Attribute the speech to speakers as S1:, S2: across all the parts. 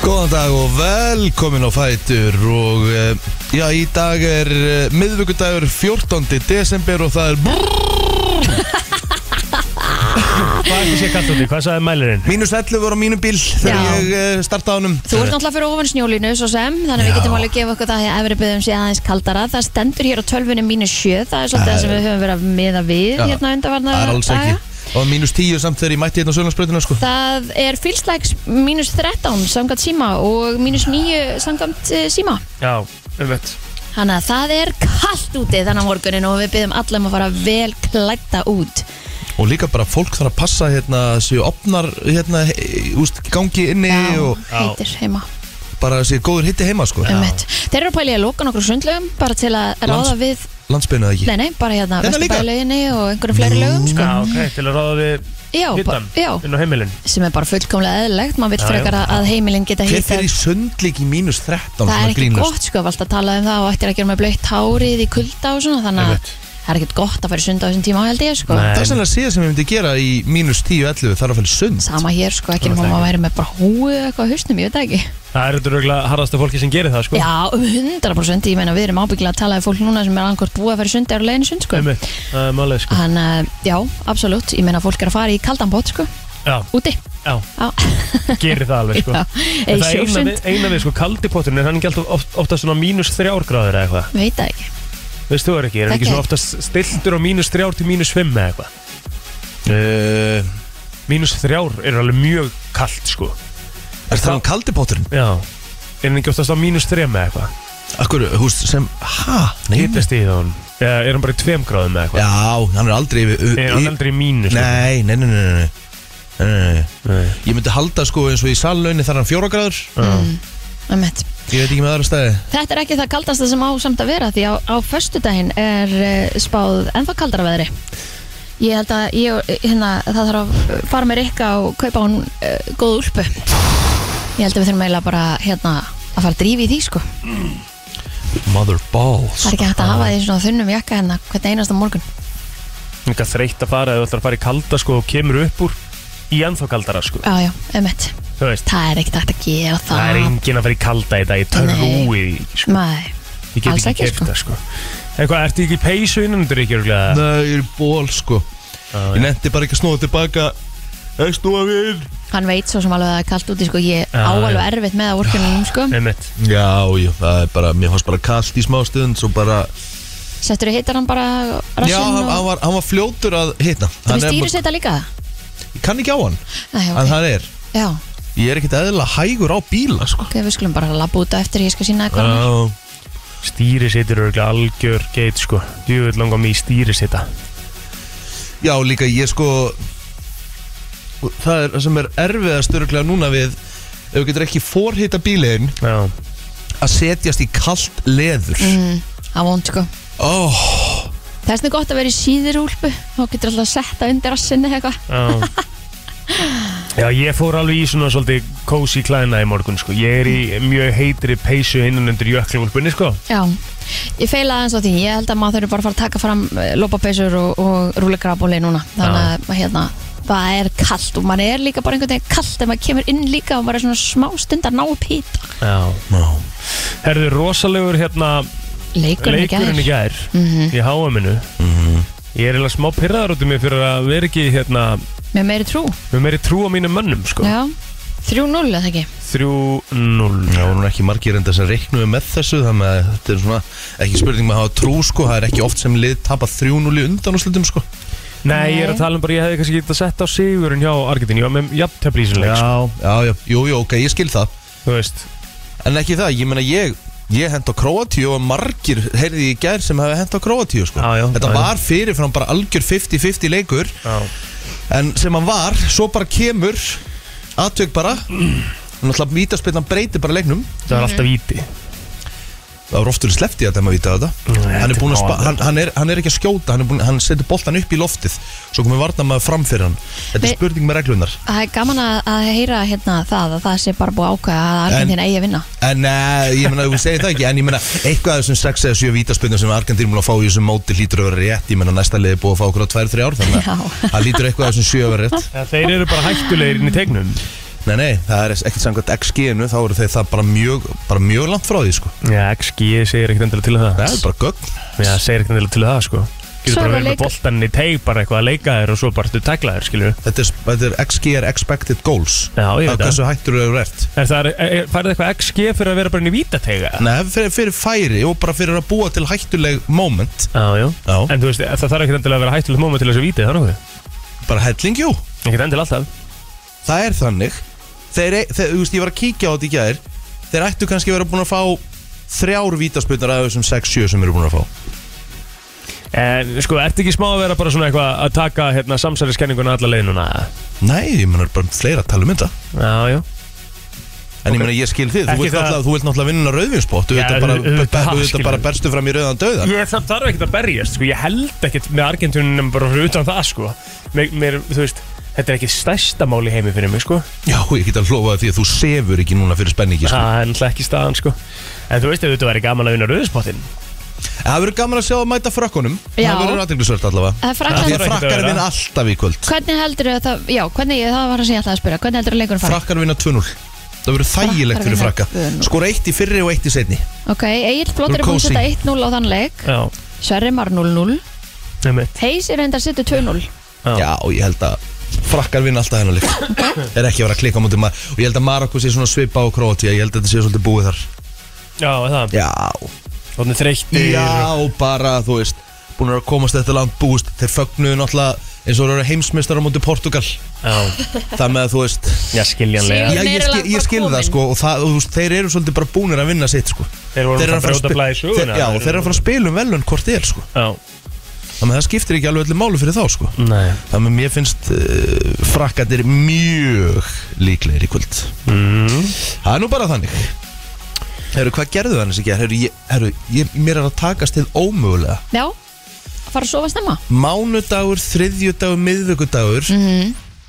S1: Góðan dag og velkomin á Fætur og eh, já, í dag er uh, miðvíkudagur 14. desember og það er
S2: Hvað er það sé kallt úti? Hvað sagði mælirinn?
S1: mínus 11 voru á mínum bíl þegar
S3: Já.
S1: ég uh, startaði honum
S3: Þú ert náttúrulega fyrir ofan snjólínu svo sem Þannig að við getum alveg að gefa okkur það að efri byggðum sé aðeins kaldara Það stendur hér á tölvunni mínu sjö Það er svolítið það sem við höfum verið að miða við
S1: Já.
S3: hérna undanvarna
S1: Það er alls ekki Og mínus 10 samt þegar ég mætti hérna á Sjölandsbröðina sko
S3: Það er fylslægs mínus 13 samkvæmt síma og mínus 9 samkvæmt eh, síma
S2: Já, um veit
S3: Þannig að það er kallt úti þannig að morgunin og við byggjum allar um að fara vel klætta út
S1: Og líka bara fólk þarf að passa hérna séu opnar hérna he- úst, gangi inni og
S3: heitir heima
S1: bara séu góður hitti heima sko
S3: um Þeir eru að pælið að loka nokkur sundlögum bara til að ráða
S1: Lands-
S3: við
S1: Landsbeinu eða ekki
S3: Nei, nei, bara hérna
S1: Hérna líka?
S3: Vesturbælauginni og einhverjum fleiri lögum sko.
S2: Já, ok, til að ráða við
S3: Já,
S2: hittan
S3: bara- já.
S2: inn á heimilinn
S3: sem er bara fullkomlega eðlilegt maður vill
S2: Já,
S3: frekar
S2: já.
S3: að- að heimilin geta
S1: Hver
S3: hýtt
S1: fyrir í sundlík í mínus 13
S3: það er
S1: svona
S3: ekki
S1: grínast?
S3: gott sko, við alltaf tala um það og ættir að gera með blöytt hárið í kulda og svona þannig að
S2: Einmitt.
S3: það er ekkert gott að fara í sund á þessum tíma held ég sko
S2: Nei.
S1: Það er sannlega síðan sem ég myndi gera í mínus 10-11 þarf að fæli sund
S3: sama hér sko, ekki
S2: Það
S3: nema
S2: er
S3: maður
S2: ekki.
S3: væri með bara húu eitthvað á hausnum, ég veit það ekki
S2: Það er þetta röglega harðasta fólki sem gerir það, sko
S3: já, um 100% ég meina við erum ábyggilega að tala við fólk núna sem er angort búið að fara í sund eða á leiðin í sund sko
S2: Um veit, það er málið, sko
S3: hann, já, absolutt, ég meina fólk er að fara í kaldanbót sko,
S2: Já,
S3: úti
S2: já,
S3: Já.
S2: gerir það alveg, sko
S3: Já,
S2: En Það er
S3: eða í
S2: eina
S3: sjósund,
S2: við, eina við, sko, kaldi potturinn er hann ekki alltaf oft, oftast svona mínus þrjár gráður eða eitthvað
S3: veit það ekki
S2: Veist þú er ekki, er hann ekki
S3: Ekki.
S2: svona oftast stiltur á mínus þrjár til mínus fimm eða eitthvað
S1: Uh,
S2: Mínus þrjár er alveg mjög kalt, sko
S1: er það um kaldipotturinn?
S2: Já, er hann ekki oftast á mínus þrjum eða eitthvað
S1: Akkur, húst, sem, ha? Nei,
S2: Hittast í það Eða er hann bara í tveim gráðum eða eitthvað
S1: Já, hann er aldrei yfir u-
S2: Er hann
S1: í-
S2: aldrei í mínus
S1: Nei, nei, nei, nei, nei, nei. Nei, nei, nei.
S2: Nei.
S1: Ég myndi halda sko eins og í salunni þar er hann fjóra gráður
S3: mm, einmitt.
S1: Ég veit ekki með aðra stæði
S3: Þetta er ekki það kaldasta sem á samt að vera því á, á föstudaginn er uh, spáð ennþá kaldara veðri Ég held að ég, og- hérna, það þarf að eh, fara með Rikka og kaupa hún uh, góð úlpu Ég held að við þurfum eiginlega bara hérna, að fara að drífa í því sko Það
S1: Mother balls
S3: er ekki hægt að hafa því svona þunnum jakka hérna hvernig einasta morgun
S2: Mika þreytt að fara eða þú ætlar að fara í kalda sko og kemur upp úr í ennþá kaldara sko
S3: Já, já, emitt
S2: Þú veist,
S3: Það er ekkert hægt að gera það
S2: það er enginn að fara í kalda í dag, ég törrúi því sko
S3: Nei,
S2: Ég get
S3: alls
S2: ekki
S3: ekki,
S2: kert
S3: sko.
S2: það sko Eitthvað, ertu ekki í peysu innan undir ekki örgulega?
S1: Nei, ég er í ból sko Ég nefndi bara ekki að snúa tilbaka Ekki snúa við
S3: hann veit svo sem alveg að það er kalt úti sko Ég
S2: Já,
S3: á alveg
S2: já.
S3: erfitt með að orkunum sko
S2: Einmitt,
S1: Já, já, það er bara, mér fannst bara kallt í smá stund Svo bara
S3: Settur þú hittar hann bara
S1: Já, hann,
S3: rassinn
S1: hann,
S3: og
S1: var, hann var fljótur að hitna
S3: Þú
S1: Hann er-
S3: stýris þetta líka?
S1: Ég kann ekki á hann
S3: Nei,
S1: En
S3: ok,
S1: hann er
S3: já
S1: Ég er ekkert eðlilega hægur á bíla sko
S3: Ok, við skulum bara labba út á eftir, ég skal sína eitthvað uh,
S1: Já
S2: stýri situr örgulega algjör geit sko Djúvill langar mig í stýri sita
S1: Já, líka ég sko Það er það sem er erfiðast öruglega núna við ef við getur ekki forhita bílinn
S2: Já,
S1: að setjast í kalt leður Oh. mm.
S3: Það vond sko Það er svona gott að vera í síðurúlpu Þá getur alltaf að setja undir rassinni eitthvað
S2: já Já, ég fór alveg í svona svolítið cozy klæna í morgun sko Ég er í mjög heitri peysu innan undir jökklúlpunni sko
S3: Já, ég feilaði aðeins á því Ég held að maður þurfi bara að fara að taka fram lópapeysur og, og rúlegrafbóli núna Þannig að hérna, það er kalt Og maður er líka bara einhvern veginn kalt En maður kemur inn líka og maður er svona smá stund að ná upp hýta
S2: Já
S1: Ná.
S2: Herðu, rosalegur hérna
S3: Leikurinn ekki
S2: leikurinn í
S3: aðeins
S2: gær í háaminu Ég er eiginlega smá pyrraður út í mig fyrir að vera ekki hérna
S3: Með meiri trú,
S2: með meiri trú á mínum mönnum sko
S3: já 3-0 eða ekki
S2: 3-0
S1: Það voru nú ekki margir enda sem reiknuðu með þessu þannig að þetta er svona ekki spurning með að hafa trú sko það er ekki oft sem lið tapa 3-0 í undan og slutum sko
S2: Nei, ég er að tala um bara ég hefði kannski getað sett á sigurinn hjá Argetin Ég var með jafntefli í sinni leik sko,
S1: Já, já, jú, jú, ok, ég skil það
S2: Þú veist
S1: en ekki það, ég meina ég ég hent á Kroatíu og margir heyrði í gær sem hefði hent á Kroatíu sko
S2: Já, já,
S1: þetta
S2: já, já.
S1: var fyrirfram bara algjör 50-50 leikur
S2: Já,
S1: En sem hann var, svo bara kemur Atveg bara Náttúrulega vítaspillan breytir bara leiknum
S2: það var alltaf víti
S1: Það var oftur slefti að dæma víta þetta
S2: Nei,
S1: hann, er
S2: þetta
S1: búinn að
S2: er
S1: spa,
S2: gáðan.
S1: hann, hann, er, hann er ekki að skjóta Hann, er búinn- hann setur boltan upp í loftið Svo komið varnamaður fram fyrir hann Þetta er
S3: Nei.
S1: spurning með reglunar
S3: Það er gaman að, að heyra hérna það að það sé bara búið að ákvæða að Argentina eigi að vinna
S1: En uh, ég meina, þú segir það ekki En ég meina, eitthvað af þessum 6 eða 7 vítaspillan Sem Argentín múin að fá í þessum móti lítur að vera rétt Ég meina, næsta liði er búið að fá okkur á 2-3 ár Þannig
S3: Já.
S1: að það lítur eitthvað af þessum 7 að vera rétt
S2: Þeir eru bara hættulegir inn í tegnum
S1: Nei, nei, það er ekkert samkvæmt XG-inu Þá eru þeir það bara mjög, bara mjög langt frá því sko.
S2: Já, XG segir ekkert endilega til um það
S1: Það er bara gögn
S2: Já, segir ekkert endilega til það, sko Getur bara
S3: Svo er það
S2: verið með
S3: leik-
S2: boltann í teig bara eitthvað að leika þér og svo bara stu tækla þér, skilju
S1: Þetta er, þetta er XG er Expected Goals
S2: Já, ég
S1: Það er
S2: veit það
S1: hversu hættur þú eru ert
S2: Er það, er- er- færðu eitthvað XG fyrir að vera bara inn í vítateiga?
S1: Nei, fyrir, fyrir færi og bara fyrir að búa til hættuleg moment
S2: Já, já
S1: Já,
S2: En þú veist, það þarf ekkert endilega að vera hættulegt móma til þess að víti, það er nokkuð
S1: bara helling, jú
S2: Ekkert endilega alltaf
S1: Það er þannig Þeir, e- þeir, þú veist, ég var að kíkja á þetta í gæðir Þeir ættu kannski að vera búin að fá Þrjár vítasputnar af þessum 6-7 sem eru búin að fá
S2: En sko, ertu ekki smá að vera bara svona eitthvað að taka hérna samsæliskenninguna alla leið núna?
S1: Nei, ég menar bara fleira að tala um þetta
S2: Já, já
S1: En ég meina ég skil þið,
S2: Ekki
S1: þú vilt
S2: það-
S1: náttúrulega, þú vilt náttúrulega vinna rauðvinspott Þú
S2: Já,
S1: vilt bara,
S2: auðvitað,
S1: be- be- þú
S2: skilur.
S1: vilt bara berstu fram í rauðan döðan
S2: Ég samt þarf ekkert að berjast, sko, ég held ekkert með Argentínunum bara fyrir utan það, sko mér, mér, þú veist, þetta er ekki stærsta mál í heimi fyrir mig, sko
S1: Já, ég get að lofa því að þú sefur ekki núna fyrir spenningi sko.
S2: Það er náttúrulega ekki staðan, sko En þú veist, ef þetta væri gaman að vinna rauðspottin
S1: En Það verður gaman að sjá að mæta frakkunum
S3: Já.
S1: Það verður aðdeglisvört allavega
S3: Það er
S1: Því
S3: Frakland
S1: að
S2: þarf ekkert að
S1: frakkar
S2: vera.
S1: vinna alltaf í kvöld
S3: Eh, Hvernig heldur það, já, hvernig, það var það sem ég ætlaði að spyrja Hvernig heldur leikurinn fara?
S1: Frakkar vinna 2-0 Það verður þægilegt fyrir
S3: vinna
S1: frakka
S3: 2-0.
S1: Skora eitt í fyrri og eitt í setni
S3: Ok, Egil Blóttir er búin að
S1: Kósí.
S3: setja 1-0 á þann leik
S2: Já,
S3: Sverri Mar 0-0
S2: nefnir
S3: Heis er enda að setja 2-0
S2: Já.
S1: Já, og ég held að frakkar vinna alltaf hennar líka Er ekki að vera að klika á mútið maður Og ég held að Marokko sé svona svipa á Kroatia Ég held að þetta sé svolítið búið þar
S2: Já, er það,
S1: Já,
S2: þannig þreyttir
S1: Já, bara, þú veist Búin að komast þetta land búist Þeir fögnuðu náttúrulega eins og þeir eru heimsmeistar á móti Portugal
S2: Já,
S1: Það með að þú veist
S2: já skiljanlega
S1: Já, ég, skil, ég skil það sko Og það, og þú veist, þeir eru svolítið bara búnir að vinna sitt sko
S2: Þeir voru
S1: Þeir eru
S2: náttúrulega
S1: að fara að,
S2: brjóta
S1: spi-
S2: blæði
S1: þeir,
S2: söguna
S1: já, þeir eru að fara að spila um velun hvort er sko
S2: Já,
S1: Þannig að það skiptir ekki alveg öllu máli fyrir þá sko
S2: nei
S1: Þannig að mér finnst uh, frakkandir mjög líklegir í kvöld Mhm.
S2: mm.
S1: Það er nú bara þannig Herru, hvað gerðu það annars í gerð? Herru, ég, herru ég, mér er að takast til ómögulega
S3: Já, fara að sofa snemma
S1: mánudagur, þriðjudagur, miðvikudagur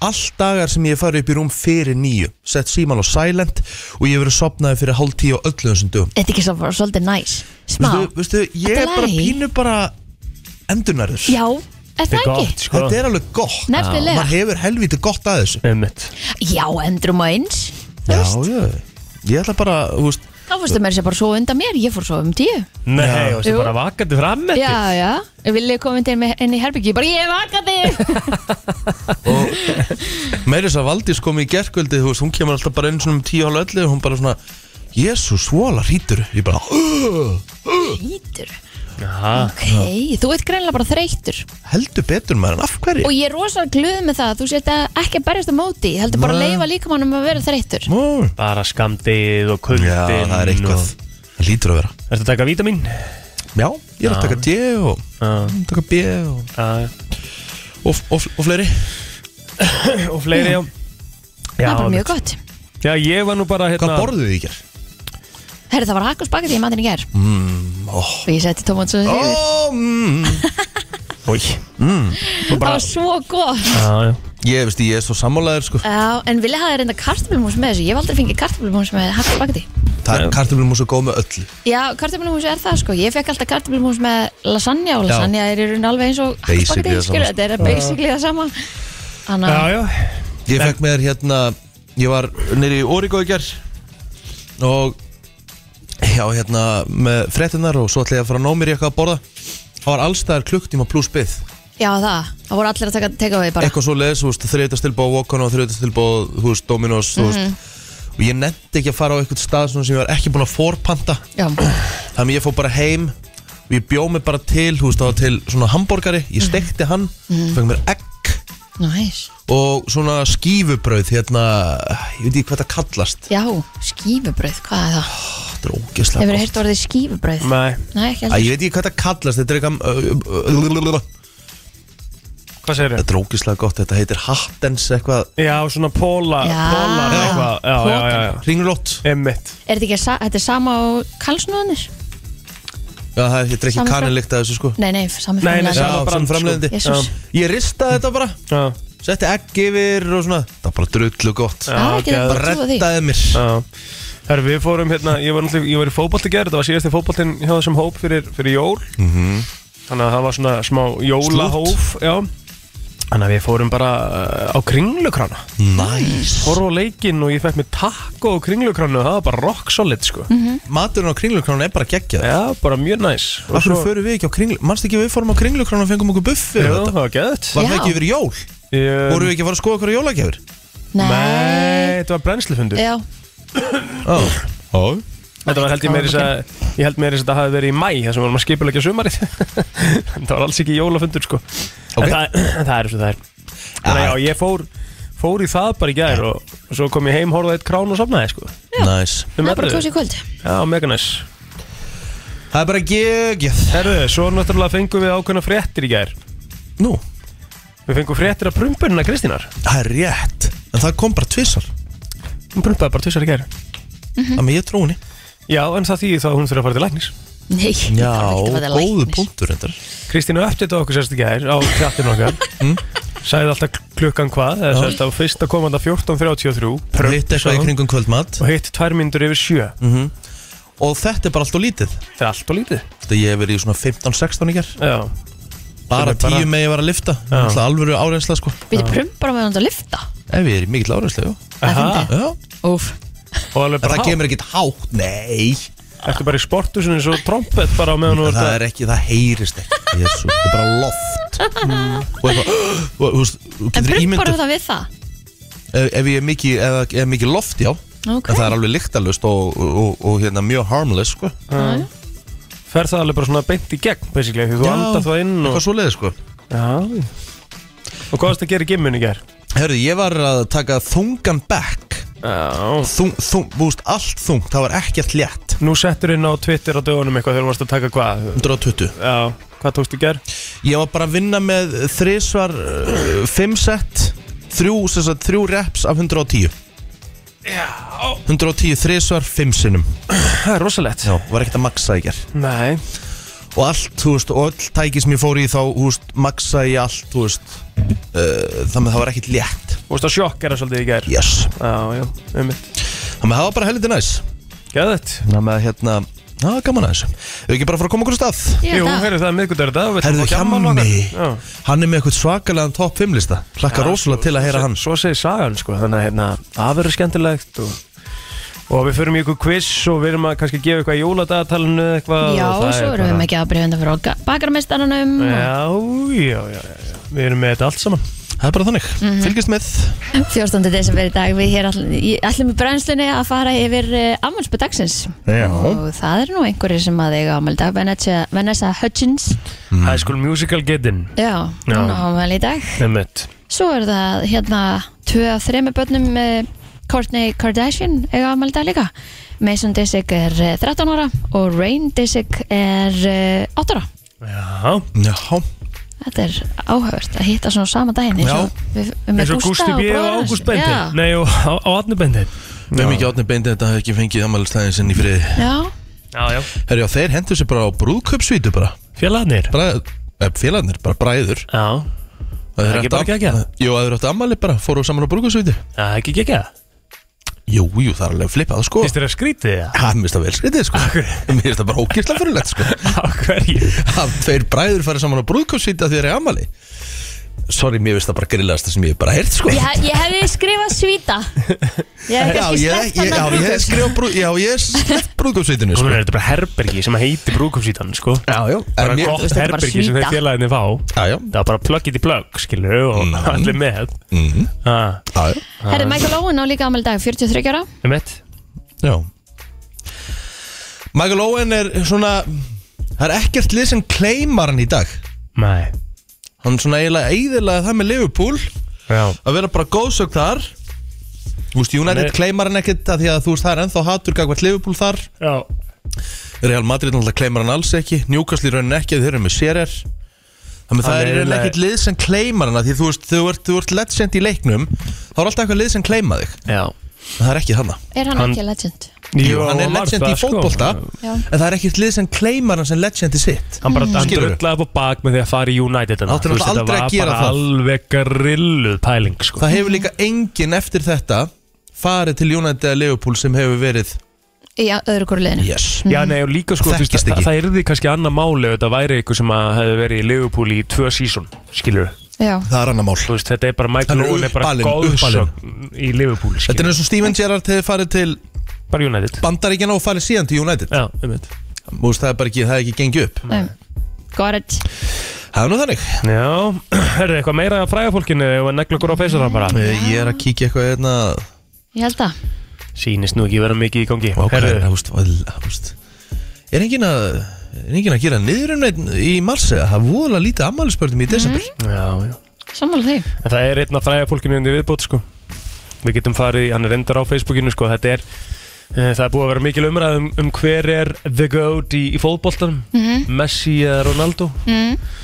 S1: allt dagar sem ég fari upp í rúm fyrir nýju sett síman á silent og ég hef verið sopnaði fyrir hálf tíu á öllu þessum dögum
S3: Þetta er ekki svo bara svolítið næs Smá
S1: veistu, veistu, ég
S3: Þetta
S1: er
S3: er
S1: bara
S3: lagi.
S1: pínu bara endurnærður
S3: Já, er
S2: Þetta
S3: það
S2: er gott,
S3: ekki?
S2: sko
S1: þetta er alveg gott
S3: Nefnilega
S1: maður hefur helvítið gott að þessu
S2: Nefnir
S3: Já, endrum og eins Þú
S1: já,
S3: veist,
S1: já, ég ætla bara þú veist,
S3: Þá fórstu mér sér bara að sofa undan mér Ég fór að sofa um tíu
S2: Nei,
S1: Já.
S2: og þessi
S3: Jú.
S2: bara vakandi fram með
S3: Já, já Vil ég koma inn, inn í herbyggi Bara ég vaka þig
S1: og meira þess að Valdís kom í gerkvöldi þú veist, hún kemur alltaf bara eins og um tíu hálf öllu og hún bara svona, jésús, vola hýtur ég bara, "Ugh,
S3: Ítur
S2: Já,
S3: Ok, þú ert greinlega bara þreytur
S1: heldur betur maður en af hverju
S3: Og ég er rosalega glöð með það Þú sétt að ekki að berjast á móti Heldur bara að
S1: Nei.
S3: leifa líkamannum að vera þreytur
S1: Ó.
S2: bara skamdið og kuldin
S1: Já, það er eitthvað
S2: og...
S1: Það lítur að vera
S2: Ertu að taka vítamín?
S1: Já, ég er að
S2: Já.
S1: taka D og
S2: Já,
S1: taka B og,
S2: já
S1: og, og, og fleiri
S2: og fleiri já
S3: Það
S2: Já,
S3: er bara
S2: mitt.
S3: mjög gott
S2: já, ég var nú bara
S1: Hvað
S2: hérna
S1: borðuðu þið í gerð?
S3: Herri, það var hakk og spagetti í matinn í ger
S1: Ó,
S3: Og ég setti tómat svo
S1: Mm. Ó, mm.
S2: Új,
S3: Það var svo gott
S2: já, já.
S1: Ég veist, ég er svo sammálaður sko
S3: Já, en vilja hafa reynda kartöflumús með þessu Ég hef aldrei fengið kartöflumús með hakk og spagetti
S1: Það er kartumlum og svo góð með öllu
S3: Já, kartöflumús er það sko Ég fekk alltaf kartöflumús með lasagna Og lasagna er í raun alveg eins og hakk og
S1: Basically
S3: spagetti
S1: það
S3: skilur,
S1: sama,
S3: Þetta er basically það sama Þannig
S2: já,
S3: að
S2: já
S1: Ég fekk með þér hérna Ég var nýri í Origo í gerð Og Já, hérna með fréttinnar og svo ætla ég að fara að ná mér í eitthvað að borða Það var allstæðar klukktíma pluss byð
S3: Já, það, það voru allir að taka, taka við bara
S1: eitthvað svo leiðis, þú veist, þriðutastilbóð Wokon og þriðutastilbóð, þú veist, Dominos þú veist, og ég nefndi ekki að fara á eitthvað stað svona sem ég var ekki búin að forpanta
S3: Já,
S1: þannig að ég fór bara heim og ég bjóð mig bara til, þú veist, það var til svona hamborgari, ég stekti hann fengið mér egg
S3: næs
S1: og svona skífubrauð hérna, ég veit ekki hvað það kallast
S3: Já, skífubröð, hvað er það?
S1: þetta er ógeðslega
S3: Hefur
S1: gott.
S3: þið heyrt orðið skífubröð?
S2: Nei,
S3: Nei, ekki
S1: Æ,
S3: heldur
S1: ég veit ekki hvað það kallast, þetta er eitthvað
S2: hvað segir þér?
S1: þetta er ógeðslega gott, þetta heitir Hattens eitthvað,
S2: Já, svona póla,
S3: Já.
S2: pólar eitthvað Já, já, já, já
S1: ringlott
S2: Emmitt
S3: Er þetta ekki sa- þetta er sama á kalsnúðanir?
S1: Já, það er ég drekki
S3: Sama frá-
S1: kanilíkt af þessu sko
S3: Nei, nei, sami
S2: Nei, nei,
S3: framlega
S2: sama
S1: Já,
S2: brand,
S1: sem framleiðandi
S3: sko. Jesús.
S1: Ég ristaði þetta bara,
S2: Já,
S1: setti egg yfir og svona Það var bara drullu gott
S2: Já,
S3: Það er ekki
S2: geðveikt.
S3: þetta bara að trúa því
S1: Rettaði mér
S2: já Herru, við fórum hérna, ég var, náttúrulega- ég var í fótbolt í gerð Það var síðasti fótboltinn hjá þessum hóp fyrir, fyrir jól -hmm. Þannig að það var svona smá jólahóf Já Þannig að við fórum bara uh, á kringlukrána
S1: Næs
S2: Horf á leikinn og ég fekk mér takko á kringlukránu og það var bara rock solid sko
S3: Mhm.
S1: Maturinn á kringlukránu er bara geggjað
S2: Já, bara mjög næs Og
S1: Af hverju
S2: svo-
S1: förum við ekki á kringlu Manst ekki að við fórum á kringlukránu og fengum okkur buffi og
S2: Jú, það
S1: þetta?
S2: var gæðt
S1: Var það
S3: Já.
S1: ekki yfir jól? Vorum við ekki að fara að skoða okkur jólagjafir?
S3: Nei,
S2: Nei, þetta var brennslufundur
S3: já,
S1: Ó Ó
S2: Þetta var held ég meira þess að Ég held meira þess að þetta hafi verið í mæ Það sem varum að skipulegja sumarið Það var alls ekki jólafundur sko
S1: Ok. Ah.
S2: En það, það er eins og það er Þannig að já, ég fór, fór í það bara í gær og, og svo kom ég heim, horfði á eitt krán og sofnaði sko
S1: Næs
S3: það
S2: Um
S3: er bara
S2: efrið.
S3: kósi kvöld
S2: Já, mega næs
S1: Það er bara geggjað
S2: Herðu, svo náttúrulega fengum við ákveðna fréttir í gær
S1: Nú
S2: Við fengum fréttir af prumpunina Kristínar
S1: Það er rétt En það kom bara tvissar
S2: Hún prumpaði bara tvisar í gær
S3: Mhm.
S1: Það með ég trú henni
S2: Já, en það þýði þá að hún þurfa að fara til læknis
S3: Nei,
S1: Já
S3: það var ekkert að verða
S1: Góðu
S3: læknir.
S1: punktur reyndar
S2: Kristína uppdætti okkur sérst í gær á tjattinu okkar
S1: Mm.
S2: Sæði alltaf klukkan hvað eða sérst á fyrsta komanda 14.33 prump,
S1: Hitt
S2: sagði
S1: eitthvað í Mm.
S2: hún,
S1: kringum kvöldmat
S2: Og hitt tvær myndur yfir sjö
S1: Og þetta er bara allt og lítið
S2: Það er allt og lítið
S1: Þetta ég hef verið í svona 15-16 í ger
S2: Já,
S1: Bara
S2: Sem er bara-
S1: 10 með ég var að lifta
S2: Já.
S1: Það er alvöru áreynsla sko
S3: Við erum bara með hann að lifta
S1: Ef ég er í mikill áreynsla, já
S3: Það er
S2: Aha.
S3: fyndið.
S1: Já
S3: Úf,
S2: og alveg
S1: En
S2: bara
S1: það
S2: há
S1: kemur ekkert hátt, nei
S2: Ertu bara í sportusinu eins og trompet bara á meðan og
S1: Það er ekki, það heyrist ekki Jésu, það er bara loft Og eitthvað, og þú veist, þú
S3: en
S1: getur
S3: brumpar
S1: ímyndað
S3: það við það
S1: ef, ef ég er mikið, ef það er mikið loft, já
S3: Ok.
S1: En það er alveg lyktalust og, og, og, og hérna mjög harmless, sko
S3: Já,
S2: fer það alveg bara svona beint í gegn basically því þú andar það inn og
S1: Eitthvað svoleiði, sko
S2: Já Og hvað varst að gera í gimminu í gær?
S1: Herðu, ég var að taka þungan back
S2: Já
S1: Þung, þung, þú veist, allt þungt, það var ekkert létt
S2: Nú settur inn á Twitter á dögunum eitthvað þegar þú varst að taka hvað
S1: 120
S2: Já, hvað tókst í gær?
S1: Ég var bara að vinna með þrisvar, uh, fimm set Þrjú, sem sagt, þrjú reps af 110
S2: Já
S1: 110 þrisvar, fimm sinnum
S2: Það er rosalegt
S1: Já, var ekkert að maksa í gerð
S2: Nei
S1: Og allt, þú veist, og öll tæki sem ég fór í þá, þú veist, maksa í allt, þú veist uh, Þannig að það var ekkert létt
S2: Þú veist að sjokk er það svolítið í gær
S1: Yes
S2: Já, já, ummitt
S1: Þannig að það var bara heldur næs
S2: Gæðið
S1: Þannig að hérna, það var gaman að þessu Við ekki bara að fara að koma okkur á stað
S3: ég
S2: Jú, hérna,
S3: veit það.
S2: heyrðu það er miðgudagur í dag við ætlum
S1: Herðu
S2: að hjamma
S1: hjammi
S2: nokkar.
S1: Hann er með eitthvað svakalega top 5 lista Hlakka
S2: Já,
S1: rosalega
S2: sko,
S1: til að heyra
S2: svo-
S1: hann
S2: Svo segir sagan sko Þannig að hérna, það verður skemmtilegt og, og við förum í ykkur quiz Og við erum að kannski gefa eitthvað í jóladagatalinu eða eitthvað
S3: Já,
S2: og það er
S3: svo erum við
S2: bara-
S3: með ekki að breyfenda fyrir bakarmestaranum
S2: Já, já, já, já, já Við erum með þetta allt saman
S1: Það er bara þannig,
S2: Mhm.
S1: fylgist með
S3: 14. desember í dag við hér all- í- ætlum í brennslunni að fara yfir afmálsbyr dagsins
S1: Já.
S3: og það er nú einhverjir sem að eiga afmál í dag Vanessa, Vanessa Hudgens
S1: Mm.
S2: High School Musical Gettin
S3: Já,
S2: Já.
S3: hún á afmál í dag
S2: Einmitt
S3: Svo er það hérna tvö af þremur börnum með Kourtney Kardashian eiga afmæli í dag líka Mason Disick er eh, 13 ára og Rain Disick er eh, 8 ára
S2: Já
S1: Já,
S3: Þetta er áhört að hitta svona á sama daginn eins og við við
S2: Eins
S3: með
S2: og Gústi
S3: Gústa og
S2: B. og
S3: bróður
S2: Ágúst
S3: hans
S2: Bendin
S3: Já,
S2: Nei, og á Adni Bendin
S1: við erum ekki átni beindið þetta hafði ekki fengið ammælistæðin sinni í friði
S3: já,
S2: Já, já
S1: Herru, já, þeir hendur sér bara á brúðköpsvítu bara,
S2: Félagarnir
S1: bara eh, félagarnir, bara bræður
S2: Já
S1: Það
S2: er ekki bara geggjað?
S1: Jú, að þeir áttu ammæli bara, fóru saman á brúðköpsvítu
S2: Það er ekki ekki það
S1: Jú, jú, það er alveg flippað, sko
S2: Fyrst þér að skrítið það?
S1: Það mér finnst það vel skrítið, sko Mér finnst það bara ógæsla fyrirlegt, sko
S2: Á hverju?
S1: Að tveir bræður fara saman á brúðköpsvítu að þeir eru ammæli Sorry, mér finnst það bara grillast það sem ég hef bara heyrt, sko
S4: Ég, hef- ég hefði skrifað svíta Ég hefði
S1: Já,
S4: kannski
S1: ég,
S4: sleppt sko.
S1: ég, já,
S4: hann
S1: ég hef skrifað brú, já, ég hef sleppt brúðköpsvítinu
S2: Núna
S1: sko.
S2: er þetta bara herbergi sem heitir brúkumsvítan, sko
S1: Já, já,
S2: Bara
S1: en mér,
S2: gott
S3: veist, þetta er bara
S2: herbergi sem
S3: svíta.
S2: þeir félagarnir fá Það
S1: já, já,
S2: var bara plug it í plug, skilu og
S1: Mm.
S2: allir með
S1: mm,
S2: Það
S1: já, já,
S3: herri Michael Owen á líka afmæli í dag 43 ára
S2: er mitt
S1: já Michael Owen er svona Það er ekkert lið sem kleimar hann í dag
S2: Nei
S1: Hann svona eiginlega eiðilega það með Liverpool
S2: Já
S1: Að vera bara góðsögn þar Þú veist, United
S2: Nei.
S1: kleimar hann ekkert að Því að þú veist, það er ennþá hatur gagvart Liverpool þar
S2: Já
S1: Real Madrid náttúrulega kleimar hann alls ekki Newcastle í rauninni ekki, þeir eru með sérer Þannig
S2: Hann
S1: það er í rauninni
S2: er eiginlega-
S1: ekkert lið sem kleimar hann af Því þú veist, þú ert, þú ert legend í leiknum Þá er alltaf eitthvað lið sem kleima þig
S2: Já
S1: En það er ekki þannig
S3: Er hann,
S2: Hann-
S3: ekki legend?
S1: Jú, hann er legend
S2: sko.
S1: í fótbolta
S3: Já.
S1: En það er ekkert lið sem kleimar hann sem legend í sitt
S2: Hann bara hann
S1: Skilurðu?
S2: dröllaði upp á bak með því að fara í United þarna.
S1: Átti
S2: Þú veist,
S1: náttúrulega aldrei að gera
S2: Þetta var
S1: það.
S2: bara alveg grilluð pæling sko.
S1: Það hefur líka enginn eftir þetta farið til United eða Liverpool sem hefur verið
S3: Já, öðru hverju liðinu
S1: Yes
S2: Já, nei, og líka sko, þú veist,
S1: Þekkist
S2: það,
S1: ekki.
S2: það yrði kannski annað máli ef þetta væri eitthvað sem að hefði verið í Liverpool í tvö sísón, skilur við
S3: já,
S1: það er annar mál
S2: Þú veist, þetta er bara Mike
S1: Hann er
S2: Nolan er bara
S1: uppalinn,
S2: góðsögn í Liverpool
S1: Þetta er
S2: skilur.
S1: eins og Steven Gerrard hefur farið til
S2: bara United
S1: Bandaríkjana og farið síðan til United
S2: Já, einmitt
S1: Þú veist, það er bara ekki, það er ekki gengið upp
S3: um, got it
S1: Það er nú þannig
S2: Já, er það eitthvað meira að fræga fólkinu og negla okkur á feysar bara
S1: Eh, Ég er að kíkja eitthvað hérna
S3: ég held að,
S2: Sýnist nú ekki vera mikið í gangi
S1: Vá, hvað er
S2: Herðu,
S1: það, húst, húst Er engin að Er engin að gera niður um neitt í mars eða það er voðalega lítið ammælisbörnum í desember
S2: Já, já
S3: sammála því
S2: En það er einn af fræga fólkinu undir viðbót sko Við getum farið, í- hann er endar á Facebookinu sko Þetta er, e, það er búið að vera mikil umræð um, um hver er the goat í, í fótboltanum Messi eða Ronaldo
S3: mm.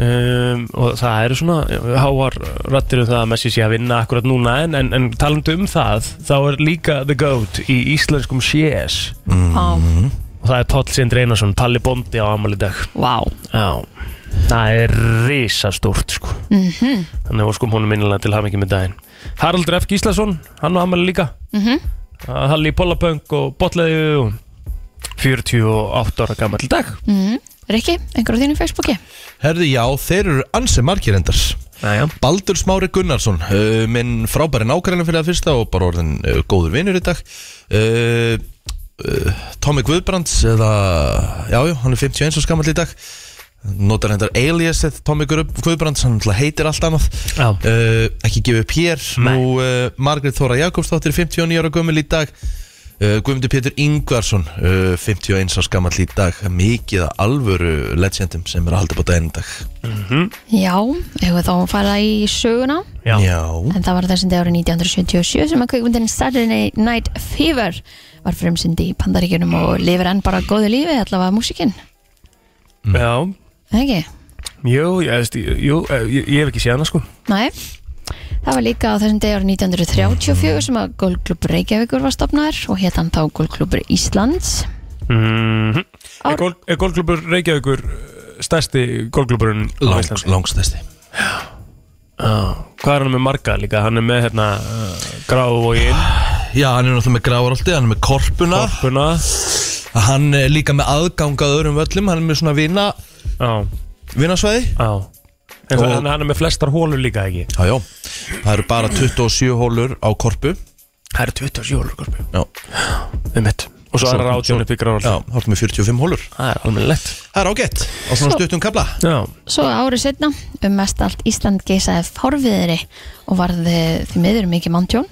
S2: um, og það eru svona já, háar rattir um það að Messi sé að vinna akkurat núna en, en, en talandu um það þá er líka The Goat í íslenskum CS
S3: mm.
S2: og það er Páll Sindri Einarsson, Palli Bondi á Amal í dag
S3: wow.
S2: Já, það er risastórt sko
S3: mm
S2: þannig að skum honum minnilega til hafa ekki með daginn Haraldur F. Gíslason, hann á Amal líka
S3: Mhm.
S2: að Halli Pólapöng og Botleði og 48 ára gammal í dag
S3: Mm. Rikki, einhver á þínu Facebooki
S1: Herði já, þeir eru ansi margir endars
S2: Næja,
S1: Baldur Smári Gunnarsson uh, minn frábæri nákvæmlega fyrir það fyrsta og bara orðin uh, góður vinur í dag uh, uh, Tommy Guðbrands eða, jájú, já, hann er 51 og skamall í dag notar hendar aliasið Tommy Guð- Guðbrands, hann náttúrulega heitir allt annað
S2: Já.
S1: uh, ekki gefið upp hér
S2: Nei.
S1: nú uh, Margrét Þóra Jakobsdóttir 59 ára gömul í dag Uh, Guðmundur Pétur Ingvarsson uh, 51 ára skamall í dag mikið af alvöru legendum sem er að halda bóta enn dag
S3: já, hefur þá að fara í söguna
S2: já,
S1: Já.
S3: en það var þessum dag árið 1977 sem að kveikmyndin Saturday Night Fever var frumsyndi í Pandaríkjunum og lifir enn bara góðu lífi allavega músikinn,
S2: já.
S3: ekki?
S2: Jú, ég, veist, jú, eh, ég, ég hef ekki séð hana sko
S3: Nei, það var líka á þessum degi árið 1934 sem að golfklubur Reykjavíkur var stopnaður og hétt hann þá golfklubur Íslands.
S2: mm -hmm.
S3: Ár-
S2: Er, gól, er gólklubur Reykjavíkur eh, stærsti gólkluburinn á
S1: Lang,
S2: Íslandi?
S1: langstæsti
S2: Já. Hvað er hann með marga líka? Hann er með hérna uh, Grávogin,
S1: Já, hann er náttúrulega með grávarolti, hann er með korpuna
S2: Korpuna
S1: Hann er líka með aðgang að öðrum völlum Hann er með svona vina,
S2: Já,
S1: vinasvæði
S2: já
S1: Og-
S2: En það- hann, hann er með flestar hólur líka ekki
S1: Já, já, það eru bara 27 hólur á korpu
S2: Það eru 27 hólur Korpu
S1: Já,
S2: Um mitt Og svo er
S1: Svo-
S2: hann
S1: svo-
S2: átjón upp í Grávogin
S1: já hálfum með 45 hólur
S2: Það er alveg lett
S1: Það er ágætt, á svona stuttum kabla
S2: Já,
S3: Svo árið setna, um mest allt Ísland geisaði fárviðri og varði því miður mikið manntjón.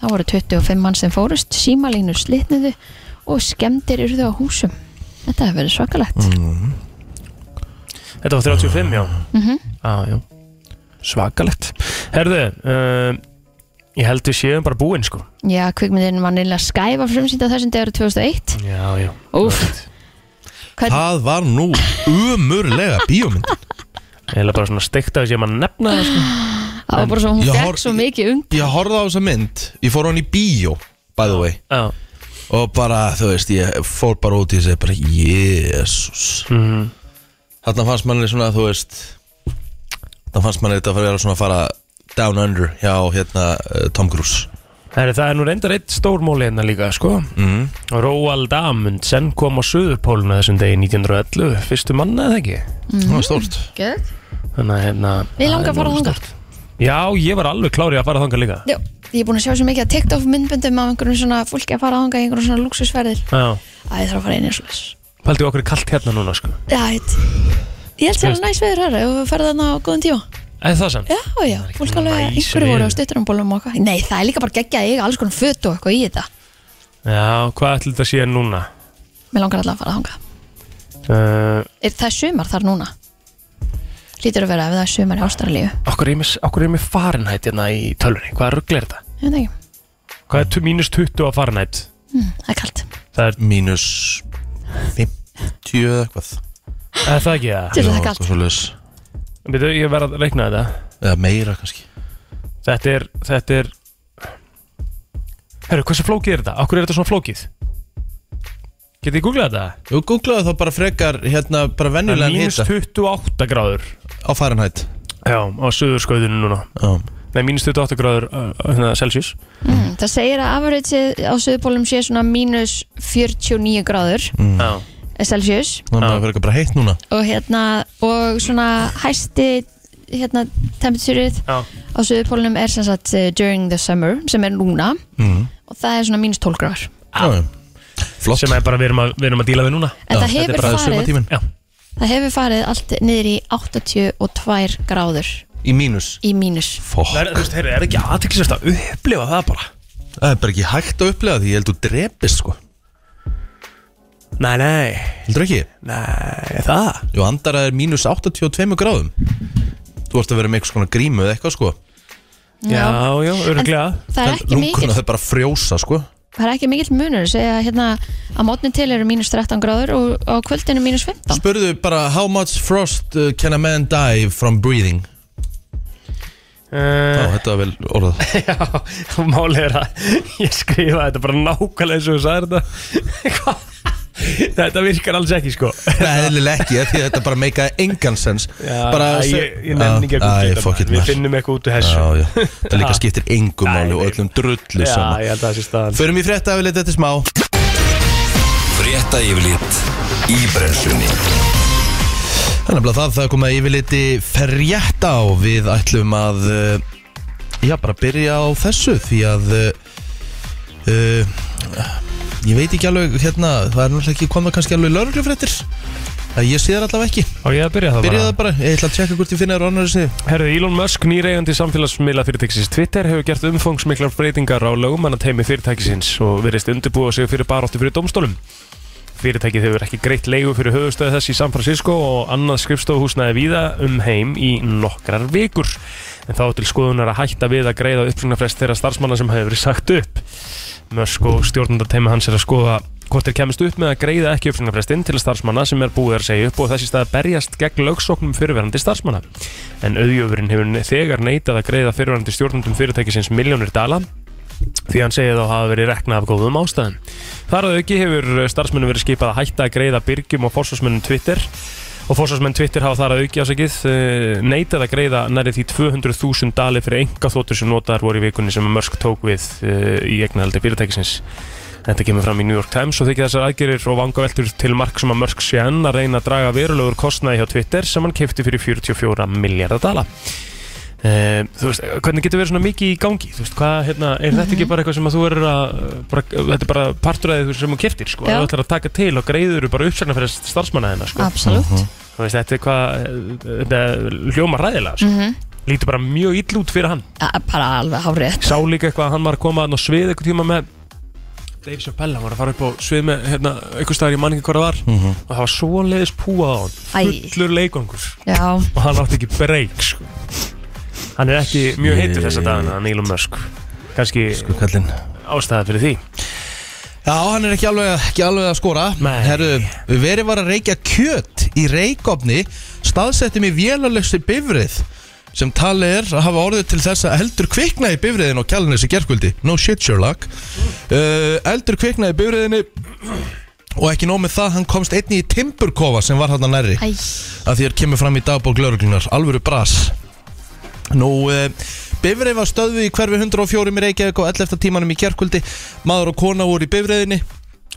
S3: Það voru 25 mann sem fórust, símalínur slitnuðu og skemmtir urðu á húsum. Þetta hefur verið svakalegt.
S2: þetta var 35 já Já, já Svakalegt Herðu, uh, ég held við séum bara búinn sko
S3: Já, kvikmyndin var nýlega skæfa frumsýnda þessum degi árið 2001.
S2: Já, já
S3: Úf, hvern,
S1: Það var nú umurlega bíómynd
S2: Eða bara svona steikt að þessi að maður nefna það sko.
S3: það var bara svo, hún
S1: Ég
S3: fekk
S1: hor-
S3: svo mikið um.
S1: Ég horfði á þessa mynd, ég fór á hann í bíó By the way
S2: Já,
S1: Og bara, þú veist, ég fór bara út í þessi bara, jésus
S3: Mhm.
S2: mm,
S1: Þarna fannst manni svona, þú veist Þarna fannst manni þetta að vera svona að fara Down Under hjá hérna uh, Tom Cruise
S2: Heri, það er nú reyndar eitt stór móli hérna líka sko.
S1: mm.
S2: Róald Amundsen kom á Suðurpóluna þessum degi 1911 Fyrstu manna eða ekki
S3: Mhm.
S1: Það var stórt
S3: Gjöð.
S2: Þannig, að, hérna,
S3: Mig
S2: það
S3: langar
S2: er
S3: að fara
S2: nú
S3: þangað.
S2: stórt. Já, ég var alveg klári að fara þangað líka
S3: Já, ég er búin að sjá svo mikið að TikTok myndböndum af einhverjum svona fólki að fara ánga í einhverjum svona luxusferðir
S2: Já,
S3: að ég þarf að fara einu slags
S2: pældi okkur er kalt hérna núna sko.
S3: Já, ég ég held sér að næs veður herra ef við ferðum þarna á góðum tíma
S2: Eða það sann?
S3: Já, já,
S2: er ekki
S3: fólk alveg,
S2: næs
S3: einhverju voru á
S2: veður.
S3: stutturumbólum og eitthvað Nei, það er líka bara geggjað að eiga alls konar föt og eitthvað í þetta
S2: Já, hvað ætli þetta sé núna?
S3: Mér langar allavega að fara ánga
S2: Uh,
S3: er, Það er sumar þar núna Lítur að vera ef það er sumar í Ástralíu
S2: okkur, er með, okkur er með Fahrenheit hérna í tölunni Hvað rugl er þetta?
S3: Ég veit ekki,
S2: Hvað er tu- mínus 20 á Fahrenheit?
S3: mm, það er kalt
S2: Það er,
S1: Mínus 50 eða eitthvað
S2: er það ekki það?
S3: Til
S1: Já,
S3: það er kalt
S1: eitthvað svoleiðis.
S2: Býtu, ég verð að reikna þetta
S1: Eða meira kannski
S2: Þetta er, þetta er Herru, hversu flókið er þetta? Akkur er þetta svona flókið? Getið þið googlað þetta?
S1: Þú googlaðu þá bara frekar hérna bara
S2: Það er
S1: venjulegan
S2: mínus
S1: hita
S2: 28 gráður
S1: á Fahrenheit
S2: Já, á söðurskauðinu núna
S1: Já.
S2: Nei, mínus 28 gráður uh, hérna, Celsius
S3: mm, Það segir að afrætsið á suðupólum sé svona mínus 49 gráður
S2: Já,
S3: Celsius
S1: Þannig að
S2: Já.
S1: það frekar bara heitt núna
S3: og hérna og svona hæsti hérna, temperatúrið
S2: Já,
S3: á Suðupólunum er sem sagt eh, during the summer sem er núna
S1: Mhm.
S3: og það er svona mínus 12 gráður
S1: Já, já. Flott
S2: sem er bara við erum að, við erum að díla við núna
S1: Já,
S3: en það
S1: þetta er
S3: hefur,
S1: bara
S3: farið,
S1: sumartíminn.
S2: Já,
S3: það hefur farið allt niður í 82 gráður
S1: Í mínus
S3: í mínus
S1: Fokk
S2: það er, þú veist, heyrðu, er ekki aðteklisvægt að upplifa það bara
S1: Það er bara ekki hægt að upplega því Ég held þú drepist sko
S2: Nei, nei,
S1: Heldur ekki?
S2: nei, það
S1: Jú, andara er mínus 82 gráðum Þú ert að vera með eitthvað svona grímu eða eitthvað sko
S2: Já, já, öruglega
S3: það er ekki mikill
S1: Lunguna þau bara frjósa sko
S3: það er ekki mikill munur segja hérna að mótni til eru mínus 13 gráður og á kvöldinu mínus 15
S1: Spurðu bara How much frost uh, can a man die from breathing? Já,
S2: Uh,
S1: þetta er vel orðað
S2: já, málið er að ég skrifa þetta bara nákvæmlega eins og þú sagðir þetta Hvað? Þetta virkar alls ekki sko
S1: Nei, eðlilega ekki, af því að þetta bara meika engan sens
S2: Já,
S1: bara
S2: æ,
S1: se-
S2: ég, ég nenni ekki
S1: Já,
S2: að
S1: æ,
S2: gúta
S1: fuck it,
S2: þetta Við
S1: maður.
S2: finnum eitthvað út úr þessu
S1: Já, já, það líka
S2: Ha.
S1: skiptir engum
S2: Æ,
S1: máli og
S2: nei.
S1: öllum drullu
S2: Já,
S1: saman
S2: ég held að það sé staðan
S1: Förum í frétta yfir litið eftir smá
S5: Frétta yfirlit í brenslunni
S1: Þannig að það, það er komið að yfir litið frétta og við ætlum að uh, já, bara byrja á þessu því að uh, uh, ég veit ekki alveg hérna, það er náttúrulega ekki komið kannski alveg lauruglufréttir ég sé þær allavega ekki
S2: Og ég að byrja það
S1: Byrjaðu
S2: bara
S1: bara, ég ætla að tjekka hvort ég finna þér á annarri sniðu
S2: Herðu, Elon Musk, nýreigandi samfélagsmiðla fyrirtækisins Twitter hefur gert umfangsmiklar breytingar á lögumannateimi fyrirtækisins og verðist undirbúa sig fyrir baráttu fyrir dómstólum. Fyrirtækið hefur ekki greitt leigu fyrir höfustöðu þess í San Francisco og annað skrifstofuhúsnaði víða um heim í nokkrar vikur. En þá er til skoðunar að hætta við að greiða uppsögnarfrest þeirra starfsmanna sem hefur verið sagt upp. Musk og stjórnundarteimi hans er að skoða hvort þeir kemist upp með að greiða ekki uppsögnarfrestinn til starfsmanna sem er búið að segja upp og þessi stað berjast gegn lögsóknum fyrirverandi starfsmanna en auðjöfurinn hefur ne- þegar neitað að greiða fyrirværandi stjórnundum fyrirtækisins miljónir dala því hann segið þá hafa verið rekna af góðum ástæðum. Þar að auki hefur starfsmennum verið skipað að hætta að greiða byrgjum og fórsvarsmennum Twitter og fórsvarsmenn Twitter hafa þar að auki ásakið eh, neitað að greiða nærið því 200.000 dali fyrir enga þóttur sem notaðar voru í vikunni sem Mörsk tók við eh, í egnahaldi fyrirtækisins. Þetta kemur fram í New York Times og þykir þessar aðgerir og vangaveltur til mark sem að Mörk sé enn að reyna að draga verulegur kostnaði hjá Twitter sem hann keipti fyrir 44 miljardar dala. Uh, þú veist, hvernig getur verið svona mikið í gangi þú veist, hvað, hérna, er þetta ekki bara eitthvað sem að þú er að, bara, þetta er bara parturæðið sem þú keftir, sko,
S3: Já.
S2: þú ætlar að taka til og greiður bara uppsagnar fyrir starfsmanna þeirna, sko
S3: absolutt
S2: þú veist, þetta er hvað, eh, þetta hljóma ræðilega, sko,
S3: Mhm.
S2: lítur bara mjög ill út fyrir hann,
S3: A- bara alveg hárið
S2: sá líka eitthvað að hann var að koma að á svið eitthvað tíma með Dave Chappelle, hann var að fara upp á svið með, hérna, eitthvað staðar í manningi hvað það var og það var svoleiðis púað á hann,
S3: Æ.
S2: fullur leikangur
S3: já,
S2: og hann átti ekki breyk sko. hann er ekki mjög heitur þessa dagana hann Elon Musk kannski
S1: Kallinn
S2: ástæða fyrir því
S1: Já, hann er ekki alveg, ekki alveg að skora
S2: Nei.
S1: Herru, verið var að reykja kjöt í reykofni staðsettum í vélalegstu bifrið sem talið er að hafa orðið til þess að eldur kvikna í bifriðin og kjallin þessi gerkvöldi No shit Sherlock uh, Eldur kvikna í bifriðinni og ekki nóg með það, hann komst einni í timburkofa sem var hann nærri
S3: æ,
S1: að þér kemur fram í dagbók lauruglunar alvöru bras Nú, e, bifreið var stöðvi í hverfi 104 í Reykjavík á 11. tímanum í kjarkvöldi maður og kona voru í bifreiðinni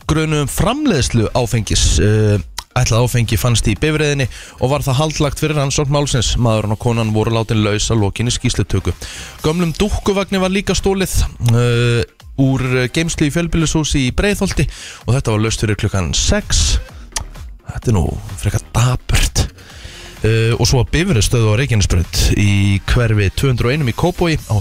S1: grunum framleiðslu áfengis e, ætlað áfengi fannst í bifreiðinni og var það haldlagt fyrir rannsókn málsins maðurinn og konan voru látin laus að lokinni skýslutöku gömlum dúkkuvagni var líka stólið e, úr geimslu í fjölbýlishúsi í Breiðholti og þetta var laust fyrir klukkan 6 þetta er nú frekar daburt Uh, og svo að bifrið stöðu á Reykjanesbrönd í hverfi 201 í Kópói á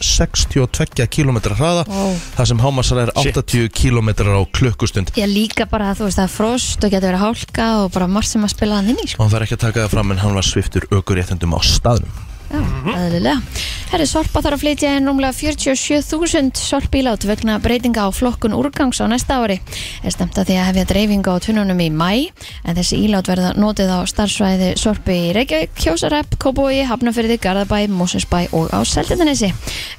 S1: 162 km hraða
S3: Vá.
S1: þar sem hámasar er
S2: Shit.
S1: 80 km á klukkustund
S3: ég líka bara þú veist það er frost og getur verið hálka og bara margt sem að spila hann inn í sko.
S1: og hann þarf ekki að taka það fram en hann var sviftur aukuréttendum á staðnum
S3: já, aðlilega herri, Sorpa þarf að flytja inn rúmlega 47.000 sorpílát vegna breytinga á flokkun úrgangs á næsta ári er stemt að því að hefja dreifingu á tunnunum í mæ en þessi ílát verða notið á starfsvæði Sorpi í Reykjavík, Kjósarepp, Kóbói, Hafnafyrði, Garðabæ, Mósinsbæ og á Seltjarnanesi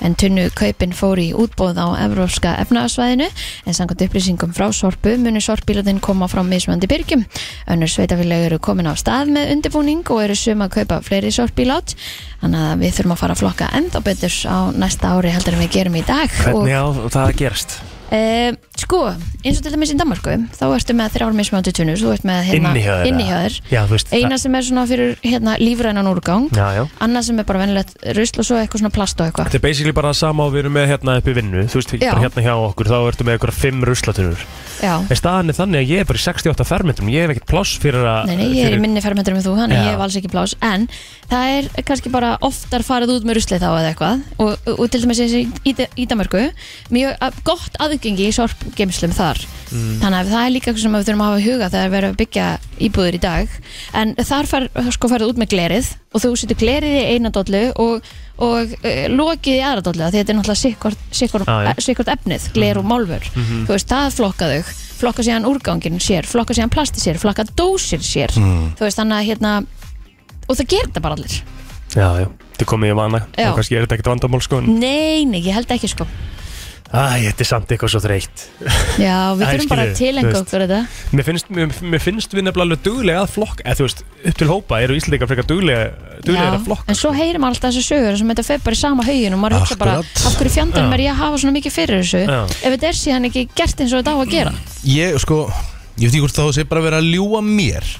S3: en tunnu kaupin fór í útbóð á Evrópska efnaðasvæðinu en samkvæmt upplýsingum frá Sorpu munu sorpbílótin koma frá mismandi byrgjum. Önnur sveitafélagi eru komin á stað með undirbúning og eru sum að kaupa fleiri sorpbílót þannig að við þurfum að fara að flokka ennþá betur á næsta ári heldur en við gerum í dag
S2: hvernig á það að gerast
S3: og e, Sko, eins og til dæmis í Danmarku þá ertu með þrjár mismjöndi tunnur þú ert með hérna,
S2: Inni hjá þér,
S3: inni
S2: eða?
S3: hjá þér.
S2: Já, þú veist,
S3: eina sem er svona fyrir hérna, lífrænan úrgang
S2: Já, já.
S3: annað sem er bara venilegt rusl og svo eitthvað svona plast og eitthvað
S2: Þetta er basically bara það sama og við erum með hérna upp í vinnu Þú veist,
S3: Já.
S2: bara hérna hjá okkur, þá ertu með eitthvað fimm ruslatunur
S3: Já,
S2: En staðan er þannig að ég er bara í 68 fermetrum Ég hef ekkert pláss fyrir að
S3: nei, nei, ég er í
S2: fyrir-
S3: minni fermetrum en þú, þannig
S2: Já.
S3: ég hef alls ekki plás en það er kannski bara oftar farið út með rusli þá eða eitthvað og, og, og til dæmis eins og í, í, í Danmarku mjög að, gott aðgengi í sorpgeimslum þar
S2: Mm.
S3: þannig að það er líka eitthvað sem við þurfum að hafa í huga þegar við erum að byggja íbúður í dag en þar far, sko farið út með glerið og þú setur glerið í eina dollu og, og uh, lokið í aðra dollu af því þetta er náttúrulega sikkort, sikkort,
S2: Ah,
S3: e,
S2: Já, Mhm. já.
S3: sikkort efnið, gler og málfur þú veist, það flokka þau flokka síðan úrgangin sér, flokka síðan plasti sér flokka dósir sér
S2: Mm.
S3: þú veist, þannig að hérna og það gerir þetta bara allir
S2: Já, já, þetta er komið í vana
S3: Já.
S2: Og kannski er þetta ekkert vandamál sko en-
S3: nei, nei, ég held ekki sko
S2: Æ, þetta er samt eitthvað svo þreytt
S3: já, við
S2: Æ,
S3: þurfum bara
S2: skilurðu,
S3: að tilenga
S2: þú veist.
S3: okkur þetta
S2: Mér finnst, mér, mér finnst við nefnilega alveg duglega að flokka Eða þú veist, upp til hópa eru Íslandingar frekar duglega Duglega
S3: Já,
S2: að flokka sko.
S3: en svo heyrir maður alltaf þessu sögur sem þetta fer bara í sama haugin og maður hugsa bara
S1: Akkurat.
S3: af hverju fjandanum
S2: Já.
S3: er ég að hafa svona mikið fyrir þessu
S2: Já.
S3: ef þetta er síðan ekki gert eins og þetta á að gera
S1: Ég sko, ég veit ekki hvort þá sé bara verið að ljúa mér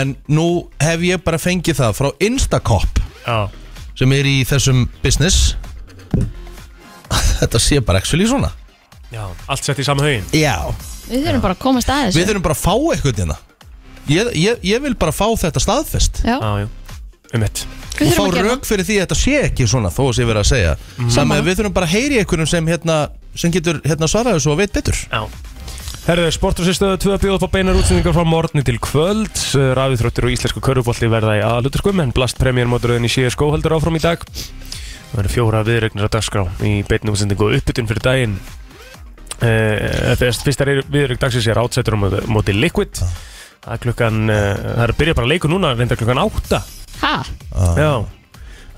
S1: En nú hef ég bara fengið það frá Instacop
S2: Já,
S1: Sem er í þessum business Þetta sé bara actually svona
S2: já, allt sett í sama haugin
S1: Já
S3: við þurfum bara að komast að
S1: Við
S3: þessu
S1: þurfum bara að fá eitthvað hérna ég, ég, ég vil bara fá þetta staðfest
S3: Já,
S2: Já, já, um mitt
S1: og
S3: við
S1: fá
S3: þurfum að gera
S1: rauk fyrir því að þetta sé ekki svona þó að sé verið að segja mm. að við þurfum bara að heyri einhverjum sem hérna sem getur hérna svaraðu svo og veit betur
S2: Já Herðu, sportrúsistöðu 2 bjóða upp á beinar útsendingar frá morgni til kvöld Ræðuþróttir og íslensku körfubolti verða í aðluturskum en blast premjörmóturöðin í síðu skóhaldur áfram í dag Það eru fjóra viðregnir á dagskrá í beinni útsendingu og uppbytun fyrir daginn Eh, Fyrst fyrsta viðregn dagsins er átsettur á móti- móti Liquid Það er klukkan, eh, það er að byrja bara að leiku núna reyndar klukkan 8
S3: Ha,
S1: Ah,
S2: Já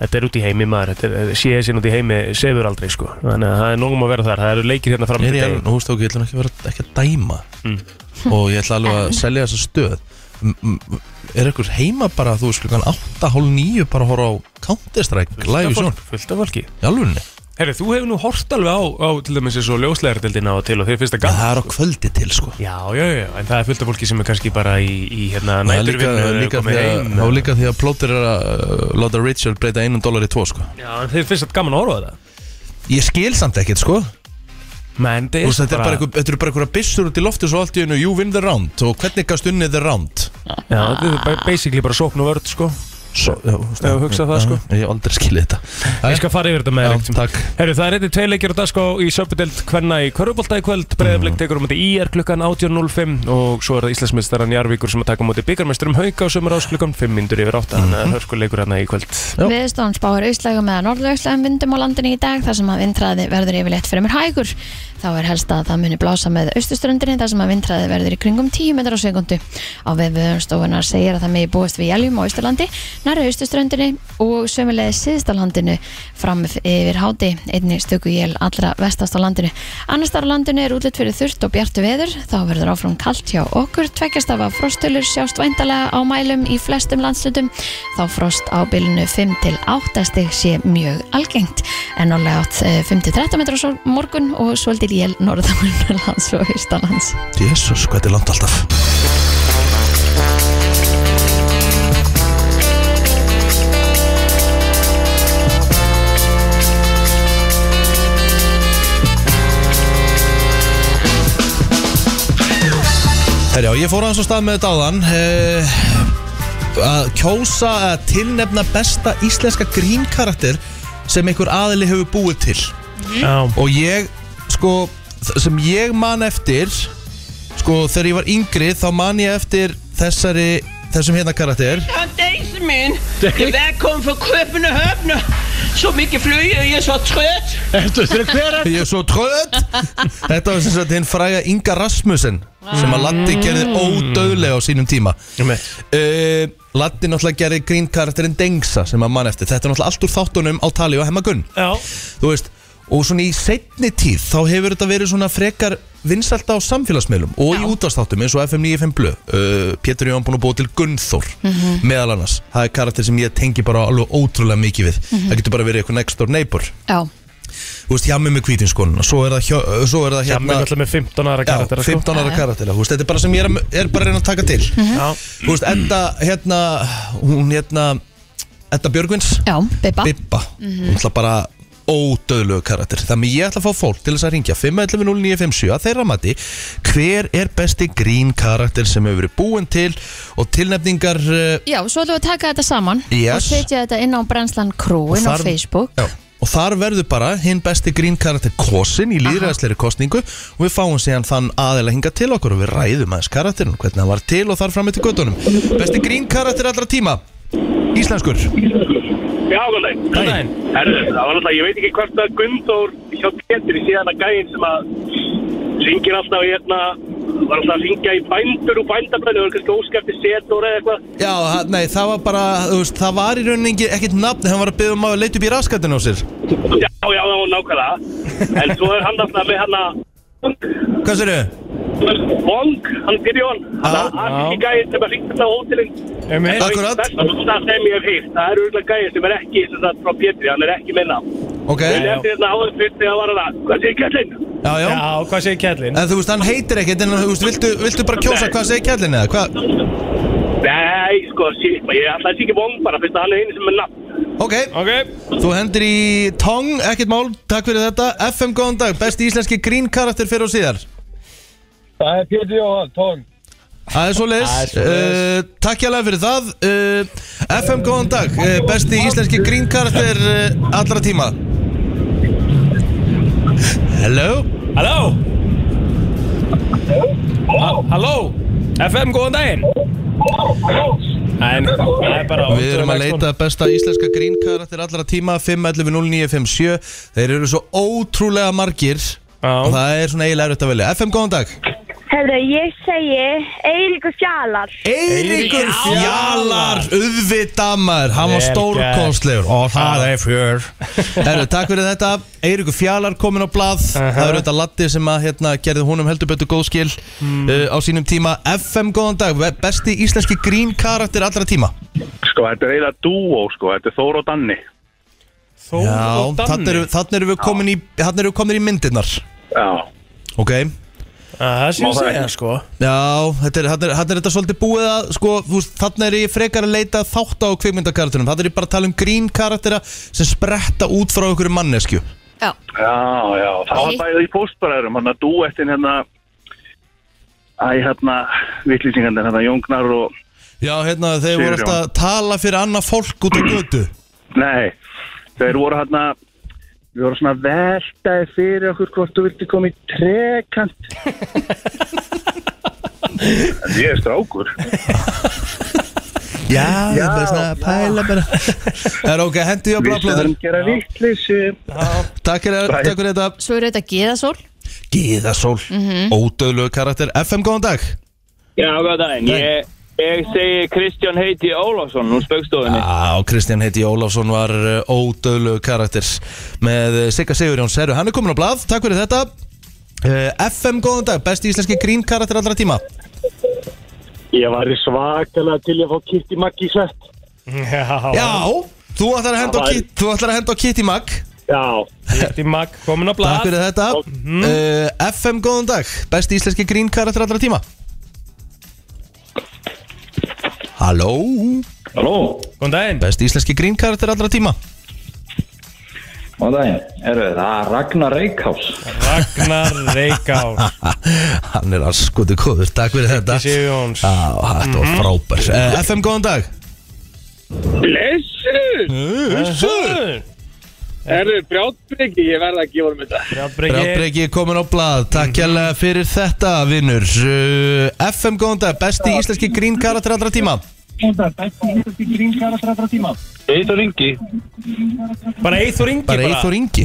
S2: Þetta er út í heimi maður, þetta er síðan út í heimi sefur aldrei sko, þannig að það er nógum að vera þar, það eru leikir hérna fram
S1: Ég
S2: til
S1: er í alveg,
S2: daginn
S1: nú veist okkur, ég ætla nú ekki Mm. að vera ekki að dæma og ég ætla alveg að selja þessa stöð M- m- er einhver heima bara þú veist klukkan 8, hálf 9 bara að horfa á Counter-Strike live í sjón
S2: Fullt af fólki
S1: í alvunni,
S2: Herri, þú hefur nú hort alveg á, á til dæmis eins og ljóslegardildina og til og þeir finnst
S1: það
S2: það gaman.
S1: er á kvöldi til sko
S2: Já, já, já, en það er fullt af fólki sem er kannski bara í, í
S1: Það
S2: hérna
S1: er líka,
S2: næturvinnu
S1: líka, því að, þá
S2: eða-
S1: líka því að plótir er að uh, láta Richard breyta einum dólar í tvo sko.
S2: Já, en þeir finnst það gaman að horfa á þetta
S1: Ég skil samt ekkert sko
S2: Men,
S1: Þú veist, Þetta er bara einhver- þetta eru bara einhverja byssur út í lofti svo allt í einu you win the round og hvernig gast unnið the round
S2: Já, þetta er bara- basically bara sókn og vörð, sko
S1: Svo, já, þú veist,
S2: Ef þú hugsar það,
S1: já,
S2: sko.
S1: Ég hef aldrei skilið þetta
S2: Ég skal fara yfir þetta með
S1: Já,
S2: þér einhvern tímann.
S1: takk.
S2: Herru, það er eitthvað tvei leikir og það sko í söpudeld hvenna í Körubólta í kvöld Breiðablik tekur um þetta í er klukkan 18.05 og svo er það Íslandsmeistaran Jarvíkur sem að taka um þetta byggarmeisturum hauka og sömur ás klukkan 5 mindur yfir 8 Þannig að það er hörkuleikur hérna í kvöld
S1: Já.
S3: Viðstofan spáir auðslægum eða norðlaugslægum vindum á landinu í dag þar sem að vindræði verður yfirleitt fremur hægur. Þá er helst að það muni blása með austurströndinni þar sem að vindræði verður í kringum 10 metrar á sekundu. Á viðvöðunstofunar segir að það megi búast við jæljum á austurlandi, næra austurströndinni og sömulegði síðstalandinu fram yfir háti, einni stöku jél allra vestast á landinu. Annars þar á landinu er útlitt fyrir þurft og bjartu veður, þá verður áfram kalt hjá okkur, tveggjast af að frostölur sjást væntalega á mælum í flestum landslutum, þá frost á bylunu 5 til 8 stig sé mjög algengt, en nálega átt eh, 5 til 13 metrar á sól- morgun og svolítið jél norðamörnarlands og austalands.
S1: Jésús, hvað þetta er langt alltaf Herjá, ég fór aðeins á stað með þetta áðan eh, að kjósa að tilnefna besta íslenska grínkarakter sem einhver aðili hefur búið til
S2: Já,
S1: og ég, sko, þ- sem ég man eftir sko, þegar ég var yngri þá man ég eftir þessari þessum hérna karakter
S6: Daisen min. Jeg er kommet fra krybende høbne. Så mye fløy, og jeg er så trøt.
S1: ég er svo tröð þetta var sem sagt hinn fræga Inga Rasmussen sem að Latti gerði ódöðlega á sínum tíma
S2: um
S1: uh, Latti náttúrulega gerði grín karakterinn Dengsa sem að man eftir þetta er náttúrulega allt úr þáttunum á tali og hemma gunn
S2: Já,
S1: þú veist og svona í setni tíð þá hefur þetta verið svona frekar vinsalt á samfélagsmiðlum og í útastáttum eins og FM 95 Blu uh, Pétur Jón búin að búa til Gunnþór meðal annars, það er karakter sem ég tengi bara alveg ótrúlega mikið við það getur bara verið eitthvað next door neighbor
S3: Já,
S1: þú veist, hjá mig með kvítinskónuna Svo er það, hjá, svo er það
S2: Hjá mig
S1: hérna
S2: alltaf með 15 ára
S1: Já,
S2: karakter sko.
S1: 15 ára karatela, þú veist, þetta er bara sem ég er, að- er bara að reyna að taka til
S2: Já,
S1: Þú veist, Edda, hérna, hún hérna, Edda Björgvins
S3: Já, Bibba
S1: Bibba Hún ætla bara ódöðlegu karakter Þannig ég ætla að fá fólk til þess að ringja 511-0957 að þeirra mati Hver er besti grín karakter sem hefur verið búin til og tilnefningar uh,
S3: Já, svo ætlum við að taka þetta saman
S1: Yes.
S3: og setja þetta inn á Brenslan Crew inn á
S1: þar-
S3: Facebook
S1: já, Og þar verður bara hinn besti grín karakter kosin í líðræðsleiri kosningu og við fáum síðan þann aðeila hinga til okkur og við ræðum aðeins karakterinn hvernig hann var til og þar fram eftir göttunum Besti grín karakter allra tíma Íslenskur
S7: Já, góðleik.
S2: Góðan daginn.
S7: Herðu, það var alltaf, ég veit ekki hvort að Gunndór hjá Petri síðan að gæðin sem að syngir alltaf í hérna, var alltaf að syngja í bændur og bændabræðinu, var kannski óskæfti setur eða eitthvað.
S1: Já, ha- nei, það var bara, þú veist, það var í rauninni ekki- ekkert nafn hann var að byggja um að leita upp í raskatinn á sér
S7: Já, já, það var nákvæmlega. En svo er hann alltaf með hérna,
S1: Hvað sér þau?
S7: Vong, hann Girjón, hann
S1: Já,
S7: að ekki gæðin sem að syngja alltaf á hótelinn.
S2: einmitt.
S1: Akkurat.
S7: Það sem ég hef hýrt, það eru auðvitað gæðin sem er ekki, sem sagt, frá Petri, hann er ekki minna.
S1: Ok,
S7: Ég
S1: já,
S7: lefði hérna áður fyrir þegar var hann að, hvað segir kallinn?
S1: já
S2: Já, hvað segir kjærlinn?
S1: En þú veist, hann heitir ekkert En þú veist, viltu, viltu bara kjósa hvað segir kjallin eða? Hvað?
S7: Nei, sko, shit, maður, ég ætla að sé ekki vong bara, fyrst að hann er einu sem er nafn.
S1: Ok,
S2: Ok,
S1: þú hendur í Tong, ekkert mál Takk fyrir þetta, FM góðan dag Besti íslenski grín karakter fyrir og síðar
S8: Það er Pétur Jóhann, Tóng.
S1: Það er svo
S2: Það er
S1: leis uh,
S2: svoleiðis.
S1: Takk hjá fyrir það uh, FM góðan dag, uh, besti íslenski grín karakter uh, allra tíma Hello
S2: halló Ha- Halló FM, góðan daginn En það er bara
S1: Við erum að leita að besta íslenska grínkarakter allra tíma 511-0957 Þeir eru svo ótrúlega margir
S2: Já.
S1: og það er svona eiginlega erfitt að velja FM, góðan dag
S9: Herðu, ég segi Eiríkur Fjalar.
S1: Eiríkur Fjalar Uðvitaðmaður, hann var
S2: Vel
S1: stórkostlegur Og það er fjör Herru, takk fyrir þetta Eiríkur Fjalar komin á blað Það eru þetta Latti sem að hérna, gerði húnum heldur betur góð skil uh, á sínum tíma FM, góðan dag, Ve- besti íslenski grínkarakter allra tíma
S8: Sko, þetta er eiginlega dúó, sko. Þetta er Þór og Danni.
S1: Já, þannig eru, þarna eru við komin í, þannig eru við komin í myndirnar
S8: Já.
S1: Ok,
S2: Það sé
S8: Má
S2: að
S8: það
S2: segja
S8: ekki?
S2: sko
S1: já, þetta er, þarna er, þarna er þetta svolítið búið að, sko, þú veist, þarna er ég frekar að leita þátt á kvikmyndakarakterum Þarna er ég bara að tala um grín karaktera sem spretta út frá okkur mannesku
S3: Já,
S8: Já, já. Það var
S3: Nei.
S8: bæðið í fóstbræðurum, hann að dúettin hérna, æ, hérna, vittlýsingarnir, hérna, Jóngnar og,
S1: Já, hérna, þeir voru
S8: Sigurjón.
S1: alltaf að tala fyrir annað fólk út á götu
S8: nei, þeir voru hérna, við vorum svona veltaði fyrir okkur hvort þú vilti koma í trekant. En ég er strákur.
S1: Já, já, bara svona pæla bara Það er ok, hendu ég á
S8: Við
S1: blablóður
S8: sem gera vittlýsi.
S1: Takk fyrir
S8: Bye.
S1: takk fyrir þetta
S3: svo eru þetta Geðasól
S1: Gíðasól, mm karakter FM, góðan dag
S7: Já, góð daginn. Ég, ég segi Kristján heiti Ólafsson úr spöggstofinni.
S1: Já, Kristján heiti Ólafsson var uh, ódöðlegu karakter með uh, Sigga Sigurjón Serru, hann er komin á blað, takk fyrir þetta uh, FM, góðan dag, besti íslenski grín karakter allra tíma
S8: Ég var í svakalega til að fá kýrt í maggi svett.
S2: Já,
S1: Já, þú ætlar að henda á
S8: Það var-
S1: Kit- þú ætlar að henda á Kitty Mag
S8: Já.
S2: Kitty Mag komin á
S1: Takk
S2: blad
S1: fyrir þetta uh, FM, góðan dag, besti íslenski grín karakter allra tíma Halló
S10: Halló,
S2: Góðan daginn
S1: Besti íslenski grín karakter allra tíma
S10: góðan daginn, eru það er Ragnar Reykjás
S2: Ragnar Reykjár
S1: Hann er að skoðu kóður, takk fyrir þetta
S2: Sigurjón Jóns
S1: Já, þetta var frábær uh, FM, góðan dag
S7: Blessur! Herru, brjátbyggi, ég verða að gefa um þetta.
S2: Brjábreki
S1: Rábreki komin á blað, takk hérlega fyrir þetta vinnur uh, FM góðan dag, besti íslenski grín karakter allra tíma
S8: Eitt og ringi.
S2: Bara Eithor Ingi
S1: Bara Eithor Ingi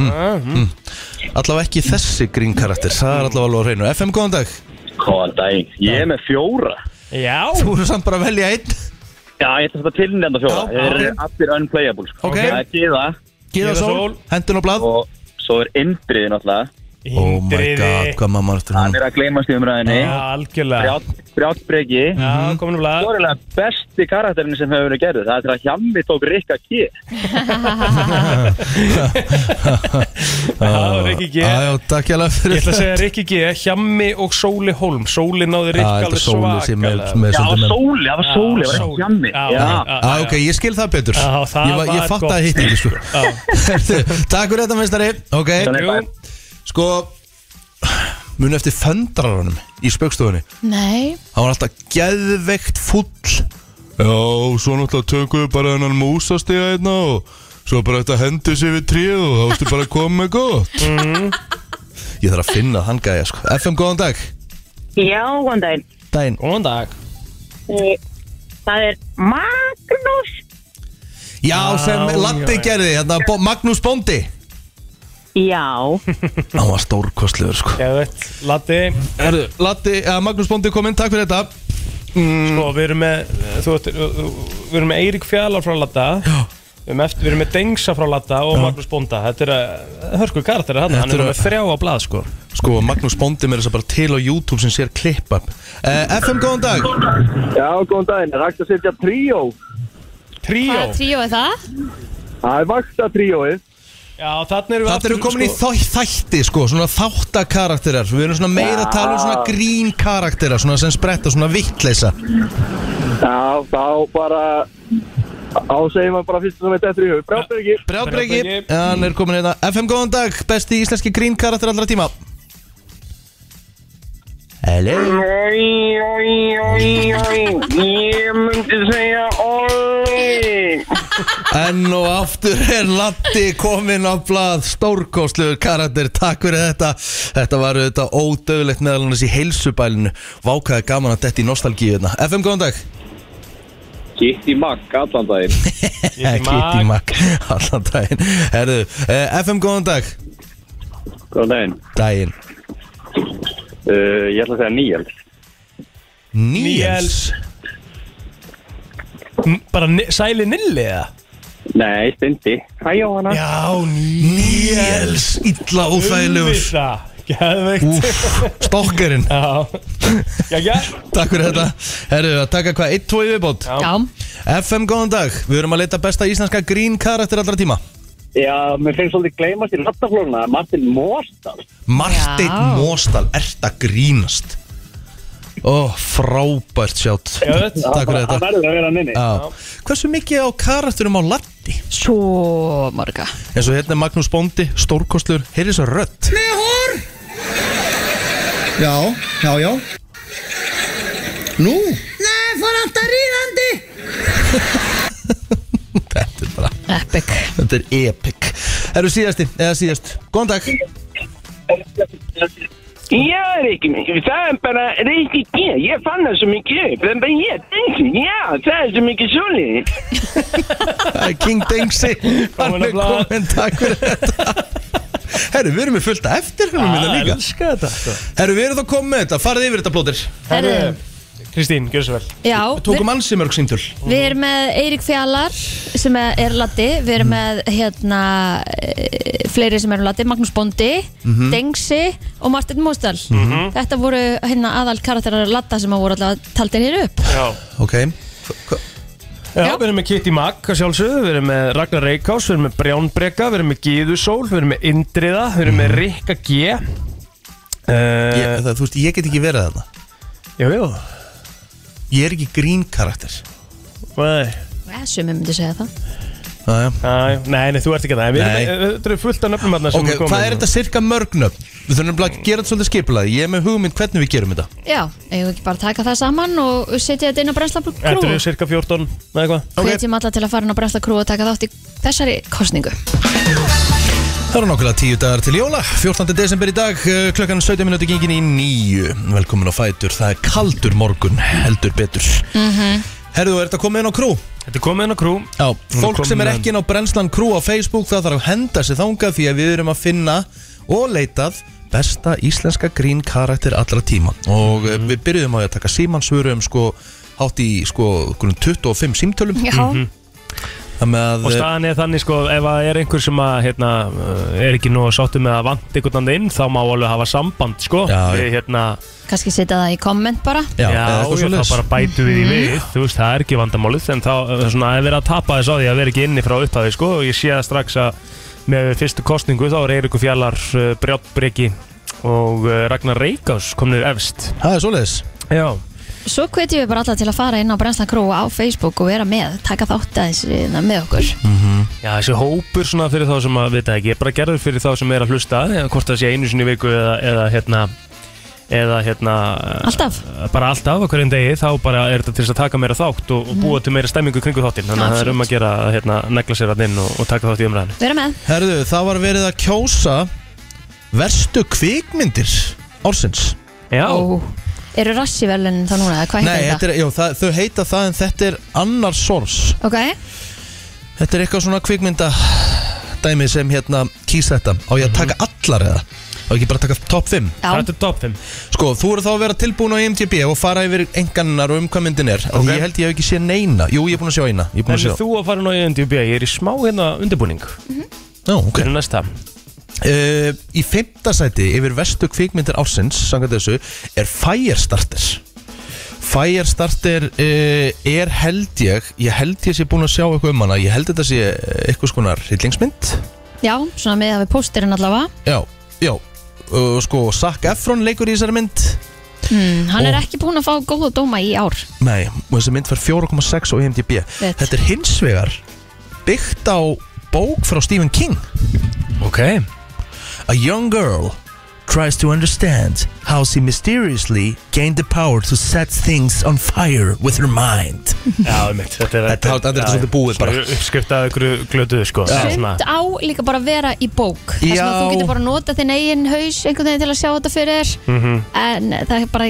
S1: Mm. Allavega ekki þessi grín karakter, það er allavega alveg á hreinu FM góðan dag,
S10: Góðan daginn, ég er með fjóra
S2: Já
S1: þú eru samt bara að velja einn
S10: Já, ég ætla að tilnefna
S1: Já,
S10: fjóra, þeir eru
S1: ok.
S10: allir unplayable sko.
S1: Ok.
S10: Það er Gíða
S1: Gíða
S2: Gyða Sól.
S1: Sól, hendun á blað
S10: og svo er Indriði náttúrulega
S1: Oh my god, hvað mamma eftir hann
S10: Hann er að gleymast í umræðinni
S1: Já,
S2: algjörlega
S10: Brjátt breyki
S1: Mhm.
S2: Já, kominum lag
S10: Stórilega besti karakterin sem hefur verið gerðið Það er að hjammi tók Rikka G
S2: Já, Rikki G
S1: Já, takk hérlega fyrir
S2: Ég ætla að segja Rikki G, Hjammi og Sóli Hólm Sóli
S1: Já,
S2: náði Rikki
S1: þetta
S2: alveg
S1: er Sóli sem er-
S2: svakalega
S1: sem er Já, svolítið með-
S10: Sóli, það var Sóli, það var ekki Hjammi
S2: Já,
S10: Já.
S2: já,
S1: Já, ok, ég skil það betur
S2: Já, það
S1: Ég, var-
S2: var
S1: ég fatt
S2: gott.
S1: að hitt ekki, sko Herðu, Takk fyrir þetta, meistari Ok,
S10: Þannig, bye.
S1: sko Muni eftir föndraranum í spöggstofunni
S3: Nei,
S1: Hann var alltaf geðveikt full Já, svo náttúrulega tökum við bara hennan músastega einna og svo bara þetta hendi sér við tríð og þá ertu bara að koma með gott
S2: Mhm.
S1: Ég þarf að finna hann gæja, sko FM, góðan dag
S11: Já, góðan daginn.
S1: Dæin
S2: Góðan dag
S11: Eh, Það er Magnús.
S1: Já, sem
S11: já,
S1: Latti
S11: já.
S1: gerði, hérna, Bo- Magnús Bóndi
S11: Já.
S1: Hann var stórkostlegur sko
S2: Geðvett, Latti
S1: Herðu, Latti, uh, Magnús Bóndi kom inn, takk fyrir þetta
S2: Sko, við erum með Þú veist, við erum með Eirík Fjallar frá Latta Já Við erum, eftir, við erum með Dengsa frá Latta og Magnús Bonda Þetta er að, hörku karakter hann Hann er með þrjá á blað, sko
S1: Sko, Magnús Bóndi með þess að bara til á YouTube sem sér klipp uh, FM, góðan dag
S12: Já, góðan daginn, er hægt að setja tríó?
S2: Tríó?
S3: hvað tríó er það?
S12: Það er vaksta tríóið
S2: Já, þannig erum við sko.
S1: Þetta eru komin í þæ- þætti, sko, svona þáttakarakterar Við erum svona meira að tala um svona grín karakterar Svona sem spretta, svona vittleysa
S12: Já, þá bara Á segir maður bara fyrst sem þetta er tríóið Brjábreki
S1: Brjábreki Hann er komin hérna FM, góðan dag, besti íslenski grín karakter allra tíma Hello
S13: Oi, oi, oi, oi, ég myndi segja oi.
S1: Enn og aftur er Latti kominn á blað stórkostluður karakter, takk fyrir þetta Þetta var auðvitað ódöðlegt meðal hans í heilsubælinu Vákaði gaman að detti í nostalgíu hérna FM, góðan dag
S10: Kitty Mack allan daginn
S1: Eh, Kitty Mack, allan daginn Herðu, eh, FM, góðan dag
S10: Góðan daginn
S1: Daginn
S10: uh,
S8: Eh,
S10: Ég ætla að segja Níels
S1: Níels
S2: N- Bara ni- sæli nilli eða?
S10: Nei, Stindi Hæ Jóhanna
S2: Já, Níels
S1: Ítla óþægilegur.
S2: Geðveikt
S1: Stokkarinn
S2: Já, já, já
S1: Takk fyrir þetta Herru, að taka hvað, 1-2 viðbót
S2: Já.
S1: FM, góðan dag Við erum að leita besta íslenska grín karakter allra tíma
S12: Já, mér finnst svolítið gleymast í nattaflóna Martin Mórsdal
S1: Marteinn
S12: Já.
S1: Móstal, ert að grínast Ó, frábært sjátt Takk fyrir þetta
S12: Það verður að vera nynni
S1: Já. Hversu mikið á karakterum á Latti?
S3: Svo marga
S1: En svo hérna er Magnús Bóndi, stórkostlur Heyrðu þess að rödd
S13: Mehor!
S1: Já, já, já Nú
S13: Nei, fór alltaf ríðandi.
S1: Þetta er bara
S3: Epic
S1: Þetta er epic Herru síðasti, eða síðast Góðan dag
S13: Já, Rikki minn, það er bara Rikki G, ég fann það svo mikið upp, það er bara ég, Rikki, já, það er svo mikið svolítið.
S1: Það er King Dengsi Hann er komin, takk fyrir þetta Herru, við erum með fullta eftir hérna
S2: Ah,
S1: líka
S2: elska þetta, sko.
S1: Herru, við erum þá komið með þetta, farið yfir þetta plótir
S3: Herru.
S2: Kristín, gjör svo vel
S3: Já,
S1: Við tókum ansi mörg símtöl
S3: Við erum með Eirík Fjallar sem er Latti, við erum með hérna eh, fleiri sem eru Latti, Magnús Bondi,
S14: Mhm.
S3: Dengsi og Martin Mósdal.
S1: Mhm.
S3: Þetta voru hérna aðal karakterar Latta sem að voru alltaf taldir hér upp.
S2: Já
S1: Ok
S2: Já, við erum með Kitty Mack að sjálfsögðu, við erum með Ragnar Reykjás, við erum með Brján Breka, við erum með Gíðusól, við erum með Indriða, við erum með Rikka G. Eh,
S1: ég, það, Þú veist, ég get ekki verið þarna
S2: Jú, jú
S1: Ég er ekki grín karakter
S2: Nei,
S3: Sumið myndi segja það.
S1: Æja.
S2: nei, nei, þú ert ekki það, en við erum með, eh, þetta eru fullt af nöfnum þarna sem hérna.
S1: Ok,
S2: við komum
S1: hvað er þetta cirka mörg nöfn? Við þurfum nefnilega að gera þetta svolítið skipulaði Ég er með hugmynd hvernig við gerum þetta
S3: Já, eigum við ekki bara að taka það saman og setja þetta inn á Brensla Krú.
S2: Þetta eru cirka 14, eða hvað?
S3: Við okay. alla til að fara inn á Brensla Krú og taka þátt í þessari kostningu.
S1: Það eru nokkulega tíu dagar til jóla 14. desember í dag, eh, klukkan 17 minúti gengin í nýju Velkomin á Fætur, það er kaldur morgun, heldur betur
S3: Mm -hmm.
S1: Herðu, er þetta komið inn á krú?
S2: Þetta er komið inn á krú
S1: Já,
S2: er
S1: fólk sem er
S2: komin-
S1: ekki inn á brennslan krú á Facebook Það þarf að henda sér þangað því að við erum að finna og leitað Besta íslenska grín karakter allra tíma Og mm. við byrjuðum á því að um, taka símansvörum sko Hátt í sko grunn 25 símtölum
S3: Já. Mhm.
S1: Með,
S2: Og staðan er þannig sko, ef það er einhver sem að, hérna, uh, er ekki nú sáttu með að vant einhvern andan inn, þá má alveg hafa samband sko. Já, við, hérna,
S3: Kanski setja það í komment bara
S2: já, já, þá bara bætu við í við, þú veist, það er ekki vandamálið, en þá uh, svona, ef við erum að tapa þess á því að vera ekki inni frá upphafi sko, og ég sé það strax að með fyrstu kostningu þá er Eirikur Fjallar, uh, Brjátt Breki og uh, Ragnar Reykjás komnir efst.
S1: Það er svoleiðis?
S2: Já.
S3: Svo hvetjum við bara alla til að fara inn á Brenslan Krú á Facebook og vera með, taka þátt aðeins hérna, með okkur
S2: Mm. Já, þessi hópur svona fyrir þá sem að, veit það ekki, er bara gerður fyrir þá sem er að hlusta, eða hvort það sé einu sinni í viku eða, eða hérna, eða hérna...
S3: Alltaf?
S2: Bara alltaf, okkur einn degi, þá bara er þetta til þess að taka meira þátt og,
S1: Mhm.
S2: og búa til meira stemmingu kringu þáttinn, þannig að það er um að gera, að, hérna, negla sér að inn og, og taka þátt í umræðinu.
S3: Vera með
S1: Herðu, það var verið að kjósa Verstu kvikmyndir Ársins
S2: Já
S3: Eru rassivelin þá núna, eða hvað
S1: Nei,
S3: heitir
S1: þetta
S3: þetta?
S1: er, jú, það, þau heita það en þetta er annar sors
S3: Ok,
S1: Þetta er eitthvað svona kvikmynda dæmi sem hérna kýs þetta á ég að taka allar eða á ekki bara að taka top 5
S3: Já.
S2: Þetta er top 5
S1: Sko, þú eru þá að vera tilbúin á IMDb og fara yfir enganar og um hvað myndin er okay. Ég held ég hef ekki séð neina Jú, ég er búin að sjá eina Ég er búin
S2: En
S1: að sjá
S2: þú að fara nú í NDB, ég er í smá hérna undirbúning.
S1: Já, ok
S2: Fyrir næsta
S1: uh, Í fimmta sæti yfir vestu kvikmyndir ársins samkvæmt þessu er Firestarter Firestarter uh, er held ég ég held ég sé búin að sjá eitthvað um hana ég held þetta sé eitthvað skona hryllingsmynd
S3: já, svona með að við póstirinn allavega
S1: Já, já uh, sko Zac Efron leikur í þessari mynd
S3: hmm,
S2: Mm.
S3: Hann er
S1: Og-
S3: ekki búin að fá góða dóma í ár
S1: Nei, og þessi mynd fær 4,6 og IMDb
S3: Rétt.
S1: Þetta er hins vegar byggt á bók frá Stephen King
S2: Ok
S1: A young girl tries to understand how she mysteriously gained the power to set things on fire with her mind
S2: Já, mitt, þetta er
S1: Þetta- þetta er
S2: já,
S1: svolítið búið
S2: svona
S1: bara.
S2: Uppskriftaðu ykkur glötuðu sko svona.
S3: Sumt á líka bara að vera í bók Það sem
S2: Já.
S3: að þú getur bara að nota þinn eigin haus einhvern veginn til að sjá þetta fyrir þér
S2: Mhm.
S3: En það er bara,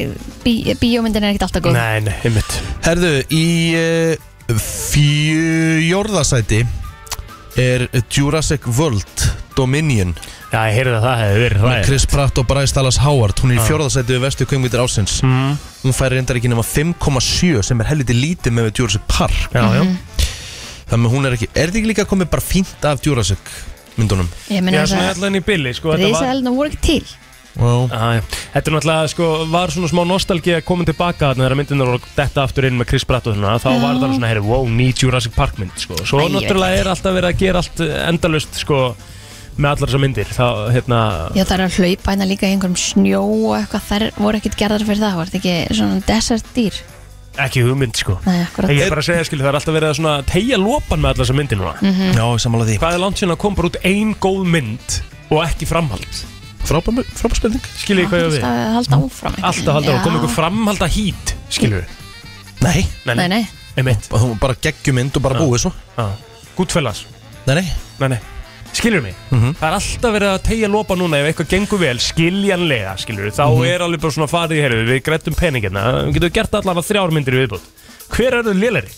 S3: bí, bíómyndin er ekkert alltaf góð
S2: Nei, nei, einmitt
S1: Herðu, í uh, fjörðasæti er Jurassic World Dominion
S2: Já, ég heyrði að það hefði
S1: Með
S2: verið hræðilegt.
S1: Chris Pratt og Bryce Dallas Howard Hún er í
S2: Já.
S1: fjórðasæti við vestu kvingmyndir ásins mm. Hún fær reyndar ekki nema 5,7 sem er helviti lítið með við Jurassic Park
S2: Já,
S3: Mhm,
S2: já.
S1: Þannig að hún er ekki Er þetta ekki líka komið bara fínt af Jurassic myndunum?
S3: Ég
S2: Já,
S3: meina þess
S2: svona
S3: að
S2: allan í billi sko, þetta var-
S3: Rísaðelna voru ekki til
S2: Já, já. Þetta er náttúrulega, sko, var svona smá nostalgi að koma tilbaka þarna þegar myndirnar voru detta aftur inn með Chris Pratt og svona, þá
S3: Já.
S2: var það svona, heyrðu, wow, ný Jurassic Park mynd, sko. Svo
S3: Æ, ég veit
S2: náttúrulega er alltaf verið að gera allt endalust, sko, með allar þessar myndir, þá, hérna,
S3: Já það er að hlaupa hérna líka í einhverjum snjó og eitthvað Þær voru ekkert gerðar fyrir það, var þetta ekki svona desert dýr
S2: ekki hugmynd, sko.
S3: Nei, akkurat
S2: Ég er bara að segja, skil, það er alltaf verið að svona tegja lopan með allar þessar myndir núna.
S3: Mhm.
S1: Já, samanlega því.
S2: Hvað er langt síðan að kom bara út ein góð mynd og ekki framhald?
S1: Frábær spilning.
S2: Skiljið hvað ég á við? Mm.
S3: Alltaf að halda áfram einhvern
S2: Alltaf haldur
S3: veginn,
S2: og kom
S3: já.
S2: einhver framhalda hít, skilur
S1: Nei
S3: Nei, nei.
S2: Einmitt
S1: Hún bara geggjumynd og bara búið svo
S2: Gútfellas
S1: Nei, nei
S2: Nei, nei Skilur mig Það er alltaf verið að tegja lopa núna ef eitthvað gengur vel skiljanlega, skilur Þá
S1: Mhm.
S2: er alveg bara svona farið í herðu Við grættum peningina Við getum gert allavega þrjár myndir í viðbútt Hver er þau lélæri?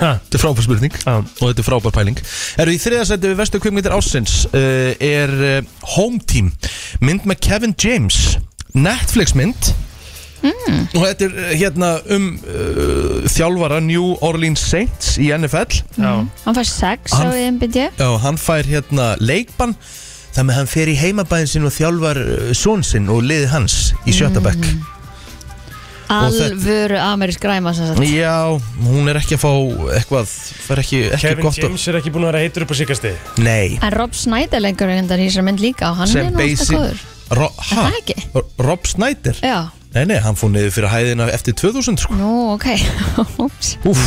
S1: Þetta er frábær spurning og þetta er frábær pæling Eru í þriðasæti við vestu kvikmyndir ásins uh, er uh, Home Team mynd með Kevin James Netflix mynd og þetta er uh, hérna um uh, þjálfara New Orleans Saints í NFL
S2: Já.
S3: Mhm. Hann fær sex á
S1: Hann-
S3: IMBD
S1: hann fær hérna leikbann þannig að hann fer í heimabæðin sinn og þjálfar uh, són sinn og liði hans í Sjötabæk Og þetta-
S3: Alvöru amerísk græma sem sagt
S1: Já, hún er ekki að fá eitthvað, það er ekki, ekki
S2: Kevin
S1: gott að-
S2: James er ekki búin að vera heitur upp á síkastið
S1: Nei
S3: En Rob Snyder lengur hendar í þessar mynd líka og hann er nú alltaf góður
S1: Ro
S3: Er
S1: ha,
S3: það ekki?
S1: Rob Snyder?
S3: Já,
S1: Nei, nei, hann fór niður fyrir hæðina eftir 2000 sko.
S3: nú ok Úps.
S1: Úf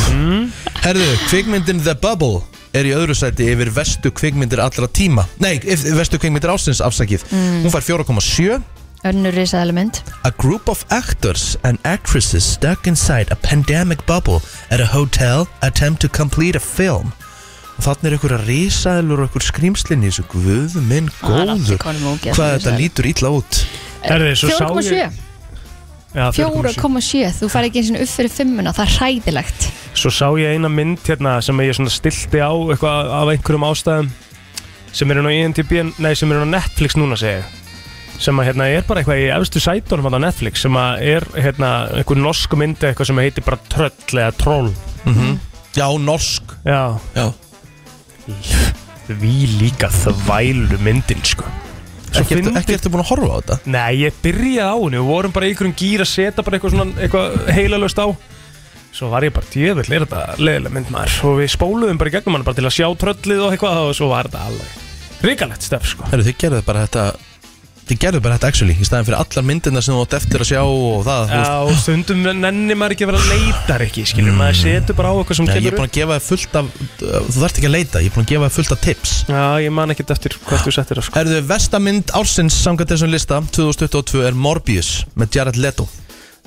S1: Herðu, kvikmyndin The Bubble er í öðru sæti yfir vestu kvikmyndir allra tíma Nei, yf- vestu kvikmyndir ásins afsakið
S3: Mm.
S1: Hún fær 4,7
S3: Önnur risaðaleg mynd
S1: A group of actors and actresses stuck inside a pandemic bubble at a hotel attempt to complete a film og þarna er ykkur að risaðlur og ykkur skrýmslinni þessu guðu minn
S3: Það er allt í
S1: góður
S3: konum og ógeð,
S1: hvað þetta
S3: risaeðla.
S1: lítur illa út
S2: Herði, svo sá ég
S3: 4,7 4,7 Þú fær ekki eins og upp fyrir fimmuna, það er hræðilegt
S2: Svo sá ég eina mynd hérna sem ég svona stilti á eitthvað af einhverjum ástæðum sem er hérna á INTB, nei sem er hérna á Netflix núna segi ég sem að hérna er bara eitthvað í efstu sætunum þarna á Netflix sem að er hérna einhver norsku mynd eitthvað sem heitir bara tröll eða troll
S1: Mhm. Já, norsk
S2: Já,
S1: Já.
S2: Því líka þvælu myndin sko
S1: Ekki ertu- ekki ertu búin að horfa á þetta?
S2: Nei, ég byrjaði á henni Við vorum bara í einhverjum gýr að setja bara eitthvað, svona, eitthvað heilalöst á Svo var ég bara djöfull, er þetta leðilega mynd maður Svo við spóluðum bara í gegnum hann bara til að sjá tröllið og eitthvað Og svo var þetta alveg Ríkalegt stef sko
S1: Herru, þið gerðu bara þetta Þið gerðu bara þetta actually Í staðin fyrir allar myndirna sem þú átt eftir að sjá og það þú
S2: Já,
S1: veist.
S2: og stundum nenni maður ekki að vera leitar ekki, skiljum Maður setur bara á eitthvað sem
S1: Mm. Já, Ég
S2: kemur
S1: er búin að gefa þér fullt af Þú þarft ekki að leita, ég er búin að gefa þér fullt af tips
S2: Já, ég man ekkert eftir hvað þú settir það sko
S1: Herðu, vestamynd ársins samkvæmt þessum lista 2022 er Morbius með Jared Leto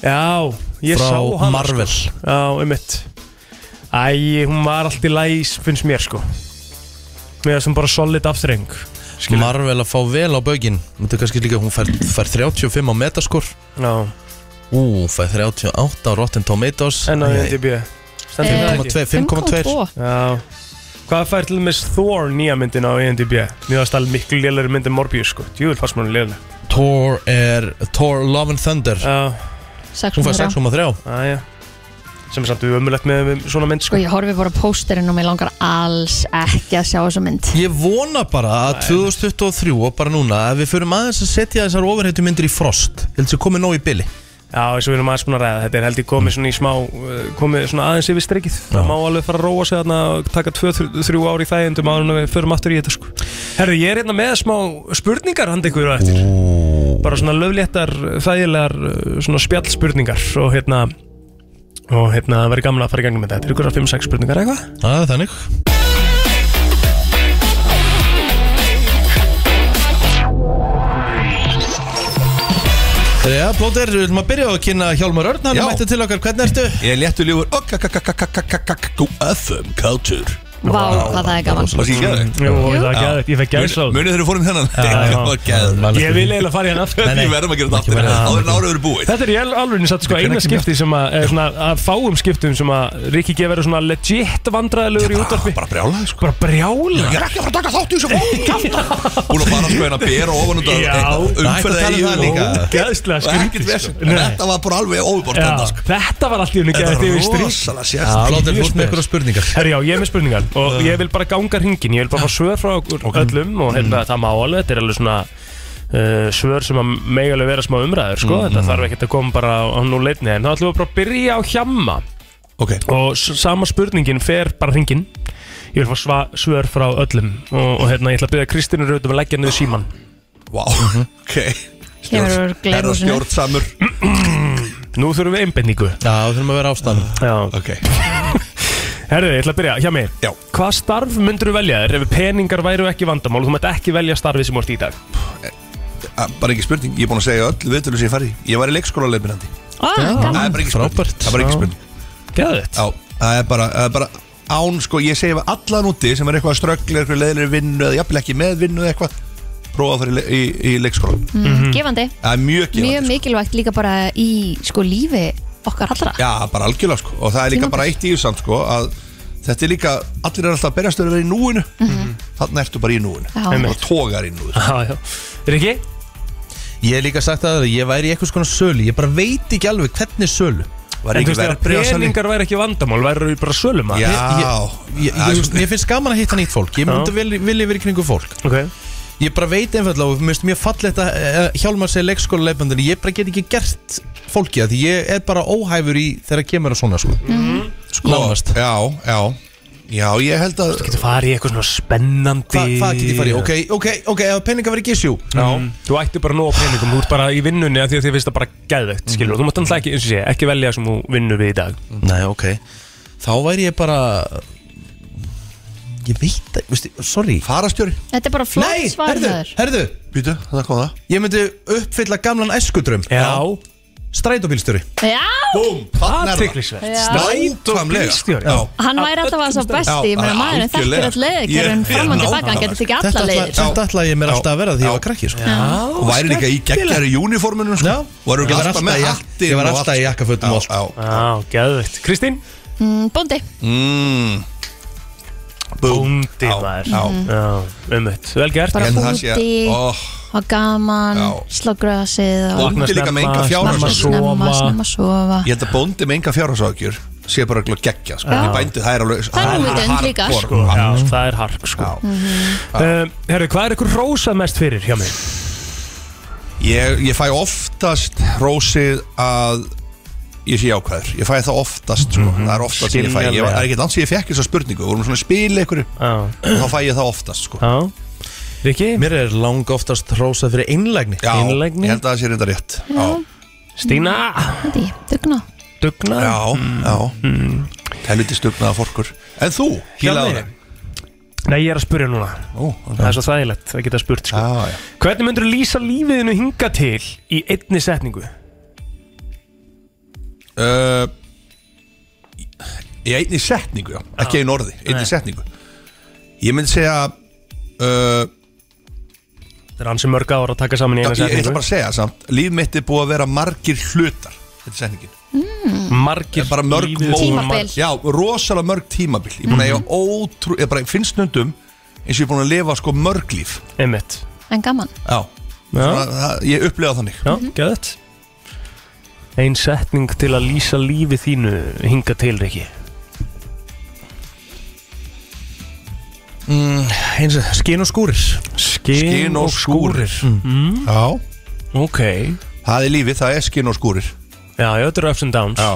S2: Já, ég
S1: Frá
S2: sá hana
S1: Marvel.
S2: sko. Já, einmitt Æ, hún var allt í læs, finnst mér sko Með þessum bara solid aftreng
S1: Marvel að fá vel á baugin Þetta er kannski líka, hún fær, fær 35 á metaskur
S2: Já
S1: Ú, fær 38 á Rotten Tomatoes
S2: En á E IMDb Stendur það
S1: 5,2
S2: ekki?
S1: 5,2
S2: Já Hvað fær til með Thor nýja myndin á E IMDb? Mér varst alveg miklu lélæri myndin Morbius sko Djúvel fannst mér hún lélæri
S1: Thor er Thor Love and Thunder
S2: Já
S1: Hún fær 6,3
S2: Æja Sem er samt umulegt með með svona mynd
S3: Sko ég horfi bara á pósterinn og mér langar alls ekki að sjá þessa mynd
S1: Ég vona bara að 2023 og bara núna að við förum aðeins að setja þessar ofurhættu myndir í frost Ég held að komið nóg í byli
S2: Já, eins og við erum aðeins búin að ræða Þetta er held ég komið svona í smá uh, komið svona aðeins yfir strikið Það má alveg fara að róa sig þarna og taka 2-3 ári í þægindum áður en við förum aftur í þetta sko Herru, ég er hérna með smá spurningar handa ykkur á eftir Bara svona löfléttar, þægilegar uh, svona spjallspurningar og hérna og hérna það verður gamla að fara í gangi með þetta Þetta er ykkur 5-6 spurningar eða eitthvað
S1: Það er þannig Já, Plóter, við viljum að byrja á að kynna Hjálmar Örn, hann
S5: Já.
S1: er mættið til okkar, hvernig ertu?
S5: Ég er léttu lífur FM Culture
S3: Vá, hvað það er gaman
S5: Var það ekki geðveikt?
S2: Jú, það er geðveikt, ég fekk gæðsóð.
S5: Munið þegar við fórum þennan
S2: Já, já.
S5: Það var geðveikt.
S2: Ég vil eiginlega fara í hann aftur.
S5: Við verðum að gera þetta aftur Áður en árið eru búið
S2: Þetta er í alveg satt
S5: Hvenær
S2: sko eina
S5: kemur
S2: skipti sem að, eða svona að fáum skiptum sem að Rikki G verður svona legit vandræðilegur í útvarpi
S5: Ah,
S2: Bara
S5: brjálaði
S2: sko Bara brjálaði
S5: Ég er ekki að fara að taka þátt í þessu fólk Búin að fara sko hérna að bera ofan út
S2: Já.
S5: Umferða
S2: Ættu að tala um það líka. Ógeðslega
S5: Og
S2: skrítið,
S5: ekkert
S2: sko.
S5: vesen
S2: Nei.
S5: Þetta var bara alveg óbort
S2: Já,
S5: þarna, sko.
S2: Þetta var allt í unni
S5: Þetta
S2: gæðið
S5: var
S2: yfir strík
S5: rosalega sérstakt. Plóter, þú ert með einhverjar
S1: spurningar
S2: Herri já, ég er með spurningar og ég vil bara ganga hringin Ég vil bara fá svör frá okkur öllum og hérna það má alveg, þetta er alveg svona Uh, svör sem að megi alveg vera smá umræður sko. þetta þarf ekkert að koma bara á nú leitni en þá ætlum við bara að byrja á hjamma
S5: okay.
S2: og s- sama spurningin fer bara hringin ég vil fá sva, svör frá öllum og, og hérna ég ætla að byrja Kristínu Rautum að leggja niður síman
S5: Vá,
S2: Mhm.
S5: ok
S3: Kemur úr glerhúsinu. Er það
S5: samur
S2: Nú þurfum við einbindningu
S1: Já, þurfum að vera ástæðan
S2: Já,
S5: ok
S2: Herðu, ég ætla að byrja, hjá mig
S5: Já
S2: Hvað starf myndur þú velja þér ef peningar væru ekki vandamál og þú mætt ekki velja starfið sem þú ert í dag?
S5: Að- eh, Bara ekki spurning, ég er búin að segja öll viðtölu sem ég fari Ég var í leikskóla leifinandi Það er bara ekki spurning Það er bara ekki spurning
S2: Gæðið
S5: Já, það er bara, það er bara án sko, ég segi við allan úti sem er eitthvað að ströggla, eitthvað leðilegri vinnu eða jafnvel ekki með vinnu eða eitthvað prófa að fara í, le- í, í leikskóla
S3: mm, Gefandi,
S5: Það er mjög gefandi sko.
S3: mjög mikilvægt líka bara í sko lífi okkar allra
S5: Já, bara algjörlega sko og það er líka
S3: Tímabil.
S5: bara eitt í þessu samt sko að þetta er líka, allir er alltaf að berjast að vera í núinu þannig ertu bara í núinu
S3: Mhm. Já.
S5: og tógar í núinu sko,
S2: Riki?
S1: Ég hef líka sagt að ég væri í eitthvað skona sölu Ég bara veit ekki alveg hvernig sölu
S2: En þú veist, ef peningar væri ekki vandamál væru við bara sölum
S1: Ég, ég, ég, ég, ég, ég finnst gaman að hitta nýtt fólk Ég myndi
S2: Já.
S1: vel- vilja verið kringu fólk
S2: okay.
S1: Ég bara veit einfallega og mér finnst mjög fallegt að eh, Hjálmar segja leikskóla leifbandinu Ég bara get ekki gert fólki að því ég er bara óhæfur í þegar kemur að svona sko
S3: Mhm.
S5: sko, Já, já Já, ég held að Þú
S2: getur farið í eitthvað svona spennandi
S1: Hva, Hvað get ég farið? í? Ok, ok, ok, ef peningar verið gísjú
S2: Já, Mm. þú ætti bara nóg af peningum, þú ert bara í vinnunni af því að þið finnst það bara gæðvegt, skilur þú mátt alltaf ekki, eins og sé, ekki velja sem þú vinnur við í dag
S1: Nei, ok Þá væri ég bara Ég veit það, veistu, sorry
S5: Farastjóri
S3: Þetta er bara flott
S1: Nei,
S3: svar
S1: herðu,
S3: maður.
S1: herðu
S5: Býtu, það kom það
S1: Ég myndi uppfylla gamlan æskudröm
S2: Já
S1: Strætóbílstjóri
S3: Já,
S5: Þarna er það.
S2: Athyglisvert.
S3: Já.
S5: Nákvæmlega.
S1: Strætóbílstjóri
S5: Já.
S3: hann væri alltaf að sá besti Ég meina maðurinn þekkir all leiðir Hverjum fram og tilbaka, hann getur tekið alla leiðir
S1: Þetta ætla ég mér alltaf að vera því ég var krakki sko.
S5: Og væri líka í geggjari júniformunum sko. og
S1: Ég
S5: erum
S1: var
S5: alltaf
S1: alltaf
S5: með
S1: í-
S5: hattin
S1: ég var
S5: og
S1: alltaf
S5: allt,
S1: í
S5: sko.
S1: jakkafötum og
S5: Já, já.
S2: Já, gæðvegt Kristín?
S3: Mm, Bóndi
S5: Mm.
S2: Bóndi maður
S5: já.
S2: Já, umhett, vel gert
S3: Bara
S2: Ég held að það sé-
S3: búti,
S2: Ó,
S3: hafa gaman, slá gröðasið
S2: Hérna
S5: Bóndi líka með enga fjárhagsáhyggjur.
S3: Snemma, snemma sofa
S5: Ég held að bóndi með enga fjárhagsákjur sé bara glögg geggja sko.
S2: Já.
S5: Í bændu, það er alveg
S2: Það er
S5: alveg
S2: núvitund líka.
S5: hardcore,
S2: Sko, já,
S5: hardcore.
S2: það er hark sko
S5: Mhm.
S2: um, Herru, hvað er ykkur rósað mest fyrir hjá mig?
S5: Ég, ég fæ oftast rósið að ég sé ákvæður Ég fæ það oftast, sko.
S1: Mhm.
S5: það er oftast sem ég fæ Ég var- það er ekki langt sem ég fekk þessa spurningu Við vorum svona að spila ykkur og þá fæ ég það oftast sko.
S2: Riki?
S1: Mér er lang oftast rósað fyrir einlægni
S5: Já, ég held að það sé reynda rétt
S2: Stína
S3: Því, dugna
S2: Dugna
S5: Já, já Helviti stugnaða fólkur Mm. En þú, hílaður
S2: Nei, ég er að spyrja núna
S5: Ó,
S2: Það er svo þægilegt að geta spurt sko.
S5: já, já.
S2: Hvernig myndur þú lýsa lífiðinu hinga til í einni setningu?
S5: uh, Í einni setningu, já Ekki
S2: Já.
S5: einu orði, einni
S2: Nei.
S5: setningu Ég myndi segja uh,
S2: Það er ansi mörg ára að taka saman í
S5: já,
S2: eina
S5: Ég ég ætla
S2: setningu
S5: bara að segja samt Líf mitt er búið að vera margir hlutar Þetta er setningin
S2: Margir
S5: bara mörg
S2: lífið-
S5: móment.
S2: Tímabil.
S5: Já, rosalega mörg tímabil Ég er búin að eiga ótrú Ég bara finnst stundum eins og ég er búin að lifa sko mörg líf
S2: Einmitt
S3: En gaman
S5: Já, Svona, það, Ég upplega þannig
S2: Já, gæðið Ein setning til að lýsa lífið þínu hinga til, Riki
S1: mm, eins og skin og skúrir
S2: Skin,
S5: Skin og skúrir
S2: Mm.
S5: Já
S2: Ok
S5: Það er lífið, það er skin og skúrir
S2: Já, já, þetta eru ups and downs Já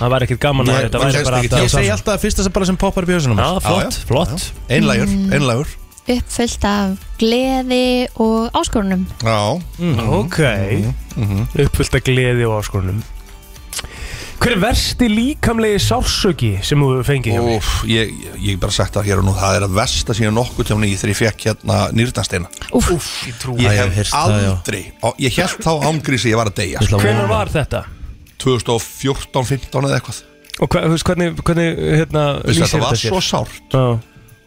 S2: Það væri ekkert gaman að
S5: Nei,
S2: þetta
S5: maður
S2: væri
S5: kemst
S2: bara
S5: ekki
S2: alltaf-
S1: Ég segi alltaf að fyrsta sem bara sem poppar upp í hausunum
S2: Já, flott, flott
S5: Einlægur,
S3: Mm.
S5: einlægur
S3: Uppfyllt af gleði og áskorunum
S5: Já
S2: Ok
S5: Mhm.
S2: Uppfullt af gleði og áskorunum Hver er versti líkamlegi sársöki sem þú hefur fengið hjá mig?
S5: Úf, ég, ég- ég hef bara sagt það hér og nú Það er að versta síðan nokkuð tjóni í þegar ég fekk hérna nýrnasteina
S3: Úf,
S2: ég trú
S5: Ég
S1: Það hef
S5: hef
S1: heyrt það, já.
S5: aldrei og Ég held þá ángrísi ég var að deyja sko.
S2: Hvenær var þetta?
S5: 2014, 15 eða eitthvað
S2: Og hva, þú veist, hvernig, hvernig hérna,
S5: Veistu,
S2: lýsir
S5: Þetta var
S2: sér?
S5: svo sárt
S2: Já.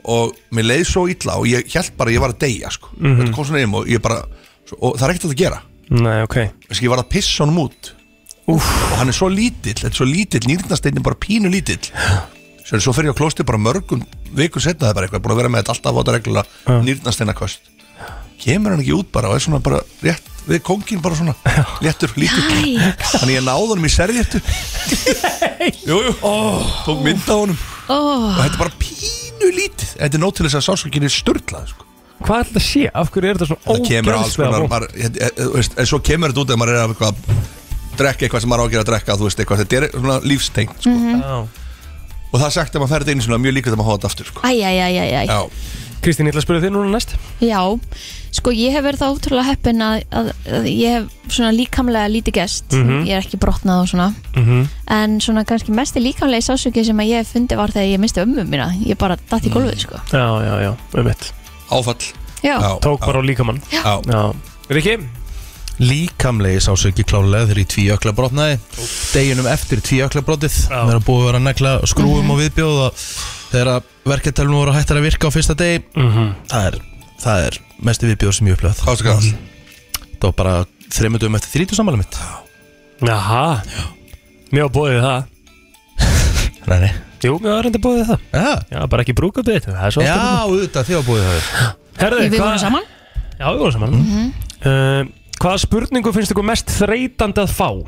S5: Og mér leið svo illa og ég held bara að ég var að deyja sko.
S2: Mhm.
S5: Þetta kom svona um og ég bara Og það er ekkert hægt að gera
S2: Nei, ok
S5: Þessi, Ég var að pissa honum út
S2: Úf.
S5: Og hann er svo lítill, þetta er svo lítill Nýrnasteinin bara pínu lítill Svo, svo fer ég á klósti bara mörgum vikur setna Það er bara eitthvað, búin að vera með þetta alltaf á þetta reglulega Nýrnasteina Kemur hann ekki út bara og er svona bara rétt Við kóngin bara svona, léttur, lítill
S3: Jæks.
S5: Þannig ég náði honum í servéttu Jú, jú, tók mynd á honum
S3: oh.
S5: Og þetta er bara pínu lítið Þetta er nót til þess að sásökinni er störtlað sko.
S2: Hvað er þetta að sé? Af hverju er þetta svona
S5: Það kemur alls konar
S2: ógæðslega
S5: maður- ég- ég- þú veist, En svo kemur þetta út ef maður er að eitthvað drekka eitthvað sem maður á að gera að drekka þú veist, eitthvað, Þetta er svona lífstengt sko.
S3: Mhm.
S2: Mm-hmm.
S5: Og það er sagt að maður fer þetta einu sinna mjög líka þegar maður hóða þetta aftur sko.
S3: Æ, æ, æ, æ, æ
S5: Já.
S2: Kristín, ég ætla að spyrja þig núna næst
S3: Já, sko ég hef verið það ótrúlega heppin að, að, að ég hef svona líkamlega lítið gest
S2: Mhm.
S3: Ég er ekki brotnað og svona
S5: Mhm.
S3: En svona kannski mesti líkamlega sásöki sem að ég hef fundið var þegar ég misti ömmu mína Ég bara datt í gólfið, sko
S2: Já, já, já, um eitt
S5: Áfall
S3: Já. Já,
S2: Tók bara á líkamann
S5: Já,
S2: já. Riki?
S1: Líkamlegi sásöki klálega þegar ég tvíökla brotnaði Deginum eftir tvíökla brotið Mér er búið að vera að negla skrúum og viðbjóð og Þegar að verketalunum voru hættar að virka á fyrsta degi
S2: Mhm.
S1: það, er, það er mestu viðbjóð sem ég upplöð
S5: Hvað er það?
S1: Það var bara þreymundum eftir þrítu sammæli mitt
S2: Jaha Mér var bóðið það
S1: Nei, nei
S2: Jú, mér var reynda bóðið það
S1: Já,
S2: bara ekki brúka byrð Það er svo
S1: Já,
S2: allt í lagi.
S1: auðvitað, þið var búið það
S2: Herðu,
S3: Við vorum
S2: hvað-
S3: saman?
S2: Já, við vorum saman
S5: Mhm.
S2: mm Hvaða spurningu finnst ykkur mest þreytandi að fá?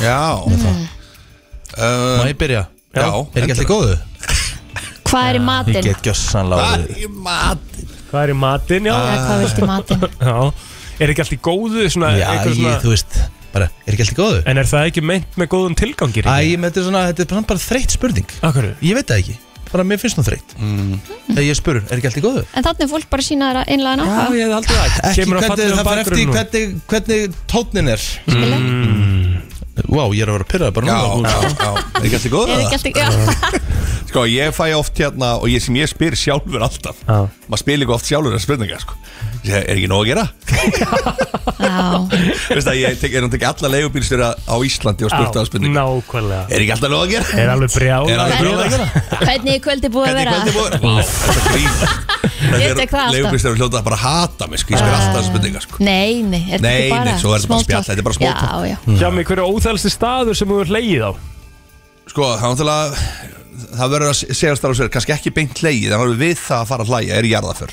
S5: Já
S3: Mm.
S5: uh,
S1: Má ég byrja?
S2: Já,
S1: Er ekki allir góðu?
S3: Hvað er í matinn?
S1: Ég get gjössanlega orðið.
S5: í matinn?
S2: Hvað er í matinn, já
S5: Ah.
S3: Eða hvað viltu í matinn?
S2: Já Er ekki allt í góðu? Svona,
S1: Já,
S2: einhver
S1: ég, þú veist bara, Er ekki allt í góðu?
S2: En er það ekki meint með góðum tilgangi?
S1: Æ, ég með þetta er svona, þetta er bara, bara þreytt spurning
S2: Akkur?
S1: Ég veit það ekki, bara mér finnst hún þreytt mm. Þegar ég spurur, er ekki allt í góðu?
S3: En þannig er fólk bara sína þeirra einlega náttúrulega
S2: Já, ég hef aldrei það
S1: Ekki,
S2: Kemur að
S1: hvernig,
S2: fallegum
S1: það fær eftir
S2: bakgrunn og-
S1: hvernig, hvernig tónnin er
S5: Mm.
S1: Vá, ég er að vera að pyrra bara
S5: Já,
S1: núna
S5: já,
S2: sko.
S5: já Er ekki allir góða?
S3: Er ekki alltaf, já
S5: Sko, ég fæ oft hérna og ég sem ég spyr sjálfur alltaf
S2: Já.
S5: Maður spyr líka oft sjálfur að spurninga sko. Ég segi, Er ekki nóg að gera?
S3: Já,
S5: Veist það, ég tek, er hann ekki alla leigubílstjóra á Íslandi og spurt
S2: Já,
S5: það spurning
S2: Nákvæmlega
S5: Er ekki alltaf nóg að gera?
S2: Er alveg brjála
S5: Er alveg brjóð að gera?
S3: hvernig er kvöldi búið að vera?
S5: Hvernig búið? Vá, þetta grínast
S3: Ég tek það alltaf.
S5: Leigubílstjóra hljóta að bara hata mig sko. Ég spyr alltaf að spurninga sko.
S3: Nei, nei, er þetta
S5: Nei,
S3: ekki bara
S5: nei, svo er þetta bara
S3: small
S5: spjall,
S3: talk?
S5: þetta er bara small talk.
S3: Já, já
S2: Hjá mig, hver er óþælsti staður sem þú er leið á?
S5: Sko, það er náttúrulega það verður að segast þar á sér kannski ekki beint hlegið, en alveg við það að fara að hlæja er jarðaför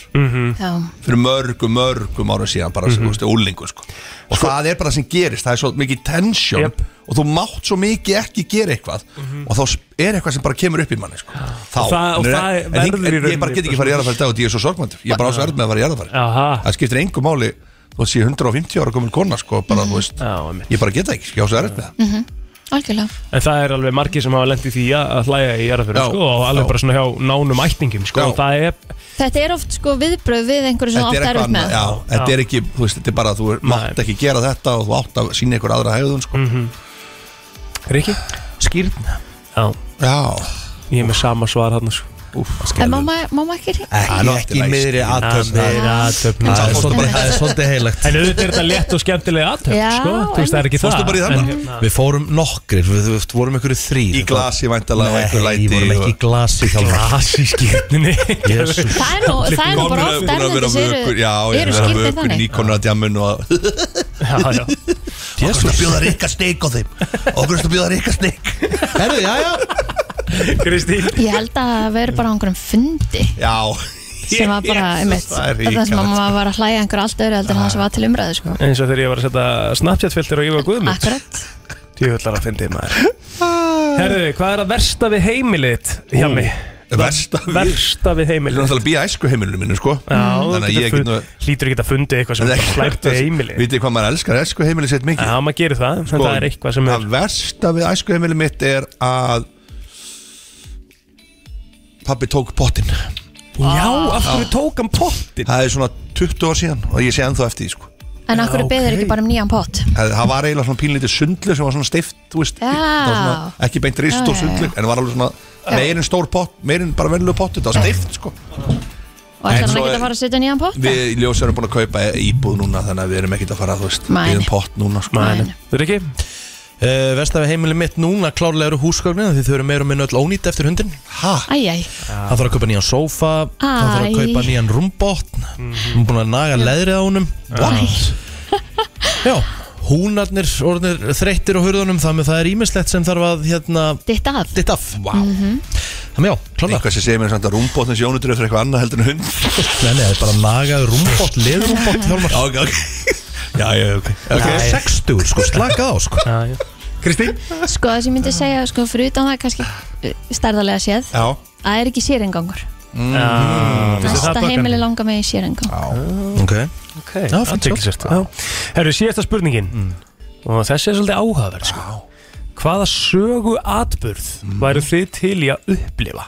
S3: Já,
S5: fyrir mörgum, mörgum ára síðan bara sem,
S2: Mm.
S5: þú
S2: Mhm.
S5: veist, úlingur sko. og það er bara sem gerist, það er svo mikið tension og þú mátt svo mikið ekki gera eitthvað og þá sp- er eitthvað sem bara kemur upp í manni sko. þá,
S2: Mhm. Og það- og
S5: en-
S2: það
S5: en,
S2: verður
S5: en,
S2: í
S5: en, ég
S2: rauninni
S5: bara get ekki farið í jarðafæri í dag og ég er svo sorgmæntur, ég er bara á svo erð með að fara í jarðafæri það skiptir engu máli þú sé 150 ára komin kona sko, bara, þú veist, ég bara geta ekki, ég á svo erð með það
S3: mhm, algjörlega
S2: En það er alveg margir sem hafa lendið því að að hlæja í jarðaföru
S5: Já,
S2: sko, og alveg
S5: já.
S2: bara svona hjá nánum ætningum sko, og það er
S3: Þetta er oft sko viðbröð við einhverju sem
S5: Þetta
S3: átt
S5: er
S3: er
S5: eitthvað
S3: upp með
S5: annað, já, þetta er ekki, þú veist, þetta er bara að þú er- mátt ekki gera þetta og þú átt að sína ykkur aðra hegðun, sko.
S3: Mhm.
S2: Riki? Skýrn Já,
S5: já.
S2: Ég er með sama svar hann sko.
S3: En má maður má maður ekki ringa?
S2: Ekki, ekki miðri aðtöfn Miðri aðtöfn
S1: Það sko. er svolítið bara- það er svolítið heilagt.
S2: En auðvitað er þetta létt og skemmtilega aðtöfn
S3: Já,
S2: sko, Þú veist það er ekki það
S1: Fórstu bara í
S2: en
S1: þarna?
S2: hérna-
S1: Við fórum nokkrir, við, við vorum einhverju þrýr
S5: Í glasi væntanlega og
S1: Nei,
S5: einhver læti
S1: við vorum
S5: og-
S1: ekki í glasi þá
S2: Glasi skýrninni
S1: Jésus
S3: Það er nú, það er nú bara oft erlendis eru,
S5: Já, ég er að
S3: eru
S5: vera
S3: skýrtir
S5: vökur,
S3: þannig
S5: nýkonur að djamun og
S2: Já, já
S5: Jésus að bjóða reyka steik á þeim Okkur að bjóða reyka steik Herðu, já, já
S2: Kristín
S3: Ég held að það veri bara á einhverjum fundi
S5: Já
S3: sem var bara, einmitt,
S2: það er
S3: það sem að
S2: ríkalegt.
S3: maður var að hlæja einhverju allt öðru heldur en það sem var til umræðu sko.
S2: Eins og þegar ég var að setja Snapchat-filter og ég var guðmund
S3: Akkurat
S2: Djöfullar að fyndi maður Herðu, hvað er að versta við heimilið hjá mig?
S5: Versta við
S2: Versta við heimilið
S5: Það er náttúrulega býja æsku heimilinu mínu, sko
S2: Já,
S5: Þannig að ég get nú
S2: hlýtur ekki að fundi eitthvað sem slæmt við heimilið
S5: Vitið hvað maður elskar æsku heimili sitt mikið
S2: Já, maður gerir það,
S5: Sko,
S2: en það er eitthvað sem er
S5: Það versta við æsku heimili mitt er að Pappi tók pottin
S2: Já, af hverju tók hann pottin?
S5: Það er svona 20 ár síðan og ég sé ennþá eftir því, sko
S3: En okkur
S5: Já,
S3: okay. beðir
S5: ok.
S3: ekki bara um nýjan pott
S5: Það það var eiginlega svona pínlítið sundlu sem var svona stift, þú veist
S3: Já.
S5: Það var svona, ekki beint rist
S3: Já,
S5: og
S3: já,
S5: sundlu
S3: já.
S5: en var alveg
S3: Já.
S5: svona meirinn stór pott, meirinn bara venlug pott þetta var stift sko
S3: Og
S5: En
S3: ætlar hann
S5: svo
S3: ekki
S5: er-
S3: að fara að setja nýjan pott?
S5: Við í ljós erum búin að kaupa íbúð núna þannig að við erum ekkert að fara, þú veist,
S3: Mæn.
S5: við erum pott núna sko
S3: Mæn.
S2: Þú er ekki?
S1: Uh, Vestafi heimili mitt núna klárlega eru húsgögnin því þau eru meira og minna öll ónýtt eftir hundin
S5: Hæ?
S3: Æjæj
S1: Hann þarf að kaupa nýjan sófa Hann þarf
S3: Æ.
S1: að kaupa nýjan rúmbotn Hún er búin að naga leðrið á honum What? Já, húnarnir orðnir þreyttir á hurðunum þannig að það er ímislegt sem þarf að hérna,
S3: Ditt af
S1: Ditt af, vá
S3: Mhm.
S1: Þannig já, klána
S5: Eitthvað sem segir mér samt að rúmbotnins jónutur eftir eitthvað annað heldur en hund
S1: Nei, nei, það er bara nagaður rúmbott, leðrúmbott Hjálmar
S5: Ok, ok Já, já, ok
S1: Það er 60, sko, slaka á, sko
S2: Kristín?
S3: Sko þess ég myndi segja, sko fyrir utan það kannski uh, stærðarlega séð
S5: Já
S3: Það er ekki sérengangur Næsta
S2: Næsta
S3: heimili langar mig í sérengang
S1: Ok
S2: Ok,
S1: Já, Mm. fínt svo.
S2: athyglisvert, já. Herru, síðasta spurningin Og þessi er svolítið áhugaverð sko. Hvaða sögu atburð
S1: Mm.
S2: væru þið til í að upplifa?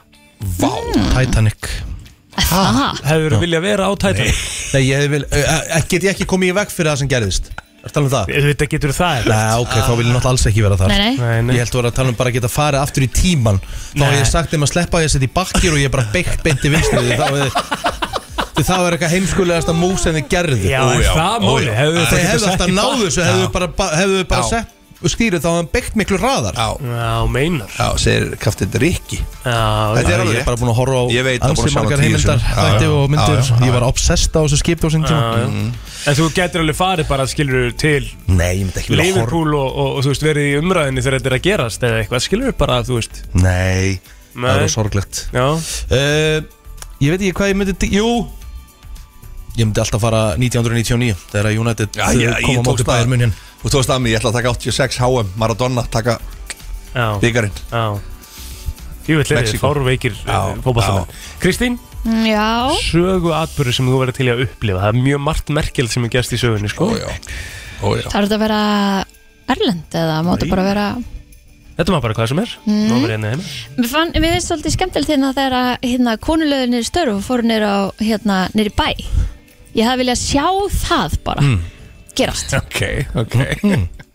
S5: Vá
S1: Titanic
S3: Það?
S1: Já.
S2: Hefur þú viljað vera á Titanic?
S1: Nei, ég vil, uh, get ég ekki komið í veg fyrir það sem gerðist Er talað um það?
S2: Þetta getur það
S1: Nei, ok, þá vil ég náttúrulega alls ekki vera þar
S3: Nei, nei. Nei,
S2: nei.
S1: Ég held að vera að tala um bara að geta farið aftur í tíman Þá hef ég sagt þeim að sleppa að ég setja í bakkir og ég er bara beitt beint í vinstri Því þá hefði- því það var eitthvað heimskulegasta mú sem þið gerðu
S2: Já, er það málið? Hefðu
S1: Þeir
S2: þið bara getað
S1: hefðu
S2: sett
S1: alltaf
S2: í
S1: náðu þessu,
S2: bakk?
S1: hefðu
S2: Já.
S1: bara, ba- hefðu bara
S2: Já.
S1: sett skýrið þá hefðu beitt miklu raðar
S5: Já,
S2: Já, meinar
S5: Já, segir kaftið Rikki
S1: Þetta
S5: Þetta
S1: er alveg Ég er bara búin að horfa á
S5: Ég veit, það er búin
S1: ansi
S5: að sjá hana
S1: margar
S5: tíu sinnum.
S1: heimildar
S5: Já,
S1: þætti
S5: já,
S1: og
S5: já,
S1: myndir
S5: já, já.
S1: Ég var obsessed á þessu skipi á sinni
S2: Já, já.
S1: tíma
S2: En þú getur alveg farið bara að skilur til
S1: Nei, ég myndi ekki vilja horfa.
S2: Liverpool og, og, og þú veist verið í umræðinni þegar þetta er að gerast eða eitthvað skilur bara þú veist
S1: Nei,
S2: Nei.
S1: það er sorglegt
S2: Já
S1: Eh, Ég veit ekki hvað ég myndi di- Jú Ég myndi alltaf fara 1999 Þegar að United
S5: Já, já,
S1: uh,
S5: ég
S1: kom á
S5: tókst
S1: móti
S5: að
S1: bæðir munn
S5: Þú tókst að mig, ég ætla að taka 86 HM Maradona, taka byggarinn
S2: Já Jú, þetta er
S5: Mexíkó.
S2: fárveikir fókbaltamenn Kristín,
S3: Mm, Já
S2: sögu atbyrður sem þú verður til í að upplifa Það er mjög margt merkjöld sem er gerst í sögunni sko.
S5: Ó, já. Ó, já.
S3: Það eru þetta að vera Erlend eða máttu
S2: Nei.
S3: bara vera
S2: Þetta maður bara hvað sem er
S3: Mm.
S2: Nú verður hérna heima
S3: Mér, fann, mér finnst svolítið skemmtilegt hérna þegar að hérna, konulöður niður störf og fóru niður á hérna, niður í bæ Ég hefði viljað sjá það bara
S5: Mm.
S3: gerast
S5: Ok, ok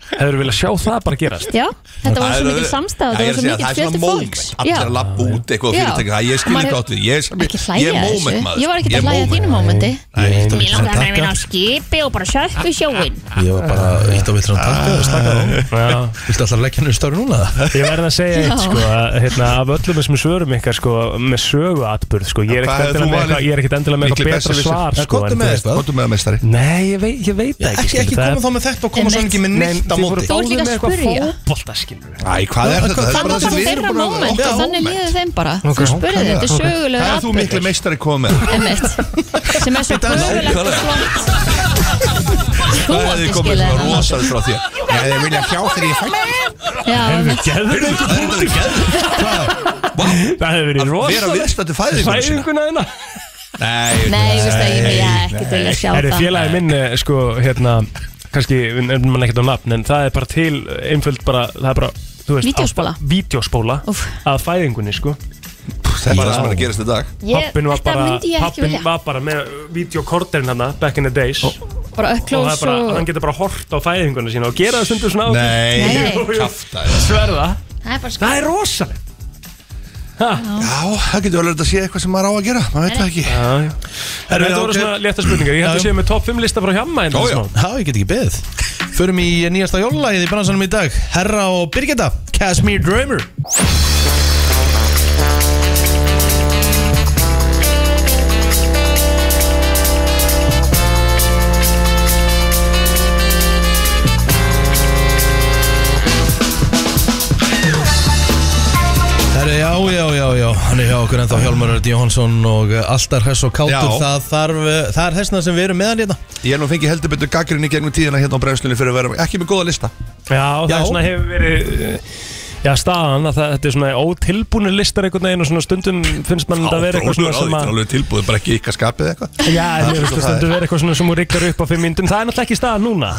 S2: Hefur Mm. viljað sjá það bara gerast
S3: Já, þetta var
S5: Það
S3: svo
S5: er-
S3: mikil samstæð og
S5: Já, ég
S3: það
S5: er að
S3: var svo
S5: segja, Það
S3: mikil
S5: er
S3: fjöldi
S5: svona
S3: fólks
S5: moment Allir að lappa út eitthvað og
S3: Já.
S5: fyrirtækja Það ég skil
S3: Maður
S5: ekki
S3: hefur-
S5: átt við Ég er
S3: Ekki hlæja
S5: ég er
S3: að
S5: moment, maður. sko.
S3: Ég var ekkert
S5: Ég er
S3: að hlæja að þínu mómenti
S1: Mér langar að vera
S3: á skipi og bara sökku sjóin
S1: Ég var bara Ítt á vitran takka og slaka
S2: á
S1: Viltu alltaf leggja henni stóri núna?
S2: Ég verð að segja eitt sko, að, hérna, af öllum þessum svörum ykkar sko, með sögu atbyrð sko. ég er
S5: Hvað
S2: ekkert
S5: hefur
S2: endilega
S5: þú
S2: með
S5: valið?
S2: eitthvað- ég er ekkert endilega með
S5: Mikli
S2: eitthvað betra
S5: besserwisser.
S2: svar
S5: Já,
S2: sko,
S5: komdu
S2: en
S5: með
S2: þú
S5: eitthvað. Komdu með það meistari
S2: Nei, ég veit, ég veit það
S1: Ekki,
S2: ekki
S1: ekki
S2: skilur, það
S1: koma
S2: er-
S1: þá með þetta og koma svo ekki með neitt á móti
S3: Þú ert líka að spyrja
S2: Bólta skilur
S5: Æ, hvað er þetta?
S3: Það var bara þeirra moment og þannig líður þeim bara Þú spurði þeim, þetta er sögulega
S5: Það er þú miklu meistari komið
S3: sem er svo gögulegt og flott Þú
S5: Það hefði
S3: átti
S5: komið
S3: skilja
S5: svona rosalega frá þér Ég hefði viljað hjá þér í
S3: Já,
S2: Gerður
S5: fætt
S2: Það hefur verið rosalega
S5: vera viðstaddur fæðinguna sína.
S2: Fæðinguna þína
S5: Nei,
S3: Nei, ég veist að ég vilja ekki til að sjá
S2: Er
S3: það
S2: félagi minn, eh, sko, hérna kannski, en mann ekkert á nafn en það er bara til, eh, einföld bara það er bara, þú veist,
S3: Vídeóspóla.
S2: ásta- vídeóspóla að fæðingunni, sko
S5: Það er bara það sem er að gerast í dag
S3: Ég-
S2: Pappin var
S3: þetta
S2: bara,
S3: myndi ég ekki
S2: pappin
S3: vilja.
S2: var bara með videokorterinn hana, back in the days
S3: Bara
S2: og það
S3: up
S2: er
S3: close
S2: bara,
S3: og
S2: hann getur bara hort á fæðingunni sína og gera það stundur svona á
S5: Nei,
S3: Nei.
S2: Jú, jú.
S5: kjafta
S2: Sverða
S3: Það er bara
S2: Það er rosalegt
S5: Já,
S1: Eh,
S5: það getur alveg að sé eitthvað sem maður á að gera Maður veit það ekki
S2: Herru, Þetta voru svona létta spurningar Ég held að séu með top 5 lista frá hjamma hérna
S1: Já, já, já, ég get ekki beðið Förum í nýjasta jólulægið í bransanum í dag Herra og Birgitta, Casimir Drömer Herra, já, já, já, já Hann er hjá okkur ennþá Hjálmar Örd Jóhansson og eh, alltaf hess og kátur
S5: Já.
S1: það, þarf, eh, það er hessna sem við erum meðan hérna
S5: Ég er nú fengið heldur betur gaggrinni gegnum tíðina hérna á brennslunni fyrir að vera ekki með góða lista
S2: Já, það
S5: Já.
S2: er svona hefur verið eh, Já, staðan að það, þetta er svona ótilbúni listar einhvern veginn og svona stundum finnst mann þetta að vera eitthvað svona sem
S5: Það er
S2: að
S5: alveg tilbúið, bara ekki ykkar skapið eða eitthvað
S2: Já,
S5: Það er
S2: en mér
S5: svo
S2: finnst það
S5: það
S2: stundum
S5: er.
S2: vera eitthvað svona sem úr ykkur upp á fimm myndum Það er náttúrulega ekki staðan núna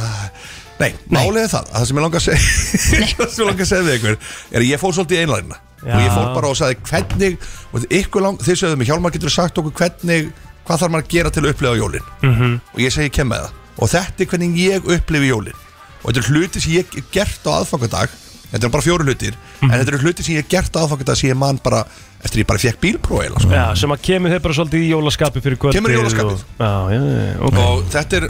S5: Nei, málið er það, að það sem ég langar að segja Það sem ég langar að segja við ykkur Er að ég fór svolítið í einlænina Og ég fór
S2: Já.
S5: bara og sagði hvernig og ykkur lang, Þið sögðu mig, Hjálmar getur sagt okkur hvernig Hvað þarf maður að gera til að upplega jólin
S2: Mhm.
S5: Og ég segi ég kem með það Og þetta er hvernig ég upplifi jólin Og þetta er hluti sem ég hef gert á aðfangadag Þetta er bara fjóru hlutir
S2: Mhm.
S5: En þetta eru hluti sem ég hef gert á aðfangadag Sem ég man bara, eftir ég bara fekk bílprói sko.
S2: Já, sem að kemur þeir bara svolítið í jólaskapi fyrir kvöldið
S5: Kemur í jólaskapið.
S2: og- Já, já, já, ok
S5: og þetta er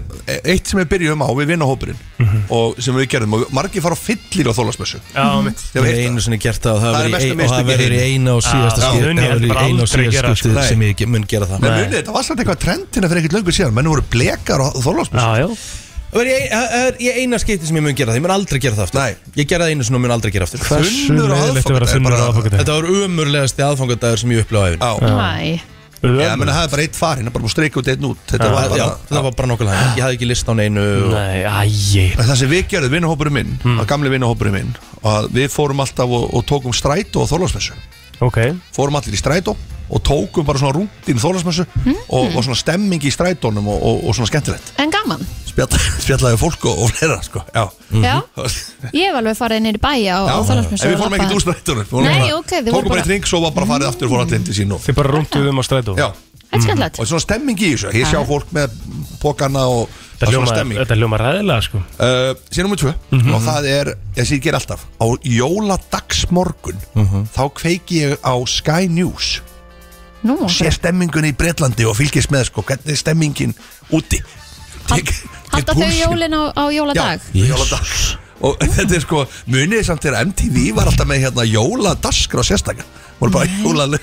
S5: eitt sem við byrjum á við vinnahópurinn og sem við gerðum og margir fara á fyllir á þólasmessu
S2: Mhm. Já, mitt
S1: Ég hef einu sinni gert það og það
S5: Það er
S1: verður í
S5: mestu
S1: ein- og
S5: mistök
S1: það
S5: í
S1: verður í
S5: heimi.
S1: eina og
S5: Já,
S1: síðasta
S5: það
S1: skipti
S5: muni ég
S1: Það verður í
S5: bara
S1: eina og
S5: aldrei
S1: síðasta
S5: gera,
S1: skipti
S5: sko.
S1: sem ég mun gera það
S5: Men munið, þetta var samt eitthvað trendina fyrir ekkert löngu síðan menn voru blekar á þólasmessu
S1: Það verður í ein- það er í eina skipti sem ég mun gera það Ég mun aldrei gera það aftur Ég gera það einu sinni og mun aldrei gera aftur
S2: Hversu Þunnur á leiðinlegt að vera aðfangadag, þunnur á bara- aðfangadag?
S1: Þetta var umurlegasti aðfangadagur sem ég upplifa á
S5: Já.
S1: efinn
S3: Æ,
S5: Já, menn það er bara eitt farin, það er bara búið að streika út einn út Þetta
S1: Já,
S5: var bara
S1: já, þetta var bara nokkuð hægt Ég hafði ekki list á neinu
S2: Nei, æj
S5: En Það sem við gerðum, vinnahópurinn minn, mm. gamli vinnahópurinn minn og að Við fórum alltaf og, og tókum strætó á þólasmessu
S2: Ok
S5: Fórum allir í strætó og tókum bara svona rúndin þólasmessu og, og svona stemming í strætónum og, og, og svona skemmtilegt
S3: en gaman
S5: Spjalla, Spjallaði við fólk og, og fleira, sko Já,
S3: Já. Ég hef alveg farið nýri bæja
S5: Já,
S3: og
S5: en við fórum ekkert úr strætónum Við fórum
S3: Nei,
S5: bara-
S3: ok, þið voru
S5: Tókum bara
S3: bara-
S5: eitt ring, svo var bara farið aftur og fórum allir inn til sín og
S2: Þið bara rúnduðum á strætó
S5: Já,
S3: Þetta er skemmtilegt
S5: og svona stemming í þessu Ég sjá fólk með pókana og
S2: Þetta
S5: svona
S2: hljómar-
S5: stemming
S2: Þetta hljómar ræðilega, sko
S5: uh, Sér nummið tvö og það er, þessi ég ger alltaf á jóladagsmorgun þá kveiki ég á Sky News
S3: Nú,
S5: og sé stemmingun í Breitlandi og fylgist með sko, hvernig er stemmingin úti Tek- tek
S3: Halda þau
S5: púlsinn.
S3: jólin á, á jóladag?
S5: Já, jóladag og þetta er sko, munið samt þegar MTV var alltaf með hérna jóladaskra sérstakar, voru bara jólalög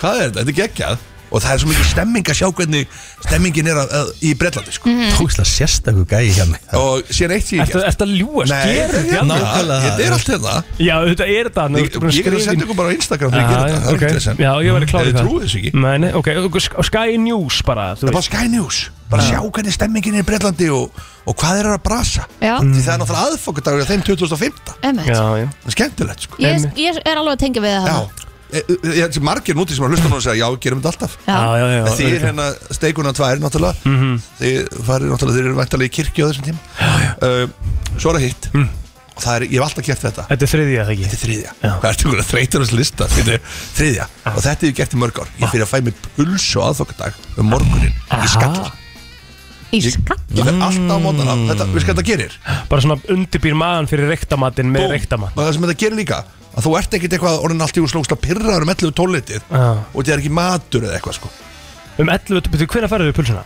S5: hvað er þetta, þetta er geggjað og það er svo mikið stemming að sjá hvernig stemmingin er að, að, í Breitlandi sko
S1: Tókslega sérstakur gæi hjá mig
S5: og síðan eitt sem ég
S2: Ertu ertu að ljúa,
S5: Nei,
S2: skerðu
S5: þetta er hérna. Þetta er allt hérna
S2: Já, þetta er þetta nú
S5: Ég-
S2: ertu búin að
S5: ég get að
S2: skrifa
S5: senda
S2: inn-
S5: ykkur bara á Instagram þegar ég geri
S2: Já,
S5: þetta, það er
S2: ok.
S5: ekkert vesen.
S2: Já, ég væri klár í
S5: Þið
S2: það Mm.
S5: trúið þessu ekki.
S2: Nei, nei, ok, og Sk- og Sky News bara þú
S5: Það er bara
S2: veist.
S5: Sky News Bara sjá hvernig stemmingin er í Breitlandi og, og hvað er að brasa
S3: Já.
S5: Því það er náttúrulega aðfokkadagur á þeim 2015
S3: Emmett.
S2: já
S5: Það er skemmtilegt sko
S3: Ég, ég er alveg að tengja við það
S5: Já E- e- Ég held sem margir núti sem að hlusta núna og segja já, gerum þetta alltaf
S3: Já. Já,
S2: já, já,
S5: En Þið er
S2: örugglega.
S5: hérna steikuna tvær náttúrulega mm -hmm. Þið farir náttúrulega, þið eru væntalega í kirkju á þessum tím já, já. Mm. Svo er það hitt Og það er, ég hef alltaf gert þetta
S2: Þetta er þriðja, það ekki?
S5: Þetta er þriðja Hvað ertu ykkur að þreytur þessu lista? Þetta er þriðja Og þetta hef ég gert í mörg ár Ég fyrir að fæ mig puls og aðfokkadag um morgunin í skalla
S3: Í
S5: skalla? Ég fer alltaf á mótana Þetta, við hvað Mm. þetta gerir
S2: Bara svona undirbýr maðan fyrir reyktamatinn með reyktamat
S5: Og það sem þetta gerir líka Að þú ert ekkit eitthvað orðin allt í úr slóksla pyrraður um 11 tólitið
S2: Já.
S5: Og þetta er ekki matur eða eitthvað sko
S2: Um 11, betur hvernig færðu við pulsuna?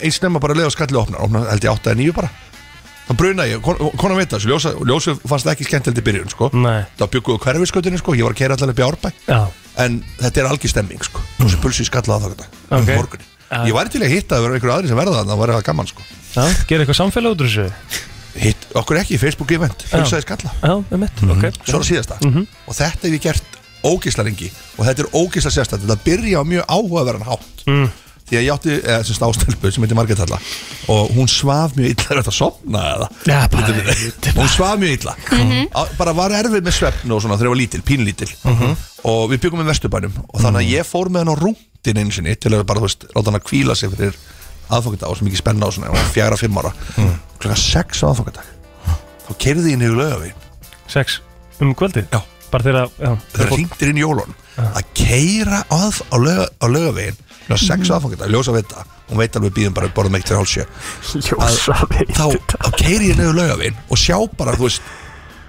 S5: Eins nefna bara leið og skallið opnar Opnar held ég 8 eða 9 bara Það bruna ég, kon- konan veit það, ljósa, ljósu fannst það ekki skemmtilegt í byrjun sko
S2: Nei.
S5: Það bygguðu hverfiskutinu sko, ég var að keira allavega upp í árbæ
S2: Já
S5: en þetta er algjör stemming sko Nú sem pulsi skallað á þakka um
S2: Ok.
S5: morgunin Ég væri til að hitta að vera einhverju aðri sem verða þannig að það væri það gaman sko
S2: Já, gera eitthvað samfélag út úr þessu
S5: hitt okkur ekki í Facebook event Hilsaði skalla
S2: Já, um
S5: Mhm.
S2: mitt, ok
S5: Svo er það síðasta
S2: Mhm.
S5: Og þetta hef ég gert ógisla lengi Og þetta er ógisla sérstætt Þetta byrja á mjög áhugaverðan hátt
S2: Mm.
S5: Því að ég átti eða, sem sagt ástelpu sem heitir Margrét Halla Og hún svaf mjög illa Þetta sopnaði eða
S2: Já, bara
S5: Lítið við- Hún svaf mjög illa
S2: Mhm.
S5: Á- Bara var erfið með svefn og svona þegar ég var lítil, pínlítil
S2: Mhm.
S5: Og við byggum í vesturbænum Og þannig að ég fór með hann á rúndin einu sinni Til að bara, þú veist, láta hann að kvíla sig fyrir aðfokkandag og sem ekki spenna á svona ég var Fjara, fimm ára
S2: Mhm.
S5: Klokka sex á aðfokkandag Þá keirði ég niður lögavín
S2: Sex um kvöldið?
S5: Já
S2: Bara þegar að, já
S5: Það ringtir inn í jólun Að keira að á, lög, á lögavegin Ná sex mm. aðfangandag, ljósa við þetta Hún veit alveg við býðum bara, borðum eitt til hálsjö Ljósa við þetta Þá, þá keiri ég niður lögavegin og sjá bara, þú veist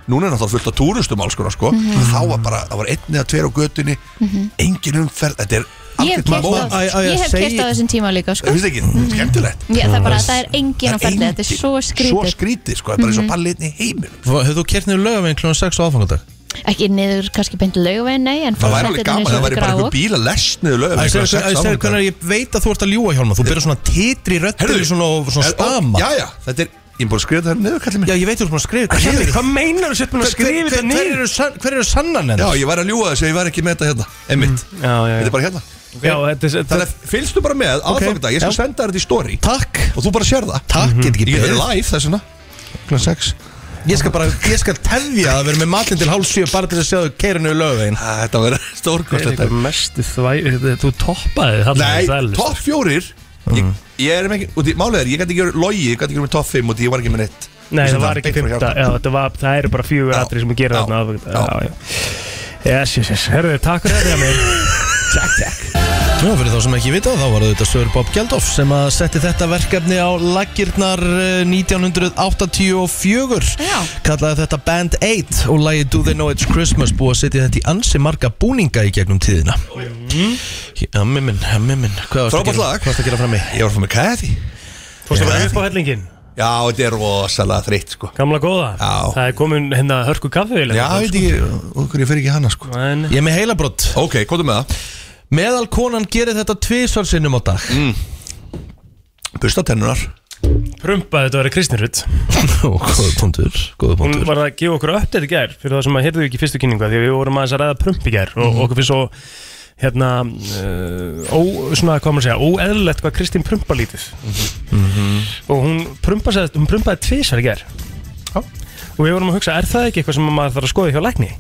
S5: Núna er náttúrulega fullt af túristum alls konar sko
S1: Mhm.
S5: Þá var bara, það var einn eða tveir á götunni Engin umferð, þetta er
S3: Ég hef kert á, ég hef kert á þessum tíma líka sko.
S5: Það finnst ekki, skemmtilegt
S3: Ég, það er bara, það er engin á ferli, þetta er svo skrítið.
S5: Svo skrítið, sko, það er bara eins og
S3: Mhm.
S5: pallið í heiminum
S1: Hefur þú kert niður lögaveginn kl. 6 á aðfangandag?
S3: Ekki niður kannski beint laugveginn, nei En
S1: Það væri alveg gaman, það væri bara einhver
S3: bíl
S5: Bíla lesnið lögavegin
S1: Æ, segðu- æ, segðu hvenær Ég veit að þú ert að ljúa hjálma Þú byrjar svona titri röttir svona, og svona
S5: er- ó,
S1: stama
S5: já, já, þetta er Ég er búin að skrifa þetta hérna niður, kallið
S1: Já, ég veit þú ert búin að skrifa þetta niður.
S2: Hvað meinar þú sett búin að skrifa þetta niður?
S1: Hver eru sannan
S5: Já, ég væri að ljúa þessu, ég væri ekki með þetta hérna Emmitt,
S1: Mm.
S5: þetta er bara hérna
S2: Já, þetta er
S5: Þannig að fylgstu bara með
S2: Ok,
S5: aðfangdag, ég skal
S2: já.
S5: senda þér þetta í story
S1: Takk
S5: Og þú bara sér það
S1: Takk, get ekki
S5: Ég er
S1: beðið.
S5: live þess vegna Klan 6
S1: Ég skal bara, ég skal tefja að vera með matinn til hálf 7 bara til að sjá þau keirinu í lögaveginn
S5: Þetta var stórkostlegt
S2: Þetta er mestu þvæg, þú toppaði þarna
S5: Nei,
S2: það er list.
S5: topp fjórir
S1: Mm.
S5: Ég, ég er með, út í málið er, ég gæti ekki verið logi Ég gæti ekki verið með topp 5 og því ég var ekki með neitt
S2: Nei,
S5: Sem
S2: það var
S5: beint
S2: ekki
S5: frá
S2: fymta
S5: hjartanu.
S2: Já, þetta var, það eru bara fjögur atrið sem að gera þarna aðvögt Já, já Yes, yes, yes Herðu, takk fyrir þetta mér Takk, takk
S1: Já, fyrir þá sem ekki vita, þá var þetta Sör Bob Gjaldoff sem að setti þetta verkefni á laggirnar eh, 1984 Já. kallaði þetta Band 8 og lagi Do They Know It's Christmas búið að setja þetta í ansi marga búninga í gegnum tíðina Mhm. Hemmi minn, hemmi minn Hvað varstu að
S5: Frábært
S1: gera-
S5: lag.
S1: hvað varstu að gera fram í?
S5: Ég var fram með Kathy
S2: Fórstu bara upp á hellingin
S5: Já, þetta er rosalega þreytt sko
S2: Gamla góða Já Það er komin hérna hörku kaffi
S5: Já, ég veit ekki, okkur ég fer ekki hana sko
S1: Ég er með heilabrott
S5: Ok, komdu með það
S1: Meðal konan gerir þetta tvisvar sinnum á dag
S5: mm. Busta tennunar
S2: Prumpaði þetta að vera Kristnirut
S1: Góða punktur, góða
S2: Hún
S1: punktur
S2: var að gefa okkur uppdætt í gær Fyrir það sem að heyrðu ekki í fyrstu kynningu af Því að við vorum aðeins að ræða prump í gær Og
S1: Mhm.
S2: okkur finnst svo Hérna uh, ó, Svona, hvað maður að segja Óeðlilegt hvað Kristín prumpa lítið Og hún prumpaði, hún prumpaði tvisar í gær Og við vorum að hugsa, er það ekki eitthvað sem maður þarf að skoða hjá lækni?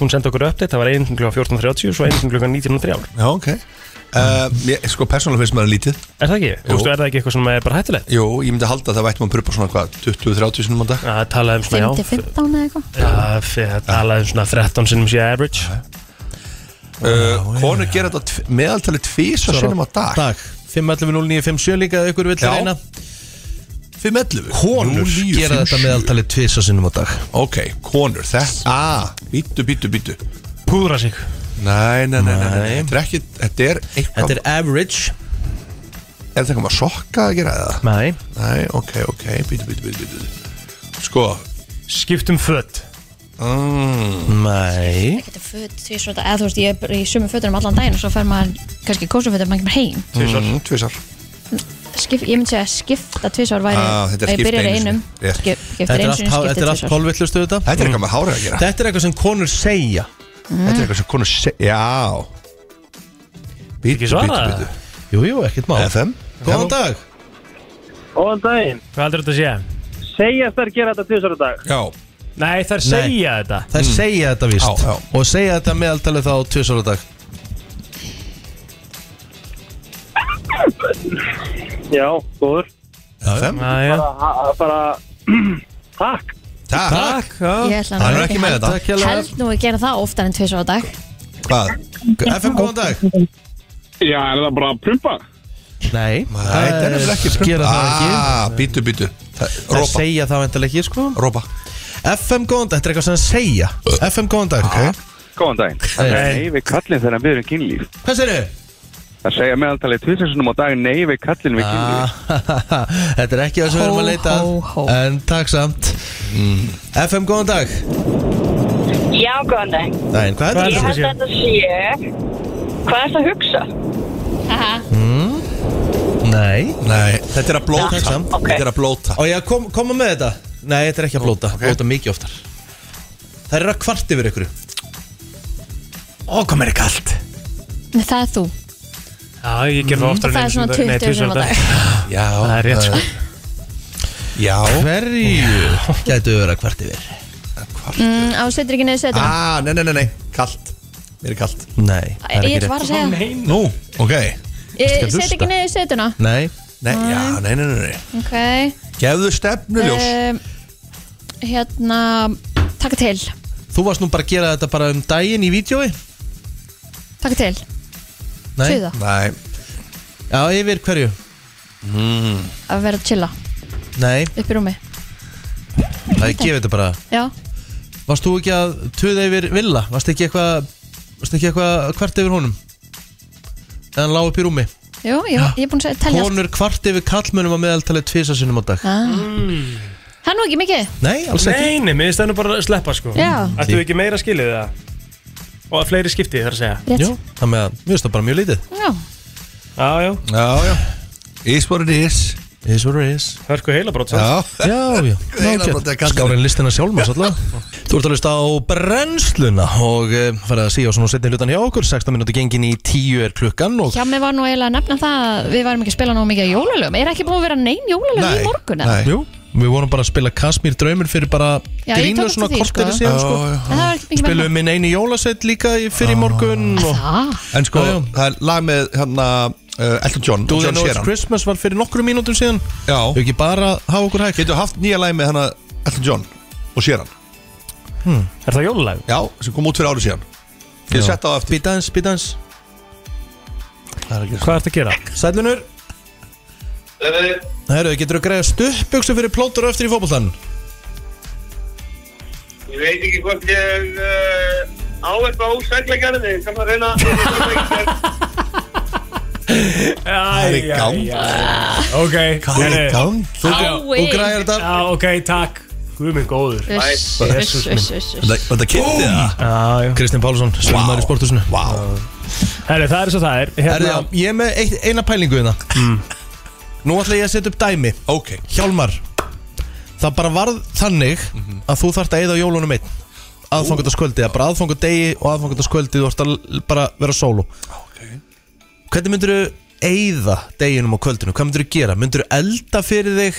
S2: Hún sendi okkur update, það var einu klukka 14.30 Svo einu klukka 19.30
S5: Mm. Já, ok uh, ég, Sko, persónulega finnst maður lítið
S2: Er það ekki? Þú veist, er það ekki eitthvað sem er bara hættilegt?
S5: Jú, ég myndi halda að það vætti maður prupa svona hvað 20-30 sinum á dag
S2: Það talaði um svona,
S3: 5-15 eða eitthvað
S2: já Það talaði um svona 13 sinum sé average
S5: uh, Konur gera þetta tv- meðaltalið tvísa sinum á dag
S1: Dag, 5.11.09.57 líka ef ykkur vill
S5: Já.
S1: reyna
S5: 5.11
S1: Konur gera þetta meðaltalið tvisvar sinnum á dag
S5: Ok, konur, þetta ah, Býtu, býtu, býtu
S2: Púðra sig
S5: Nei, nei, nei, nei, nei. Þetta er ekki Þetta er eitthvað
S1: Þetta er average
S5: Er þetta eitthvað að sokka að gera það?
S2: Nei
S5: Nei, ok, ok, býtu, býtu, býtu, býtu Sko
S2: Skiptum fött
S5: mm.
S1: Nei
S3: Þetta er föt, því svo þetta, eða þú veist, ég er bara í sumu fötunum allan daginn og svo fer maður kannski í kósufötum maður kemur heim.
S5: Tvisar mm, Tvisar
S3: Skip, ég myndi segja að skipta tvisvar væri,
S1: Ah, þetta er
S3: að ég
S1: skipt
S3: byrjar í
S1: einu
S3: einum,
S1: sinni. Rétt.
S3: skip,
S1: Þetta
S3: skiptir
S1: er
S3: einu
S1: allt
S3: sinni,
S1: há- þetta
S3: skiptir
S1: er allt
S3: tvisvar.
S1: hálfvillustu þetta
S5: Þetta er eitthvað með hárið að gera.
S1: Mm. Þetta er eitthvað sem konur segja
S5: Þetta er eitthvað sem konur segja Já Býtu, býtu,
S2: svarað?
S5: býtu
S1: Jú, jú, ekkert mál
S5: FM
S1: Góðan dag
S2: Góðan daginn Hvað heldur þetta að sé? Segjast þær gera þetta tvisar á dag
S5: Já
S2: Nei, þær segja þetta
S5: Mm.
S1: Það er segja þetta víst Og segja þetta meðaltalið þá tvisar á dag
S8: Já, góður
S5: FM
S8: Bara, ha- bara Takk
S5: Takk
S2: Takk
S3: Ég ætla nú held- Held nú að gera það oftar en tvisvar á dag.
S5: Hvað? FM, góðan dag
S14: Já, er það bara að prumpa?
S1: Nei
S5: Nei, þetta er nefnilega ekki prumpa.
S1: Gera það ekki
S5: Ah, býtu, býtu
S1: Það segja það vantilega ekki, sko
S5: Rópa
S1: FM góðan dag, þetta er eitthvað sem segja FM góðan dag
S14: Góðan daginn
S1: Hei.
S14: Nei við kallin þegar við erum kynlíf
S1: Hvað segir
S14: Það segja meðaltalið tvisinsunum á dag Nei við kallin við kynlíf
S1: Þetta er ekki það sem við erum að leita að, En takk samt FM góðan dag
S15: Já, góðan dag.
S1: Nei, hvað er
S15: Ég
S1: þetta?
S15: held að þetta sé... Hvað er það að hugsa?
S1: Mm, Nei Nei, þetta er að blóta
S5: Já, ok.
S1: Þetta er að blóta Og ég kom, koma með þetta Nei, þetta er ekki að blóta Blóta mikið oftar Það er að kvart yfir ykkur Ó, hvað mér er kallt
S3: Nei, það er þú
S2: Já, ég ger það oftar
S3: Það er svona 20 sinnum á dag.
S1: Já, það er
S5: Eh,
S1: rétt sko Já Hverju gætu verið að kvart yfir?
S3: mm, Á setur ekki neðu setur
S5: Ah, nei, nei, nei, nei, kallt Mér er kallt
S1: Nei,
S3: það er Ég ekki ætla bara að rétt. segja það.
S5: Nú, ok
S3: Setur ekki neðu setuna
S1: Nei
S5: Nei, já, nei, nei, nei, nei.
S3: Ok
S5: Gefðu stefnuljós
S3: um, Hérna Takk til
S1: Þú varst nú bara að gera þetta bara um daginn í vídjói
S3: Takk til
S1: Nei
S3: Suða.
S1: Nei Já, yfir hverju? Mm.
S3: Að vera að chilla
S1: Nei,
S3: upp í rúmi
S1: það er gefið þetta bara
S3: Já
S1: Varst þú ekki að tuða yfir Villa? Varst ekki eitthvað Varst ekki eitthvað kvart yfir honum? Þegar hann lág upp í rúmi
S3: Jú, ég, ég er búin að segja telja allt.
S1: Konur kvart yfir kallmönum að meðaltalið tvisa sinnum á dag
S3: ah. Það er nú ekki mikið
S1: Nei, alls ekki
S2: Nei, nei, mér stæðum bara að sleppa sko
S3: Já.
S2: Ættu ekki meira skilið það? Og að fleiri skipti þarf að segja
S3: Rétt.
S1: Jú, það með að Mér finnst það bara mjög lítið
S3: Já
S2: Já, já
S5: Já, já Is what it is
S1: Is what it is
S2: Hörku sko. heilabrót
S5: Já.
S1: Já, já,
S5: Heilabroddi að kalla.
S1: Skárin listina sjálfmars alltaf Þú ert að hlusta á brennsluna og e, fara að síða á svona setni hlutan hjá okkur 16 minúti gengin í 10 er klukkan og
S3: Hjá mig var nú eiginlega að nefna það að Við varum ekki að spila nóg mikið á jólalögum Er ekki búin að vera neinn jólalög í morgun eða?
S1: Jú, við vorum bara að spila Kasmír draumur fyrir bara
S3: Já, ég
S1: grínu
S3: tók eftir
S1: svona
S3: því,
S1: kortir
S3: sko.
S1: síðan
S3: Já,
S1: sko.
S3: já, já. En það var ekki mikið
S1: Spilum minn einu jólasett líka í- fyrir í morgun og...
S5: En sko, það er lag með hérna uh, Elton John
S1: Do
S5: og
S1: They
S5: John
S1: Know It's
S5: Sheeran
S1: Christmas var fyrir nokkru mínútum síðan
S5: Já Þau
S1: ekki bara hafa okkur hægt
S5: Getur haft nýja lag með hérna Elton John og Sheeran
S1: hmm.
S2: Er það jólulag?
S5: Já, sem kom út fyrir árið síðan Ég
S1: Já.
S5: sett á eftir
S1: Bítans, bítans
S2: Hvað ertu að gera?
S1: Sælunur Herru, getur þú að greiða stuppbjöksu fyrir plótur og eftir í fótboltan?
S7: Ég veit ekki hvort ég uh, á eitthvað úr seglegarði, ég kann að reyna
S2: Það
S5: er í gang
S2: Ok
S5: Hvað er í
S2: herri.
S5: gang?
S2: Þú-
S7: Ái.
S2: þú græðir þetta Já, ok, takk Guð minn góður
S5: Uss,
S2: Jesús
S5: uss,
S2: minn.
S5: uss, uss, uss. Var þetta- var þetta kynnti það?
S2: Já, já
S1: Kristinn Pálsson, svömmar í sporthúsinu
S5: Vá
S2: Herri, það er svo það er
S3: Hérna.
S2: Hérna-
S1: Herru, já, ég er með eitt, eina pælingu hérna
S3: Mm.
S1: Nú ætla ég að setja upp dæmi
S5: Ok
S1: Hjálmar Það bara varð þannig
S3: Mhm.
S1: að þú þarft að eyða jólunum einn Aðfangundaskvöldi, að bara aðfangundegi og aðfangundaskvöldi Þú ætti að l- bara vera sólu Hvernig myndir þú eyða deginum og kvöldinu? Hvað myndir þú gera? Myndir þú elda fyrir þig?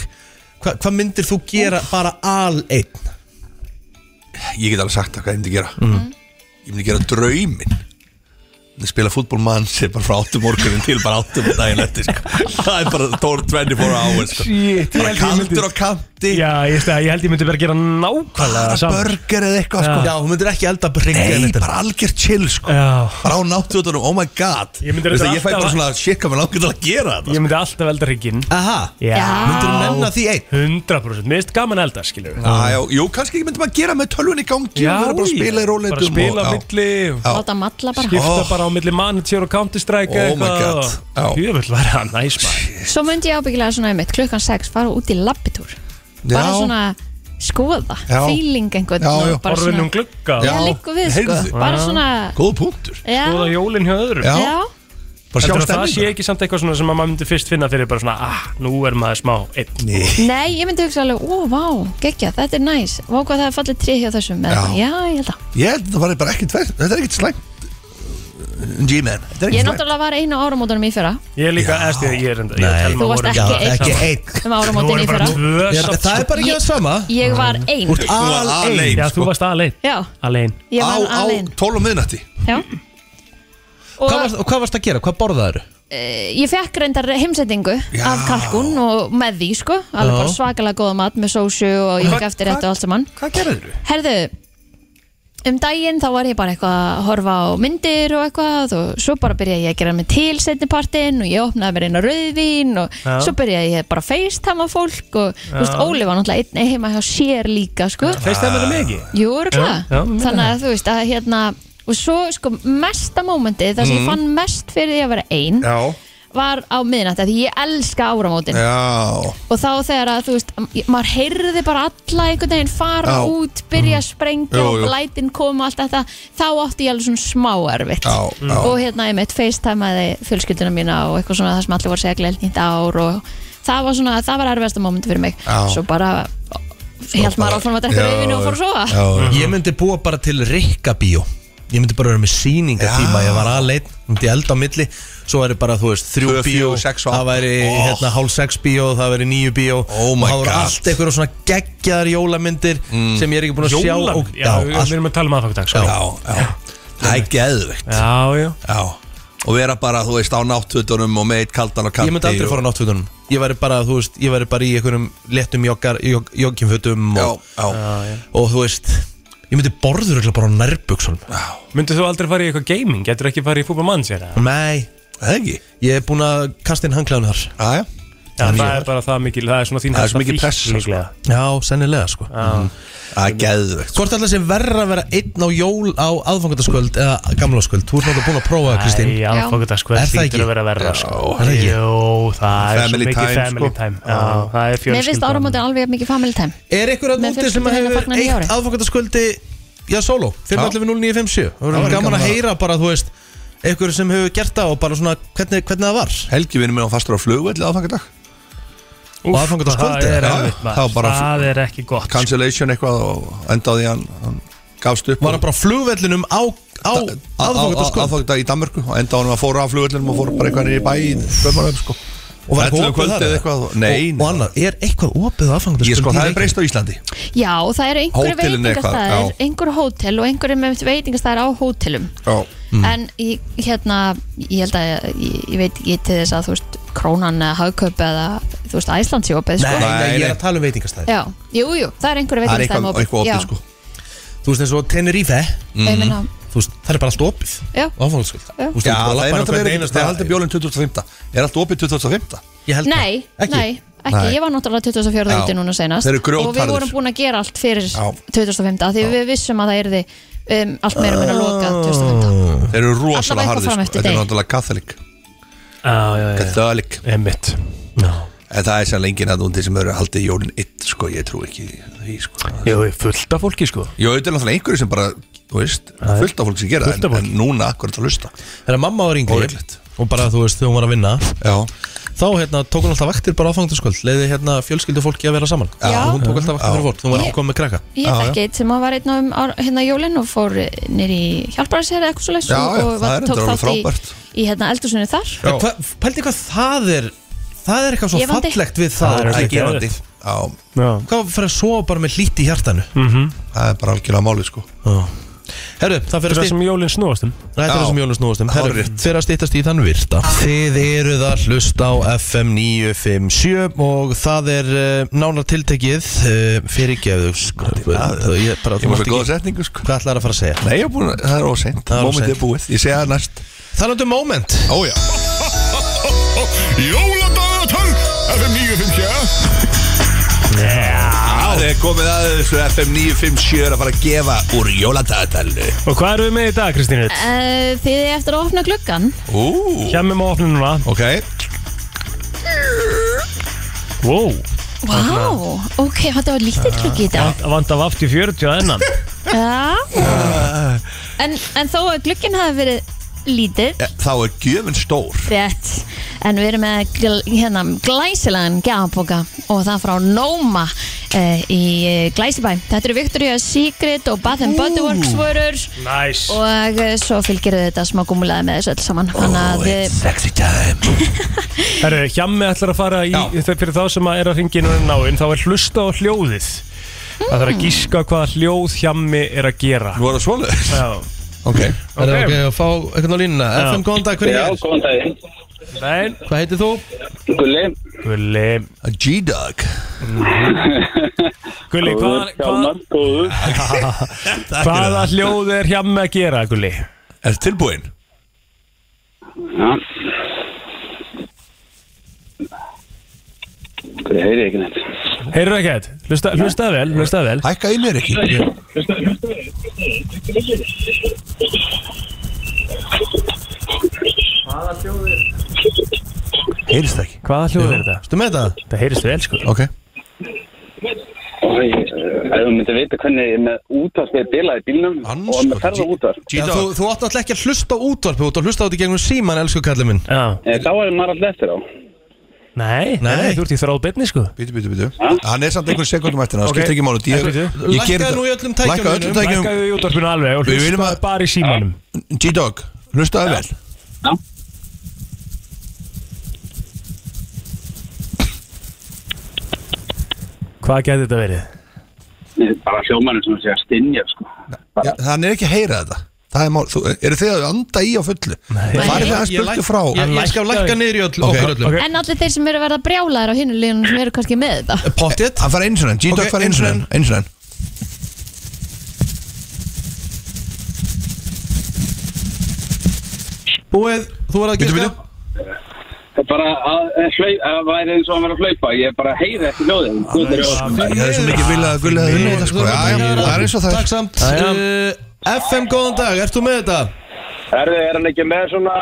S1: Hva, hvað myndir þú gera bara al einn?
S5: Ég get alveg sagt það hvað ég myndi gera
S1: Mhm.
S5: Ég myndi gera draumin Ég spila fútbolmann sem bara frá 8 morgunin til bara 8 um daginn eftir sko. Það er bara tór 24 hours sko.
S2: Shit, ég
S5: Bara
S2: held ég myndi-
S5: kaldur á kanti
S2: Já, ég, stið, ég held ég myndi bara gera nákvæmlega
S5: Bara burger eða eitthvað sko.
S1: Já, hún myndir ekki elda bringi
S5: Nei, bara algjör chill sko
S2: Já.
S5: Bara á náttúrunum, oh my god
S2: Ég myndi
S5: Veistu,
S2: reyndar
S5: Ég fæ
S2: alltaf
S5: bara
S2: að-
S5: svona shit hvað mér langar til að gera þetta
S2: Ég myndi alltaf elda hrygginn
S1: Aha
S2: Já
S5: Myndirðu nenna
S1: því einn?
S2: 100% Mér finnst gaman að elda, skilur
S5: Já, Ah, já, jú, kannski myndi maður gera með tölvun í gangi
S2: Já,
S5: og vera bara að spila í róleitum
S2: Bara spila á milli
S5: Já.
S3: Láta matla bara
S2: Skipta bara á milli manager og counter-strike
S5: Oh my god.
S2: Jöfnveld var það næs maður
S3: Svo myndi ég ábyggilega svona einmitt klukkan 6 fara út í labbitúr bara svona skoða
S2: Já.
S3: feeling einhvern
S2: Já,
S3: og
S2: já.
S3: bara
S2: Horfin
S3: svona-
S2: um glugga.
S3: Já,
S2: Já.
S3: liggur við sko
S2: Heyrðu.
S3: bara
S2: Já.
S3: svona
S5: Góð punktur
S3: Já.
S2: Skoða jólinn hjá öðrum
S3: Já. Já.
S5: Bara sjá
S2: Heldurðu að Það
S5: stemninguna?
S2: sé ekki samt eitthvað svona sem að maður myndi fyrst finna fyrir bara svona ah, nú er maður smá einn
S3: Nei, ég myndi hugsa alveg, ó, vá, geggja, þetta er næs Vá hvað það er fallið tré hjá þessum eða
S5: Já.
S3: eitthvað. Já, ég held að
S5: Ég held að það var bara ekkert verð Þetta er ekkert slæmt G-man Þetta er
S3: Ég
S5: ekkert
S3: náttúrulega var einu á áramótunum í fyrra
S2: Ég er líka, eðst ég, ég er enda ég og Telma
S3: Þú varst
S2: vorum-
S3: ekki
S2: Já,
S3: einn.
S2: saman.
S3: Einn. Um áramótin
S2: Nú voru
S3: í
S2: bara
S3: fyrra.
S2: tvö
S1: Já,
S2: samt,
S1: það er
S2: sko.
S1: bara ekki
S3: Ég-
S1: það sama
S3: Ég var ein
S1: Þú ert alein,
S2: Já,
S1: sko.
S2: þú varst alein
S3: Já,
S2: Alein
S3: ég var
S5: Á- á
S3: alein
S5: 12 á miðnætti
S3: Já Og
S1: Hvað varst, og hvað varst að gera? Hvað borðaður?
S3: eh, ég fekk reyndar heimsendingu af kalkun og með því sko alveg
S1: Já.
S3: bara svakalega góða mat með sósu og ég
S1: Hva-
S3: fekk eftir þetta og allt saman
S5: Hvað gerður þú?
S3: Herðu, um daginn þá var ég bara eitthvað að horfa á myndir og eitthvað og svo bara byrjaði ég að gera mig til setnipartin og ég opnaði mér inn á rauðvín og
S4: Já.
S3: svo byrjaði ég bara að facetama fólk og þú veist,
S4: Já.
S3: Óli var náttúrulega einn heima hjá sér líka sko
S2: FaceTime-ar er mig ekki?
S3: Jú, örugglega.
S2: Já, já, mér
S3: Þannig
S2: það.
S3: að þú veist að hérna Og svo sko mesta mómentið Það sem
S2: Mhm.
S3: ég fann mest fyrir því að vera ein
S5: Já
S3: var á miðnætti Því ég elska áramótin
S5: Já
S3: Og þá þegar að, þú veist, maður heyrði bara alla einhvern veginn fara
S5: Já. Mhm.
S3: út, byrja að sprengja
S5: Jú,
S3: og
S5: jú.
S3: lætin koma allt þetta, þá átti ég alveg svona smá erfitt.
S5: Já, já.
S3: Og hérna ég mitt facetimeði fjölskylduna mína og eitthvað svona það sem allir voru að segja glelt nýtt ár og það var svona, það var erfiðasta moment fyrir mig.
S1: Já.
S3: Svo bara held maður áfram að drekka rauðinu og fór að sofa.
S1: Ég
S5: Mhm.
S1: myndi búa bara til rikkabíó Ég myndi bara vera með sýningatíma Ég var aðleit, myndi elda á milli Svo væri bara, þú veist, þrjú
S5: Tvö,
S1: bíó
S5: fjögur, sex og
S1: Það
S5: átta.
S1: væri
S5: Oh.
S1: hérna, hálf sex bíó, það væri níu bíó oh
S5: my
S1: Og það voru
S5: God. Mm.
S1: allt eitthvað svona geggjaðar jólamyndir Sem ég er ekki búin að sjá
S2: Jólan?
S1: og,
S2: Já, við- við erum að tala um aðfangdag
S5: Já, já Það er geðveikt
S2: Já, já
S5: Já Og vera bara, þú veist, á náttfötunum og með eitt kaldan og kanti
S1: Ég myndi aldrei
S5: og...
S1: fara á náttfötunum Ég væri bara, þú veist, ég væri bara í einhverjum léttum joggar, jog, jogginfötum og,
S5: já.
S1: og þú veist Ég myndi borður örugglega bara á nærbuksunum Já
S2: Myndu þú aldrei fara í eitthvað gaming? Getur ekki fara í fútbolmann sér?
S1: Nei Það ekki Ég er búinn að kasta inn hangklæðun þar
S5: Aðja
S2: Já, það er bara það mikil, það er svona þín
S1: Það er svo
S2: helsta
S1: mikil
S2: fíkn
S1: pressa, sko.
S2: líklega.
S1: Já, sennilega sko Það
S5: er geðvegt
S1: Hvort ætla sem verra að vera einn á jól á aðfangandaskvöld eða gamlaskvöld Þú ert náttúrulega búin að prófa það, Kristín
S2: Æ, aðfangadagskvöld
S1: Er það
S2: hlýtur
S1: ekki?
S2: að vera verra,
S1: Já,
S2: sko.
S1: er það ekki?
S2: Jú, það er svo
S1: Family
S2: mikið
S1: time,
S2: family
S1: sko.
S2: time. Já, það er
S3: Mér finnst
S2: fjölskyldan.
S3: áramótin alveg jafn mikið family time.
S1: Er ykkur að
S3: Með
S1: núti sem
S3: fjölskylduna
S1: hefur
S3: fagnar nýju ári.
S1: eitt aðfangandaskvöldi Já, solo, 511-0957 Það verður gaman að heyra bara, þú veist Ykkur sem hefur gert það og bara svona hvernig, hvernig það var
S5: Helgi vinur minn á fastur á flugvelli aðfangadag
S1: Og aðfangadagskvöld
S5: það er
S1: eða?
S5: erfitt, maður. Það var bara-
S2: Það er ekki gott
S5: Cancellation eitthvað og endaði hann, hann gafst upp
S1: Var hann bara flugvellinum á, á aðfangadagskvöld?
S5: Aðfangadag í Danmörku og endaði hann að fóra af flugvellinum og fór bara eitthvað niður í bæ í Bömmaröf sko
S1: Og var eitthvað
S5: Ellefu
S1: opið
S5: kvöldið
S1: þar?
S5: eitthvað Nei,
S1: Og, og annar, er eitthvað opið aðfangandaskvöld?
S5: ég sko, það er breyst á Íslandi
S3: Já, og það eru einhverju
S5: Hótelin eitthvað,
S3: veitingastæðir,
S5: já.
S3: einhverju hótel og einhverju með veitingastæðir á hótelum.
S5: Já
S3: en ég, hérna ég held að, ég, ég veit ekki til þess að þú veist, krónan eða hagköp eða þú veist, Æslands í opið
S1: Nei,
S3: sko.
S1: nei, ég er að tala um veitingastæði
S3: Já, jú, jú, það er einhverju veitingastæðum
S5: sko.
S1: Þú veist eins og Tenerife
S5: Mhm.
S3: Ég meina-
S1: Þú veist, það er bara allt opið
S3: Já.
S1: Áfangaskvöld
S3: Já.
S1: Þú veist,
S5: Já, það er
S1: þú lappar á
S5: náttúrulega
S1: hvern
S5: verið-
S1: einasta Mm.
S5: það er aldrei bjólinn 2005 Er allt opið 2005?
S1: Ég
S3: Nei, nei, ekki,
S5: Nei.
S3: ég var náttúrulega 24.
S5: Já.
S3: úti núna senast
S5: Þeir eru
S3: og við
S5: grjótharðir.
S3: vorum búin að gera allt fyrir
S5: Já. Ah.
S3: 2005 af því við vissum að það yrði um, allt meira meina lokað 2005
S5: Þeir eru
S3: Alla
S5: rosalega
S3: vega
S5: harðir
S3: fram
S5: sko.
S3: eftir
S5: Þetta er
S3: degi.
S5: náttúrulega katholik
S2: Katholik
S5: Katholik
S2: Emmitt
S5: En það er sér lengið að undir sem eru haldið jólinn 1 sko, ég trú ekki því sko.
S2: Jú, fullt af fólki sko
S5: Jó, þetta er náttúrulega einhverju sem bara, þú veist, fullt af fólk sem gera
S1: Fullt
S5: það en, en núna akkur að lusta
S1: Þegar mamma var yngri Og bara, þú veist, þegar hún var að vinna
S5: Já.
S1: Þá hérna, tók hún alltaf vaktir bara áfangaskvöld Leiði hérna fjölskyldu fólki að vera saman
S3: Já.
S1: Og Hún tók alltaf vaktir
S5: Já.
S1: fyrir fólk Hún var
S3: Ég-
S1: ákomið með krakka
S3: Ég þekki eitt sem að var einn á um ár, hérna jólinn og fór nýri hjálparasherið eitthvað svo leys
S1: Já, já,
S3: og
S1: það er
S3: tók
S1: reyndar alveg
S3: þátt í,
S1: frábært.
S3: í hérna eldursunni þar
S1: En hvað- Pældi hvað það er Það er eitthvað svo
S3: Gefandi.
S1: fallegt við það
S5: Það er
S1: Það er
S5: gefandi.
S1: gefandi.
S2: Já.
S1: Hvað fyrir að sofa bara með lít í hjartanu
S5: Mm.
S2: Mhm.
S5: Það er bara algjörlega máli sko
S1: Herru, það fyrir
S2: Það
S1: að
S2: er það
S1: stýta
S2: sem jólinn snúast um
S1: Það er það sem jólun snúast um Herru, fyrir að stýttast í þann virta Þið eruð að hlusta á FM 957 Og það er uh, nánar tiltekið uh, Fyrirgefðu sko, Ég, bara,
S5: Ég var svo góða setningu sko
S1: Hvað ætlar að fara að segja?
S5: Nei, ég er búin að, það er óseint
S1: Það er of
S5: Moment
S1: seint.
S5: er búið, ég segja það næst
S1: Talandi um moment
S5: Ója
S16: Jóladagatöng FM 957
S5: Það er komið að þessu FM 957 er að fara að gefa úr jóladagatalinu
S2: Og hvað eru við með í dag, Kristín Rutt?
S3: Eh, Þið er eftir að opna gluggan
S2: Hjemmi má opna núna
S5: Ok E,
S2: Wow
S3: Vá, ok, þetta var lítill gluggi í dag
S2: Vant- Vantar vaft í 40 að ennan
S3: Já, en, en þó að glugginn hafi verið lítill
S5: Þá er gjöfin stór
S3: Rétt, en við erum með gl, hérna, glæsilegan gjafaboka og það frá Nóma eh, í eh, Glæsibæ. Þetta eru Victoria Secret og Bath and Body Works vörur
S2: Næs
S3: og eh, svo fylgir þau þetta smá gumulega með þessu öll saman. Þannig að eh,
S5: Sexy time
S2: Herru, hjemmi ætlar að fara í þau- Fyrir þá sem að er að ringi núna náinn Þá er hlusta á hljóðið Það þarf
S5: Hmm.
S2: að gíska hvaða hljóð hjemmi er að gera
S5: Nú er það svoleiðis
S2: Já
S5: Ok
S1: Það er ok að fá eitthvað á línuna
S2: Já.
S1: FM, góðan dag, hvernig
S2: Já,
S1: er?
S2: góðan
S1: daginn
S2: Nein
S1: Hvað heitir þú?
S2: Gulli Gulli
S5: G-Dog
S2: Gulli, hvaða hvaða- hvaða hljóð er hjemmi að gera, Gulli?
S5: Er tilbúin?
S12: Ég heyri ekki neitt
S2: Heyrðu ekki þetta? Hlusta, hlusta vel, hlusta vel
S5: Hækka í mér ekki
S16: Hvaða hljóður?
S5: Heyrist ekki
S2: Hvaða hljóð er þetta?
S1: Stu með þetta?
S2: Það heyrist vel sko
S1: Ok
S15: Oj, ef þú myndir vita hvernig ég er með útvarpið bilað í bílnum og er með ferða útvarp
S1: Já, þú, þú átt alltaf ekki að hlusta á útvarpi Þú átt að hlusta á þetta í gegnum síman, elsku kallið minn
S2: Já
S15: Eh, Þá er maður alltaf eftir á
S2: Nei, nei, þú ert í þráð betni sko
S5: Bítu, bítu, bítu Hann er samt einhvern sekundum eftir Það skiptir ekki máli Ég- ég geri þetta. Lækkaðu öllum tækjum
S2: Lækkaðu í útvarpinu alveg og
S5: Við viljum
S2: hlustaðu
S5: að-
S2: bara í símanum
S5: G-Dog, hlustaðu vel
S2: Hvað getur þetta verið?
S15: Ég er Bara hljómanum sem sé að stinja sko.
S5: Já, Hann er ekki að heyra þetta Það er mál, þú, eru þið að anda í á fullu? Nei Farið þið að
S1: Ég- ég
S5: spurtu
S1: læk-
S5: frá
S1: ég- ég skal lækka niður í öll-
S5: Ok,
S1: okkur öllum.
S5: ok.
S3: eh, En allir þeir sem eru að verða brjálaðir á hinu liðunum sem eru kannski með þetta
S1: Pottit
S5: Hann fær eins og enn, G-Dog
S1: Ok,
S5: fær eins og enn Eins og enn
S1: Búið, þú er að gíska
S15: Það er bara að, að, hlaup, að væri eins og að vera að hlaupa Ég bara heyri ekki hljóðin Guð er
S5: Ég
S15: í
S5: hefði svo mikið viljað að gulla það unni þetta sko Já, já, það er eins og það
S1: Takk samt uh, FM, góðan dag, ert þú með þetta?
S12: Herðu, er hann ekki með svona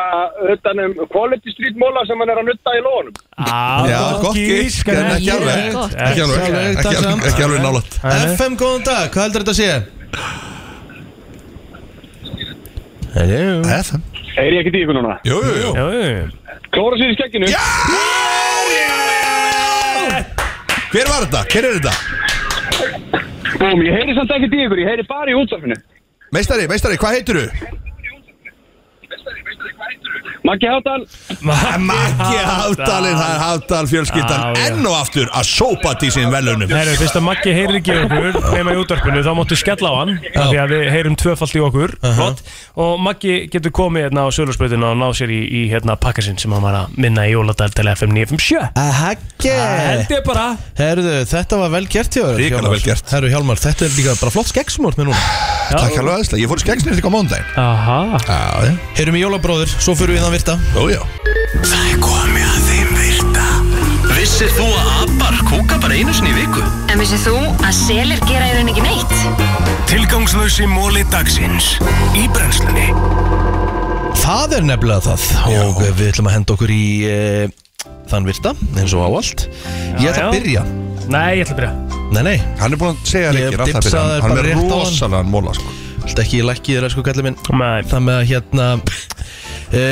S12: utanum quality street móla sem hann er að nutta í lónum?
S5: Já, gott gísk, en ekki alveg Ekki alveg, ekki alveg, ekki alveg nálægt
S1: FM, góðan dag, hvað heldur þetta að sé?
S5: Hello FM
S12: Er ég ekki díku núna?
S5: Jú, jú, jú
S12: Klóra sér í skekkinu? Já!
S5: Hver var þetta? Hver er þetta?
S12: Búm, ég heyri samt ekki díkur, ég heyri bara í útsáfinu.
S5: Meistari, meistari, hvað heitir þú?
S12: Maggi Háttal
S5: Maggi Hafdalinn, það er Hafdal fjölskyldan Enn og aftur að sópa til sín velunum
S2: Nei, fyrst að Maggi heyrir ekki í okkur nema í útvarpinu, þá máttu skella á hann af því að við heyrum tvöfalt í okkur flott, og Maggi getur komið hérna á sölurspröðinu og ná sér í, í hérna pakkasinn sem hann var að minna í Jóladal til FM 957
S1: Hagge
S2: Held ég bara
S1: Herðu, þetta var vel gert hjá þér
S5: Ríkulega
S1: Hjálmar.
S5: vel gert.
S1: Herru Hjálmar, þetta er líka bara flott skeggsmort með núna
S5: Takk alveg aðeinslega, ég fór skeggsnir líka á móndaginn
S2: Aha
S5: Já, já
S1: Heyrum í jólabróður, svo fyrir við í þann virta
S5: Ó, já
S16: Það er komið að þeim virta Vissir þú að abar kúka bara einu sinni í viku?
S17: En vissið þú að selir gera í rauninni ekki neitt?
S16: Tilgangslösi móli dagsins Í brennslunni
S1: Það er nefnilega það og við ætlum að henda okkur í e, þann virta eins og á allt Ég ætla
S2: já.
S1: að byrja
S2: Nei, ég ætla að byrja
S1: Nei, nei
S5: Hann er búin að segja
S1: Ég
S5: leikir alltaf
S1: dipsaði
S5: fyrir
S1: þér
S5: hann Hann
S1: bara
S5: er
S1: rétt á hann.
S5: rosalega móla sko
S1: Allt ekki í lækkið þér, sko kallið minn
S2: Nei
S1: Það með að hérna e,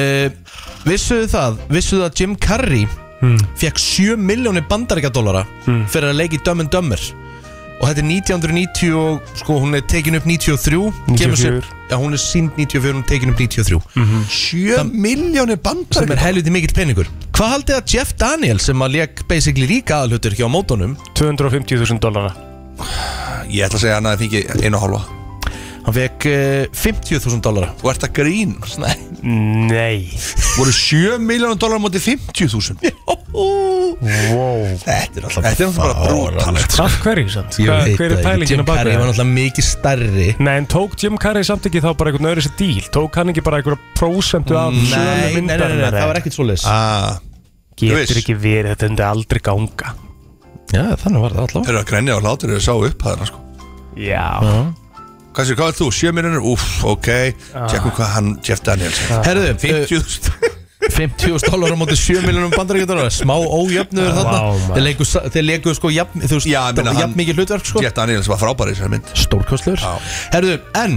S1: Vissuðu það, vissuðu að Jim Carrey
S2: Hmm.
S1: mm. fekk 7 miljónir bandaríkadólara fyrir að leiki Dumb and Dumber og þetta er 1990 og sko hún er tekin upp 93 kemur sér-
S2: 94. Mhm.
S1: Já, hún er sínd 94, hún er tekin upp 93
S5: Sjö miljónir bandar
S1: sem er helviti mikill peningur Hvað haldið að Jeff Daniel sem að leik basically líka aðalhutur hjá mótonum
S2: 250.000 dollara
S5: Ég ætla að segja hann að það fengi einu og halva
S1: hann fekk uh, 50.000 dollara
S5: Þú ert að grín
S1: Nei,
S2: Nei
S5: Voru sjö miljónir dólar mútið 50.000
S2: Wow
S5: Þetta er alltaf Þetta er alltaf bara brótalegt
S2: Af hverju samt?
S1: Ég
S2: Hva,
S1: veit
S2: hver
S1: það
S2: er
S1: ekki.
S2: pælingin
S1: Jim
S2: að baka
S1: Carrey var
S2: það?
S1: náttúrulega mikið stærri
S2: Nei, en tók Jim Carrey samt ekki þá bara einhvern öðru sér díl? Tók hann ekki bara einhverja prósentu af
S1: Nei,
S2: sölu
S1: nei, nei, nei, nei,
S2: myndarinnar,
S1: það
S2: eða?
S1: var ekkert svo leis
S5: Ah,
S2: Getur ekki verið, þetta myndi aldrei ganga
S1: Já, þannig var það alltaf
S5: Þeir eru að grænja á hlátur Þeir eru að sjá upp hana sko
S2: Já
S5: Hvað séu, hvað er þú? Sjö miljónir? Úff, ok Tjekkum hvað hann Jeff Daniels
S1: Herðu, Eh,
S5: 50.000
S1: 50.000 dollara mótið 7 miljónum bandaríkjadólar smá ójöfnuður
S2: Vá,
S1: þarna
S2: maður.
S1: þeir leiku, þeir leiku sko jafn, þú veist,
S5: Já, ég meina,
S1: jafn
S5: hann-
S1: mikið hlutverk sko
S5: Jeff Daniels var frábær í þessari mynd
S1: stórkostlur Herðu, en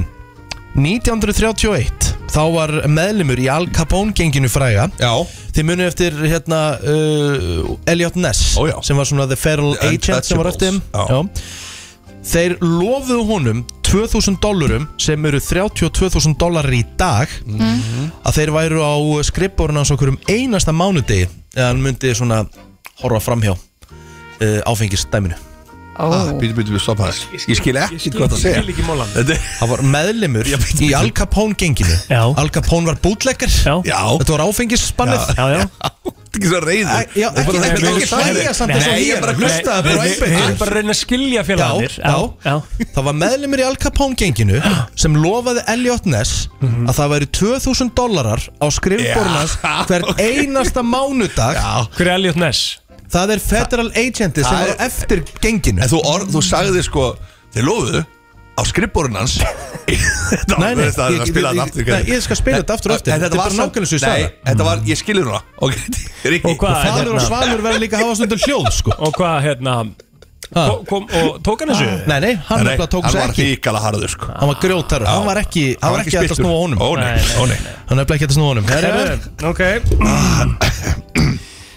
S1: 1931 þá var meðlumur í Al Capone genginu fræga
S5: Já
S1: Þið munið eftir hérna uh, Elliot Ness
S5: Ó, já.
S1: sem var svona The Feral
S5: The
S1: Agent sem var eftir þeim
S5: Untouchables, já.
S1: Þeir lofuðu honum 2000 dollurum sem eru 32.000 dollar í dag að þeir væru á skrippborun hans okkur um einasta mánudegi eða hann myndi svona horfa framhjá uh, áfengistæminu
S5: Ah, Býtu, býtu, býtu, stoppa það Ég skil ekki hvað það segja
S2: ekki mólan
S5: Þetta er-
S1: Það var meðlimur í Al Capone genginu
S2: Já.
S1: Al Capone var bútleggir
S2: Já.
S5: Já
S1: Þetta var áfengissbannið
S2: Já, já
S5: Þetta er ekki svo reyður
S1: Æ, já, ekki- ekki- ekki hlæja samt eins
S5: Nei,
S1: og ég
S5: ég
S1: er.
S5: bara hlusta
S1: Nei,
S5: bara á
S1: nei,
S5: einbeitt.
S2: Við erum bara að reyna að skilja félagarnir
S1: Já, já. Það var meðlumir í Al Capone genginu sem lofaði Elliot Ness að það væri 2000 dólarar á skrifborunans
S5: Já.
S1: hver einasta mánudag
S2: Hver er Elliot Ness?
S1: það er federal agenti sem
S5: Það
S1: var
S5: er-
S1: eftir genginu
S5: En þú, orð, þú sagði sko Þeir lofuðu á skrippborun hans Þetta
S1: Nei, nei,
S5: var- það er
S1: ég-
S5: að spila
S1: ég-
S5: þetta aftur
S1: ég- nei, ég skal spila þetta aftur og
S5: En
S1: aftur. Þetta
S5: þetta
S1: er
S5: var
S1: bara nákvæmlega svo ég sagði
S5: Nei, þetta var, ég skilur hana Ok, Rikki
S2: Og hvað,
S1: Falur og svalur verður líka að hafa stundum hljóð sko
S2: Og hvað hérna kom, kom, Og tók hann þessu?
S1: Nei, nei, hann
S5: Nei,
S1: nefnilega tók
S5: hann
S1: sig
S5: var
S1: ekki
S5: ríkala harður sko
S1: Hann var grjótar, hann var ekki Hann var ekki hægt að
S5: spilltur.
S1: snúa honum
S5: Ó nei, ó nei
S1: Hann er nefnilega ekki hægt að snúa honum Herra,
S2: Herru, Eh, ok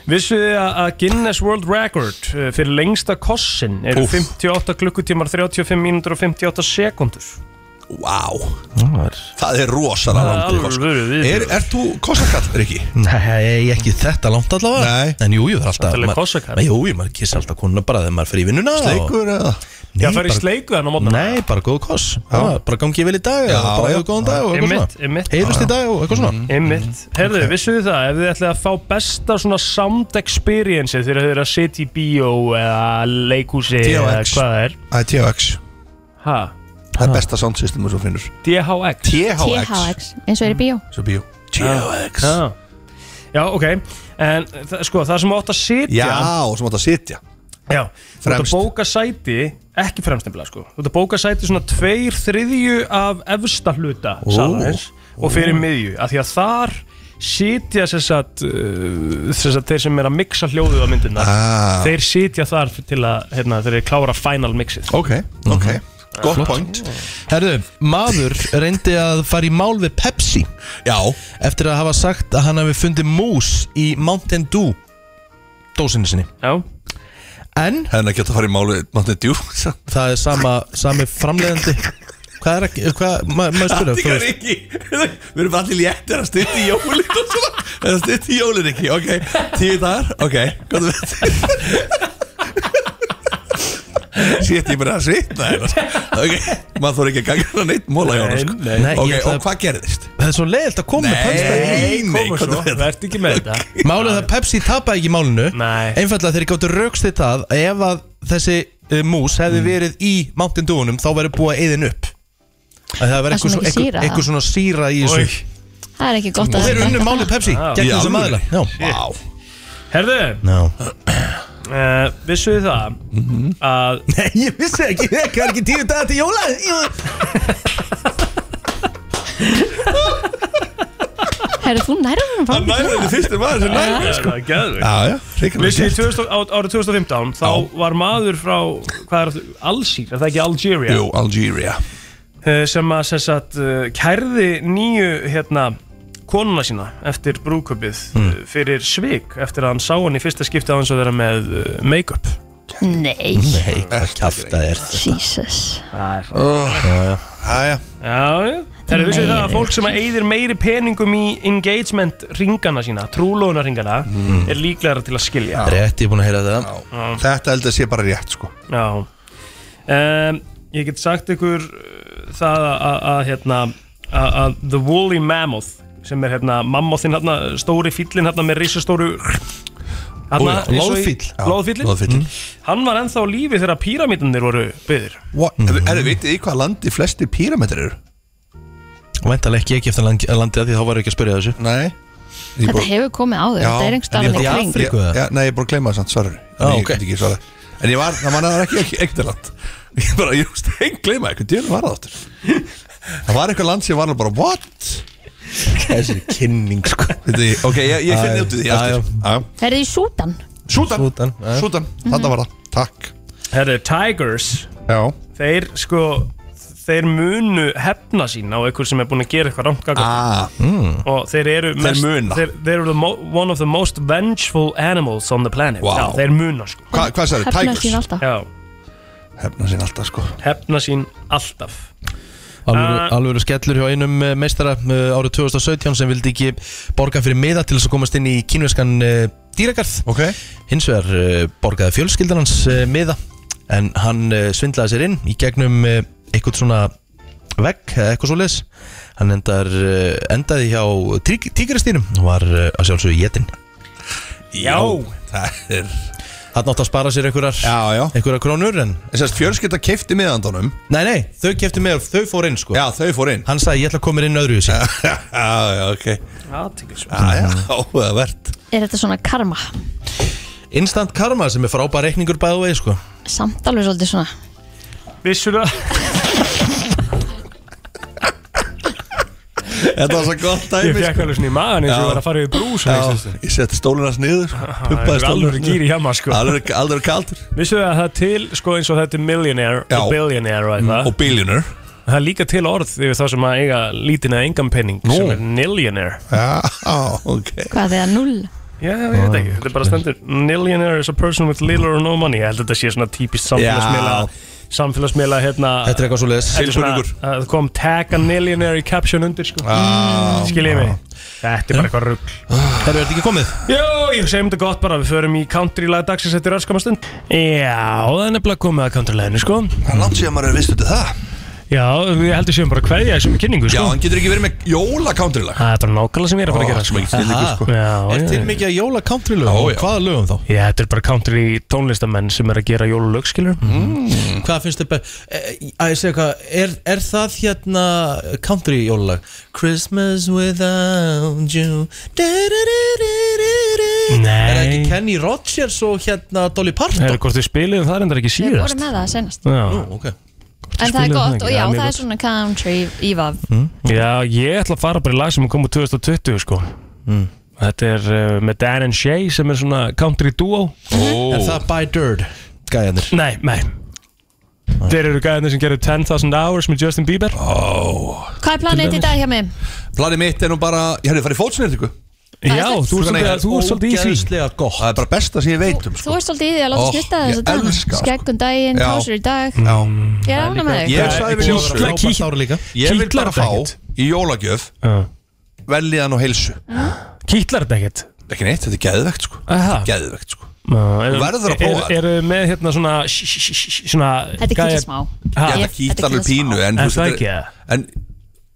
S2: Vissuð þið að að Guinness World Record uh, fyrir lengsta kossin eru
S1: Úff.
S2: 58 klukkutímar 35 mínútur og 58 sekundur
S5: Vá Það er rosalega
S2: Það er
S5: langt í koss.
S2: alvöru viðbjóður.
S5: Er- Ert þú kossakall, Rikki?
S1: Nei, ekki þetta langt allavega
S5: Nei.
S1: En jú, jú, það er alltaf
S2: Þetta er
S1: maður-
S2: kossakall.
S1: Nei, jú, jú, maður kissa alltaf konuna bara þegar maður fyrir í vinnuna og-
S5: Sleikur eða?
S1: Nei,
S2: Já, það er í
S1: bara-
S2: sleiku þannig á mótnar
S1: Nei, bara góð koss Já, Bara gangi vel í dag
S5: Já,
S1: eða Bara
S5: já.
S1: hefur góðan dag og eitthvað
S2: Einmitt,
S1: svona
S2: einmitt
S1: Heyrust í dag og eitthvað
S5: Mm.
S1: svona
S2: Einmitt Herðu, vissuð þið það, ef þið ætlið að fá besta svona sound experience þegar þið eru að sitja í bíó eða leikhúsi eða
S5: THX.
S2: hvað það er
S5: Það er THX
S2: Ha?
S5: Það er besta soundsystem sem þú finnur
S2: DHX
S5: THX
S3: eins og er í bíó
S5: Svo bíó THX
S2: Já, Ah. Já, ok En það- sko, það sem átt að sitja
S5: Já, og sem átt að sitja
S2: Já, þú ert að
S5: Fremst.
S2: bóka sæti ekki fremstnefnilega sko, þú ert að bóka sæti svona tveir þriðju af efsta hluta
S5: Ó,
S2: salins
S5: ó.
S2: og fyrir miðju af því að þar sitja sem sagt, uh, sem sagt þeir sem er að mixa hljóðuð á myndina
S5: Ah.
S2: þeir sitja þar til að hérna, þeir klára final mixið
S5: Ok,
S1: Mhm.
S5: ok Gott point
S1: Herðu, maður reyndi að fara í mál við Pepsi
S5: Já
S1: Eftir að hafa sagt að hann hafi fundið mús í Mountain Dew Dósinni sinni
S2: Já,
S1: En
S5: Hefði ekki átt að fara hérna í máli Máttið djú Það
S1: það er sama, sami framleiðandi Hvað er ekki, hvað, ma maður spyrja þú
S5: er
S1: veist
S5: ekki Við erum allir léttir að styrta í jólin og svona Það styrta í jólin ekki, ok Tíu dagar, ok Góð veit Sétt, ég bara að svitna hérna, sko. Ok, maður þarf ekki að ganga hann eitt móla hjá hann sko.
S2: Nei, nei.
S5: Ok,
S1: Nei, ég ætla-
S5: og hvað gerðist?
S1: Það er svo leiðilt að koma með pönstæði
S5: Nei, nei,
S2: koma
S5: hvað
S2: svo,
S5: þú veit
S2: verð ekki með þetta
S1: Málið er að Pepsi tapaði ekki málinu
S2: Nei.
S1: Einfallega þeir gáttu raukstið það að ef að þessi uh, mús
S2: Mm.
S1: hefði verið í Mountain Dewunum þá verið búið að eyðin upp Að Það verið
S3: Það er
S1: eitthvað,
S3: svo
S1: svo-
S3: mikið
S1: eitthvað,
S3: sýra.
S1: eitthvað svona síra í
S2: Oj.
S1: þessu
S3: Það er ekki gott
S1: Og
S3: að
S1: þeir unnu málið Pepsi
S2: Já.
S1: Gegn
S5: Í
S1: þessum
S5: alvöru?
S1: aðila Já
S5: Vá
S2: Herðu,
S1: no.
S2: uh, vissuð þið það
S5: Mhm.
S2: að
S1: Nei, ég vissi ekki, það er ekki tíu dagar til jóla Ég-
S3: Herru, þú nærður hann
S5: Hann nærður þetta fyrstu maður sem nærður
S2: Það er það geðvikt
S5: Já, já, hrikalega
S2: Vissi,
S5: gert.
S2: 2000, á, árið 2015 þá var maður frá hvað er það, Alsýr, er það ekki Algeria
S5: Jú, Algeria
S2: Eh, sem að sem sagt, eh, kærði nýju hérna, konuna sína eftir brúköpið mm. fyrir svik eftir að hann sá hann í fyrsta skipti á hans að vera með eh, make-up
S3: Nei,
S1: Nei, hvað kjafta er þetta
S3: Jesus
S5: Æja,
S2: Já, já Það er vissið það að fólk sem að eyðir meiri peningum í engagement ringana sína trúlóna ringana er líklegra til að skilja
S1: Rétt, ég er búin að heyra þetta
S5: þetta held að sé bara rétt sko
S2: Já um, Ég get sagt ykkur uh, það að- að að, hérna að að The Woolly Mammoth sem er hérna mammóþinn hérna stóri fýllin hérna með risastóru hérna,
S1: Ó, já,
S2: eins og í-
S1: loðfíll.
S5: Já, Mm.
S2: Loðfíllinn
S5: Loðfíllinn.
S2: Hann var ennþá á lífi þegar píramítanir voru byggðir
S5: What? Mm -hmm. Erðu, vitið í hvað landi flestir pírametrar eru?
S1: Væntalega ekki ekki eftir land- landið af því þá var ekki að spyrja þessu
S5: Nei
S3: Þetta hefur komið áður, þetta er einhvers
S1: en
S3: staðan
S1: ég-
S3: í
S1: Já,
S3: kring
S1: fyrir- Afríku, eða?
S5: Já, nei, ég er búin að gleyma það samt, svarur
S1: Já,
S5: ah,
S1: ok.
S5: okay. ekki, svara. En ég var, það manna það ekki, ekki ekkert land Ég bara, ég veist, einn gleyma, eitthvað djöfn var það áttur Það var eitthvað land sem var alveg bara, what?
S1: Þessi kynning sko
S5: Þetta, ég- ok, ég, ég finn
S1: Æ,
S5: út í því
S1: já,
S5: aftur Já, já.
S3: Er þið í Súdan?
S5: Súdan,
S1: Súdan, já.
S5: Súdan, þetta var það, takk
S2: Herðu, Tigers
S5: Já,
S2: þeir sko þeir munu hefna sín á einhver sem er búin að gera eitthvað rangt gagnvart
S5: ah,
S2: og þeir eru
S5: muna.
S2: þeir, þeir eru the mo one of the most vengeful animals on the planet
S5: Vá.
S2: já, þeir muna sko
S5: hva, hvað sagði,
S3: Hefna sín
S5: Tigers?
S3: alltaf
S2: já,
S5: Hefna sín alltaf, sko
S2: hefna sín alltaf
S1: Alvöru,
S2: Ah.
S1: alvöru skellur hjá einum eh, meistara eh, árið 2017 sem vildi ekki borga fyrir miða til þess að komast inn í kínveskan uh, dýragarð
S5: Ok,
S1: Hins vegar uh, borgaði fjölskyldan hans uh, miða en hann uh, svindlaði sér inn í gegnum uh, eitthvað svona vegg eða eitthvað svo leis Hann endar, uh, endaði hjá tíkristýrum og var uh, að sjálfsögja jetin
S2: já,
S5: það er
S1: Hann átti að spara sér einhverjar,
S5: Já, já
S1: einhverjar krónur en
S5: Þess að fjölskylda keifti miðandónum
S1: Nei, nei, þau kefti með þau fór inn sko
S5: Já, þau fór inn
S1: Hann sagði ég ætla að koma mér inn öðru í sig
S5: Já, já, ok
S2: aðtiklisverð
S5: Já, já, áhugavert
S3: Er þetta svona karma?
S1: Instant karma sem er frábær reikningur bæðu vegi sko
S3: Samt alveg svolítið svona
S2: vissur það
S5: Þetta var svo gott dæmi sko.
S2: Ég fekk alveg svona í magan eins og ég var að fara yfir brú svona í síðustu.
S5: Já, ég setti stólinn hans niður sko.
S2: það er
S5: Pumpaði stólinn
S2: alvöru gír í hjemma, sko.
S5: Alveg, alveg kaldur
S2: Vissu það að það er til, sko, eins og þetta er millionaire
S5: Já.
S2: og billionaire og eitthvað
S5: Og billionaire
S2: Það er líka til orð yfir það sem að eiga lítinn eða engan penning
S5: Nú.
S2: sem er nillionaire
S5: Já, ok
S3: Hvað þegar null?
S2: Já, ég veit ekki, þetta er bara stendur Nillionaire is a person with little or no money Ég held að þetta sé svona típist samfélagsmiðla Samfélagsmiðla, hérna
S1: Þetta er eitthvað svoleiðis. Silfurhringur.
S2: Það kom tag a nillionaire í caption undir, sko
S1: Ah.
S2: Skiljið mig Þetta er bara eitthvað rugg
S1: Það eru þetta ekki komið?
S2: Jó, ég segjum þetta gott bara, við förum í country-lag dagsins eftir öskama stund Já, það er nefnilega komið að country-laginu, sko
S5: Það er langt síðan maður er vist út það
S2: Já, við heldum séum bara hverja þessum kynningu, sko
S5: Já, hann getur ekki verið með jóla countrylag
S2: Það er bara nákvæmlega sem ég er að fara að gera, sko
S1: Aha.
S2: Já,
S1: Er
S2: já,
S1: til
S2: já.
S1: mikið að jóla country lögum?
S2: Ó,
S1: og
S2: já.
S1: Hvaða lögum þá?
S2: Já, þetta er bara country tónlistamenn sem er að gera jólulög, skilur
S1: Mm. Hvað finnst þér best? Eh, Að ég segja hvað, er, er það hérna country jólalag? Christmas without you Du-du-du-du-du-du.
S2: Nei.
S1: Er það ekki Kenny Rogers og hérna Dolly Parton?
S2: Hefur hvort við spilum það endar ekki
S3: Við
S2: síðast
S3: vorum með það senast
S2: Já,
S1: Nú, ok
S3: En það er
S2: spilaði það
S3: gott
S2: ekki?
S3: og
S2: Já, Mm.
S3: já,
S2: mjög
S3: það er
S2: gott.
S3: svona country ívað
S2: Já, ég ætla að fara bara í lag sem kom úr 2020 sko Þetta er uh, með Dan and Shay sem er svona country duo
S1: Oh. Er það By Dirt gæðanir?
S2: Nei, nei Þeir eru gæðinni sem gerir 10.000 Hours með Justin Bieber oh.
S3: Hvað er
S2: Til
S3: planið þitt í
S2: dæmis.
S3: dag hjá mig?
S5: Planið mitt er nú bara Ég hefði farið fótsnýrtingu
S2: Já, þú ert svolítið- þú ert svolítið í því.
S5: gott Það er bara besta sem ég veit um
S3: Þú
S5: sko.
S3: ert svolítið í því að láta
S5: Ó,
S3: snutta
S5: ég
S3: þessu dag
S5: elska það, sko.
S3: Skeggun um daginn,
S5: Já.
S3: kásur í dag
S2: Mm.
S5: Já
S3: Ég er ánum með
S5: Ég
S3: þig
S5: sagði við
S1: Kýtla-
S5: Jóra-
S1: kýtla- Frábært ár líka.
S5: Ég vil
S1: Kýtlar
S5: bara
S1: þetta
S5: fá í jólagjöf Veljiðan og heilsu
S2: Kýtlar þetta ekkert?
S5: Ekki neitt, þetta er geðvegt sko
S2: Aha.
S5: Geðvegt sko
S2: Þú
S5: verður að prófa
S2: þetta Eru með hérna svona, sh- sh- sh- sh- svona
S3: Þetta
S2: gæja-
S3: kýtlar smá
S2: Ha?
S5: Ég, þetta kýtlar alveg pínu En, þú
S2: Er
S5: veist,
S2: það
S5: þetta
S2: ekki?
S5: er- En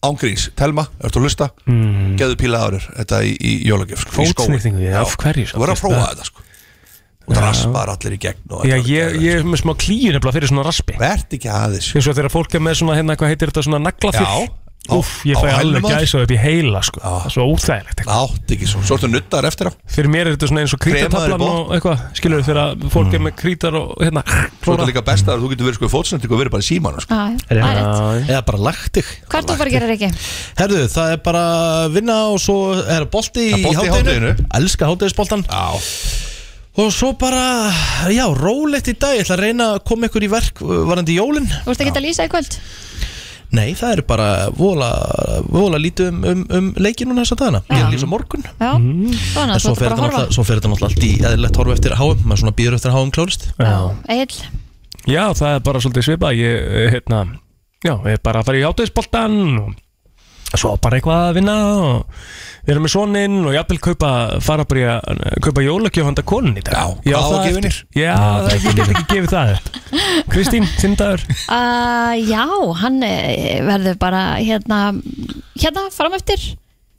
S5: ángríns, Telma, ertu að hlusta mm. Geðu píla árið þetta í, í jólagjöf sko, í skóinn.
S2: Fótsnýrtingu, Hmm. já, af hverju
S5: Þú verður að
S2: samt?
S5: prófa þetta sko Og það raspar allir í gegn og
S2: Já,
S5: þetta er-
S2: ég, ég er með smá klíu nefnilega fyrir svona raspi
S5: Vert ekki aðeins
S2: Eins og þegar fólk er með svona, hérna, hvað heitir þetta, svona naglafyll
S5: Já.
S2: Úff, ég fæ
S5: Á hælnum
S2: alveg
S5: á þér.
S2: gæsa upp í heila, sko Það er svo óþægilegt eitthvað
S5: Átt ekki svo, svo ertu nuttaður eftir á
S2: Fyrir mér er þetta svona eins og
S5: Kremaður í
S2: krítatablan
S5: botn.
S2: og eitthvað Skilur þau þegar fólk er með krítar og hérna
S5: Svo er
S2: klóra.
S5: þetta líka best að þú getur verið sko í fótsnendingu og verið bara í símanu sko.
S3: Já, já, það er rétt.
S1: Eða bara lagt þig
S3: Hvað er þú að fara að gera, Riki?
S1: Herðu, það er bara vinna og svo er bolti í
S5: Það bolti í
S1: hátteginu
S5: hádeginu.
S1: Elska háttegisboltan Og svo bara, já, rólegt í dag Ég ætla að reyna að koma ykkur í verk uh, varandi jólin
S3: Þú ert ekki að lýsa í kvöld?
S1: Nei, það er bara vola, vola lítið um, um, um leikinuna þessa dagana Ég er að lýsa morgun
S3: Já, þannig
S1: En
S3: að þú
S1: svo
S3: ert
S1: fer
S3: bara að
S1: þetta
S3: horfa
S1: náttúrulega- svo fer þetta náttúrulega allt í eðlilegt horfa eftir háum Maður svona býður eftir að háum klárist
S2: Já.
S3: Egil,
S2: já, það er bara svolítið svipað Ég, eh, hérna, já, ég er bara að fara í átöðisboltan og Svo bara eitthvað að vinna og við erum með soninn og jafnvel kaupa, fara bara í að eh, kaupa jólagjöf handa konun í dag.
S5: hvað
S2: Já,
S5: á
S2: það
S5: að gefa
S2: eftir.
S5: henni?
S2: Já, það er ekki ekki gefið það. upp. Kristín, þinn dagur.
S3: uh, já, hann eh, verður bara hérna, hérna fram eftir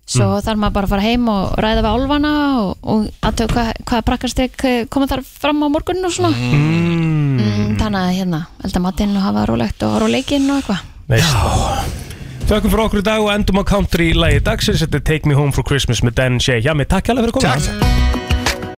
S3: Svo þarf maður bara að fara heim og ræða við álfana og, og aðtöku hvað, hvað prakkastrygg koma þar fram á morgun og svona mm, Þannig að hérna, elda matinn og hafa rólegt og horfa á leikinn og eitthvað
S2: Þökkum fyrir okkur í dag og endum á country í lagi dagsins Þetta er Take Me Home for Christmas með Dan Shea Já, mér takk hérlega fyrir að koma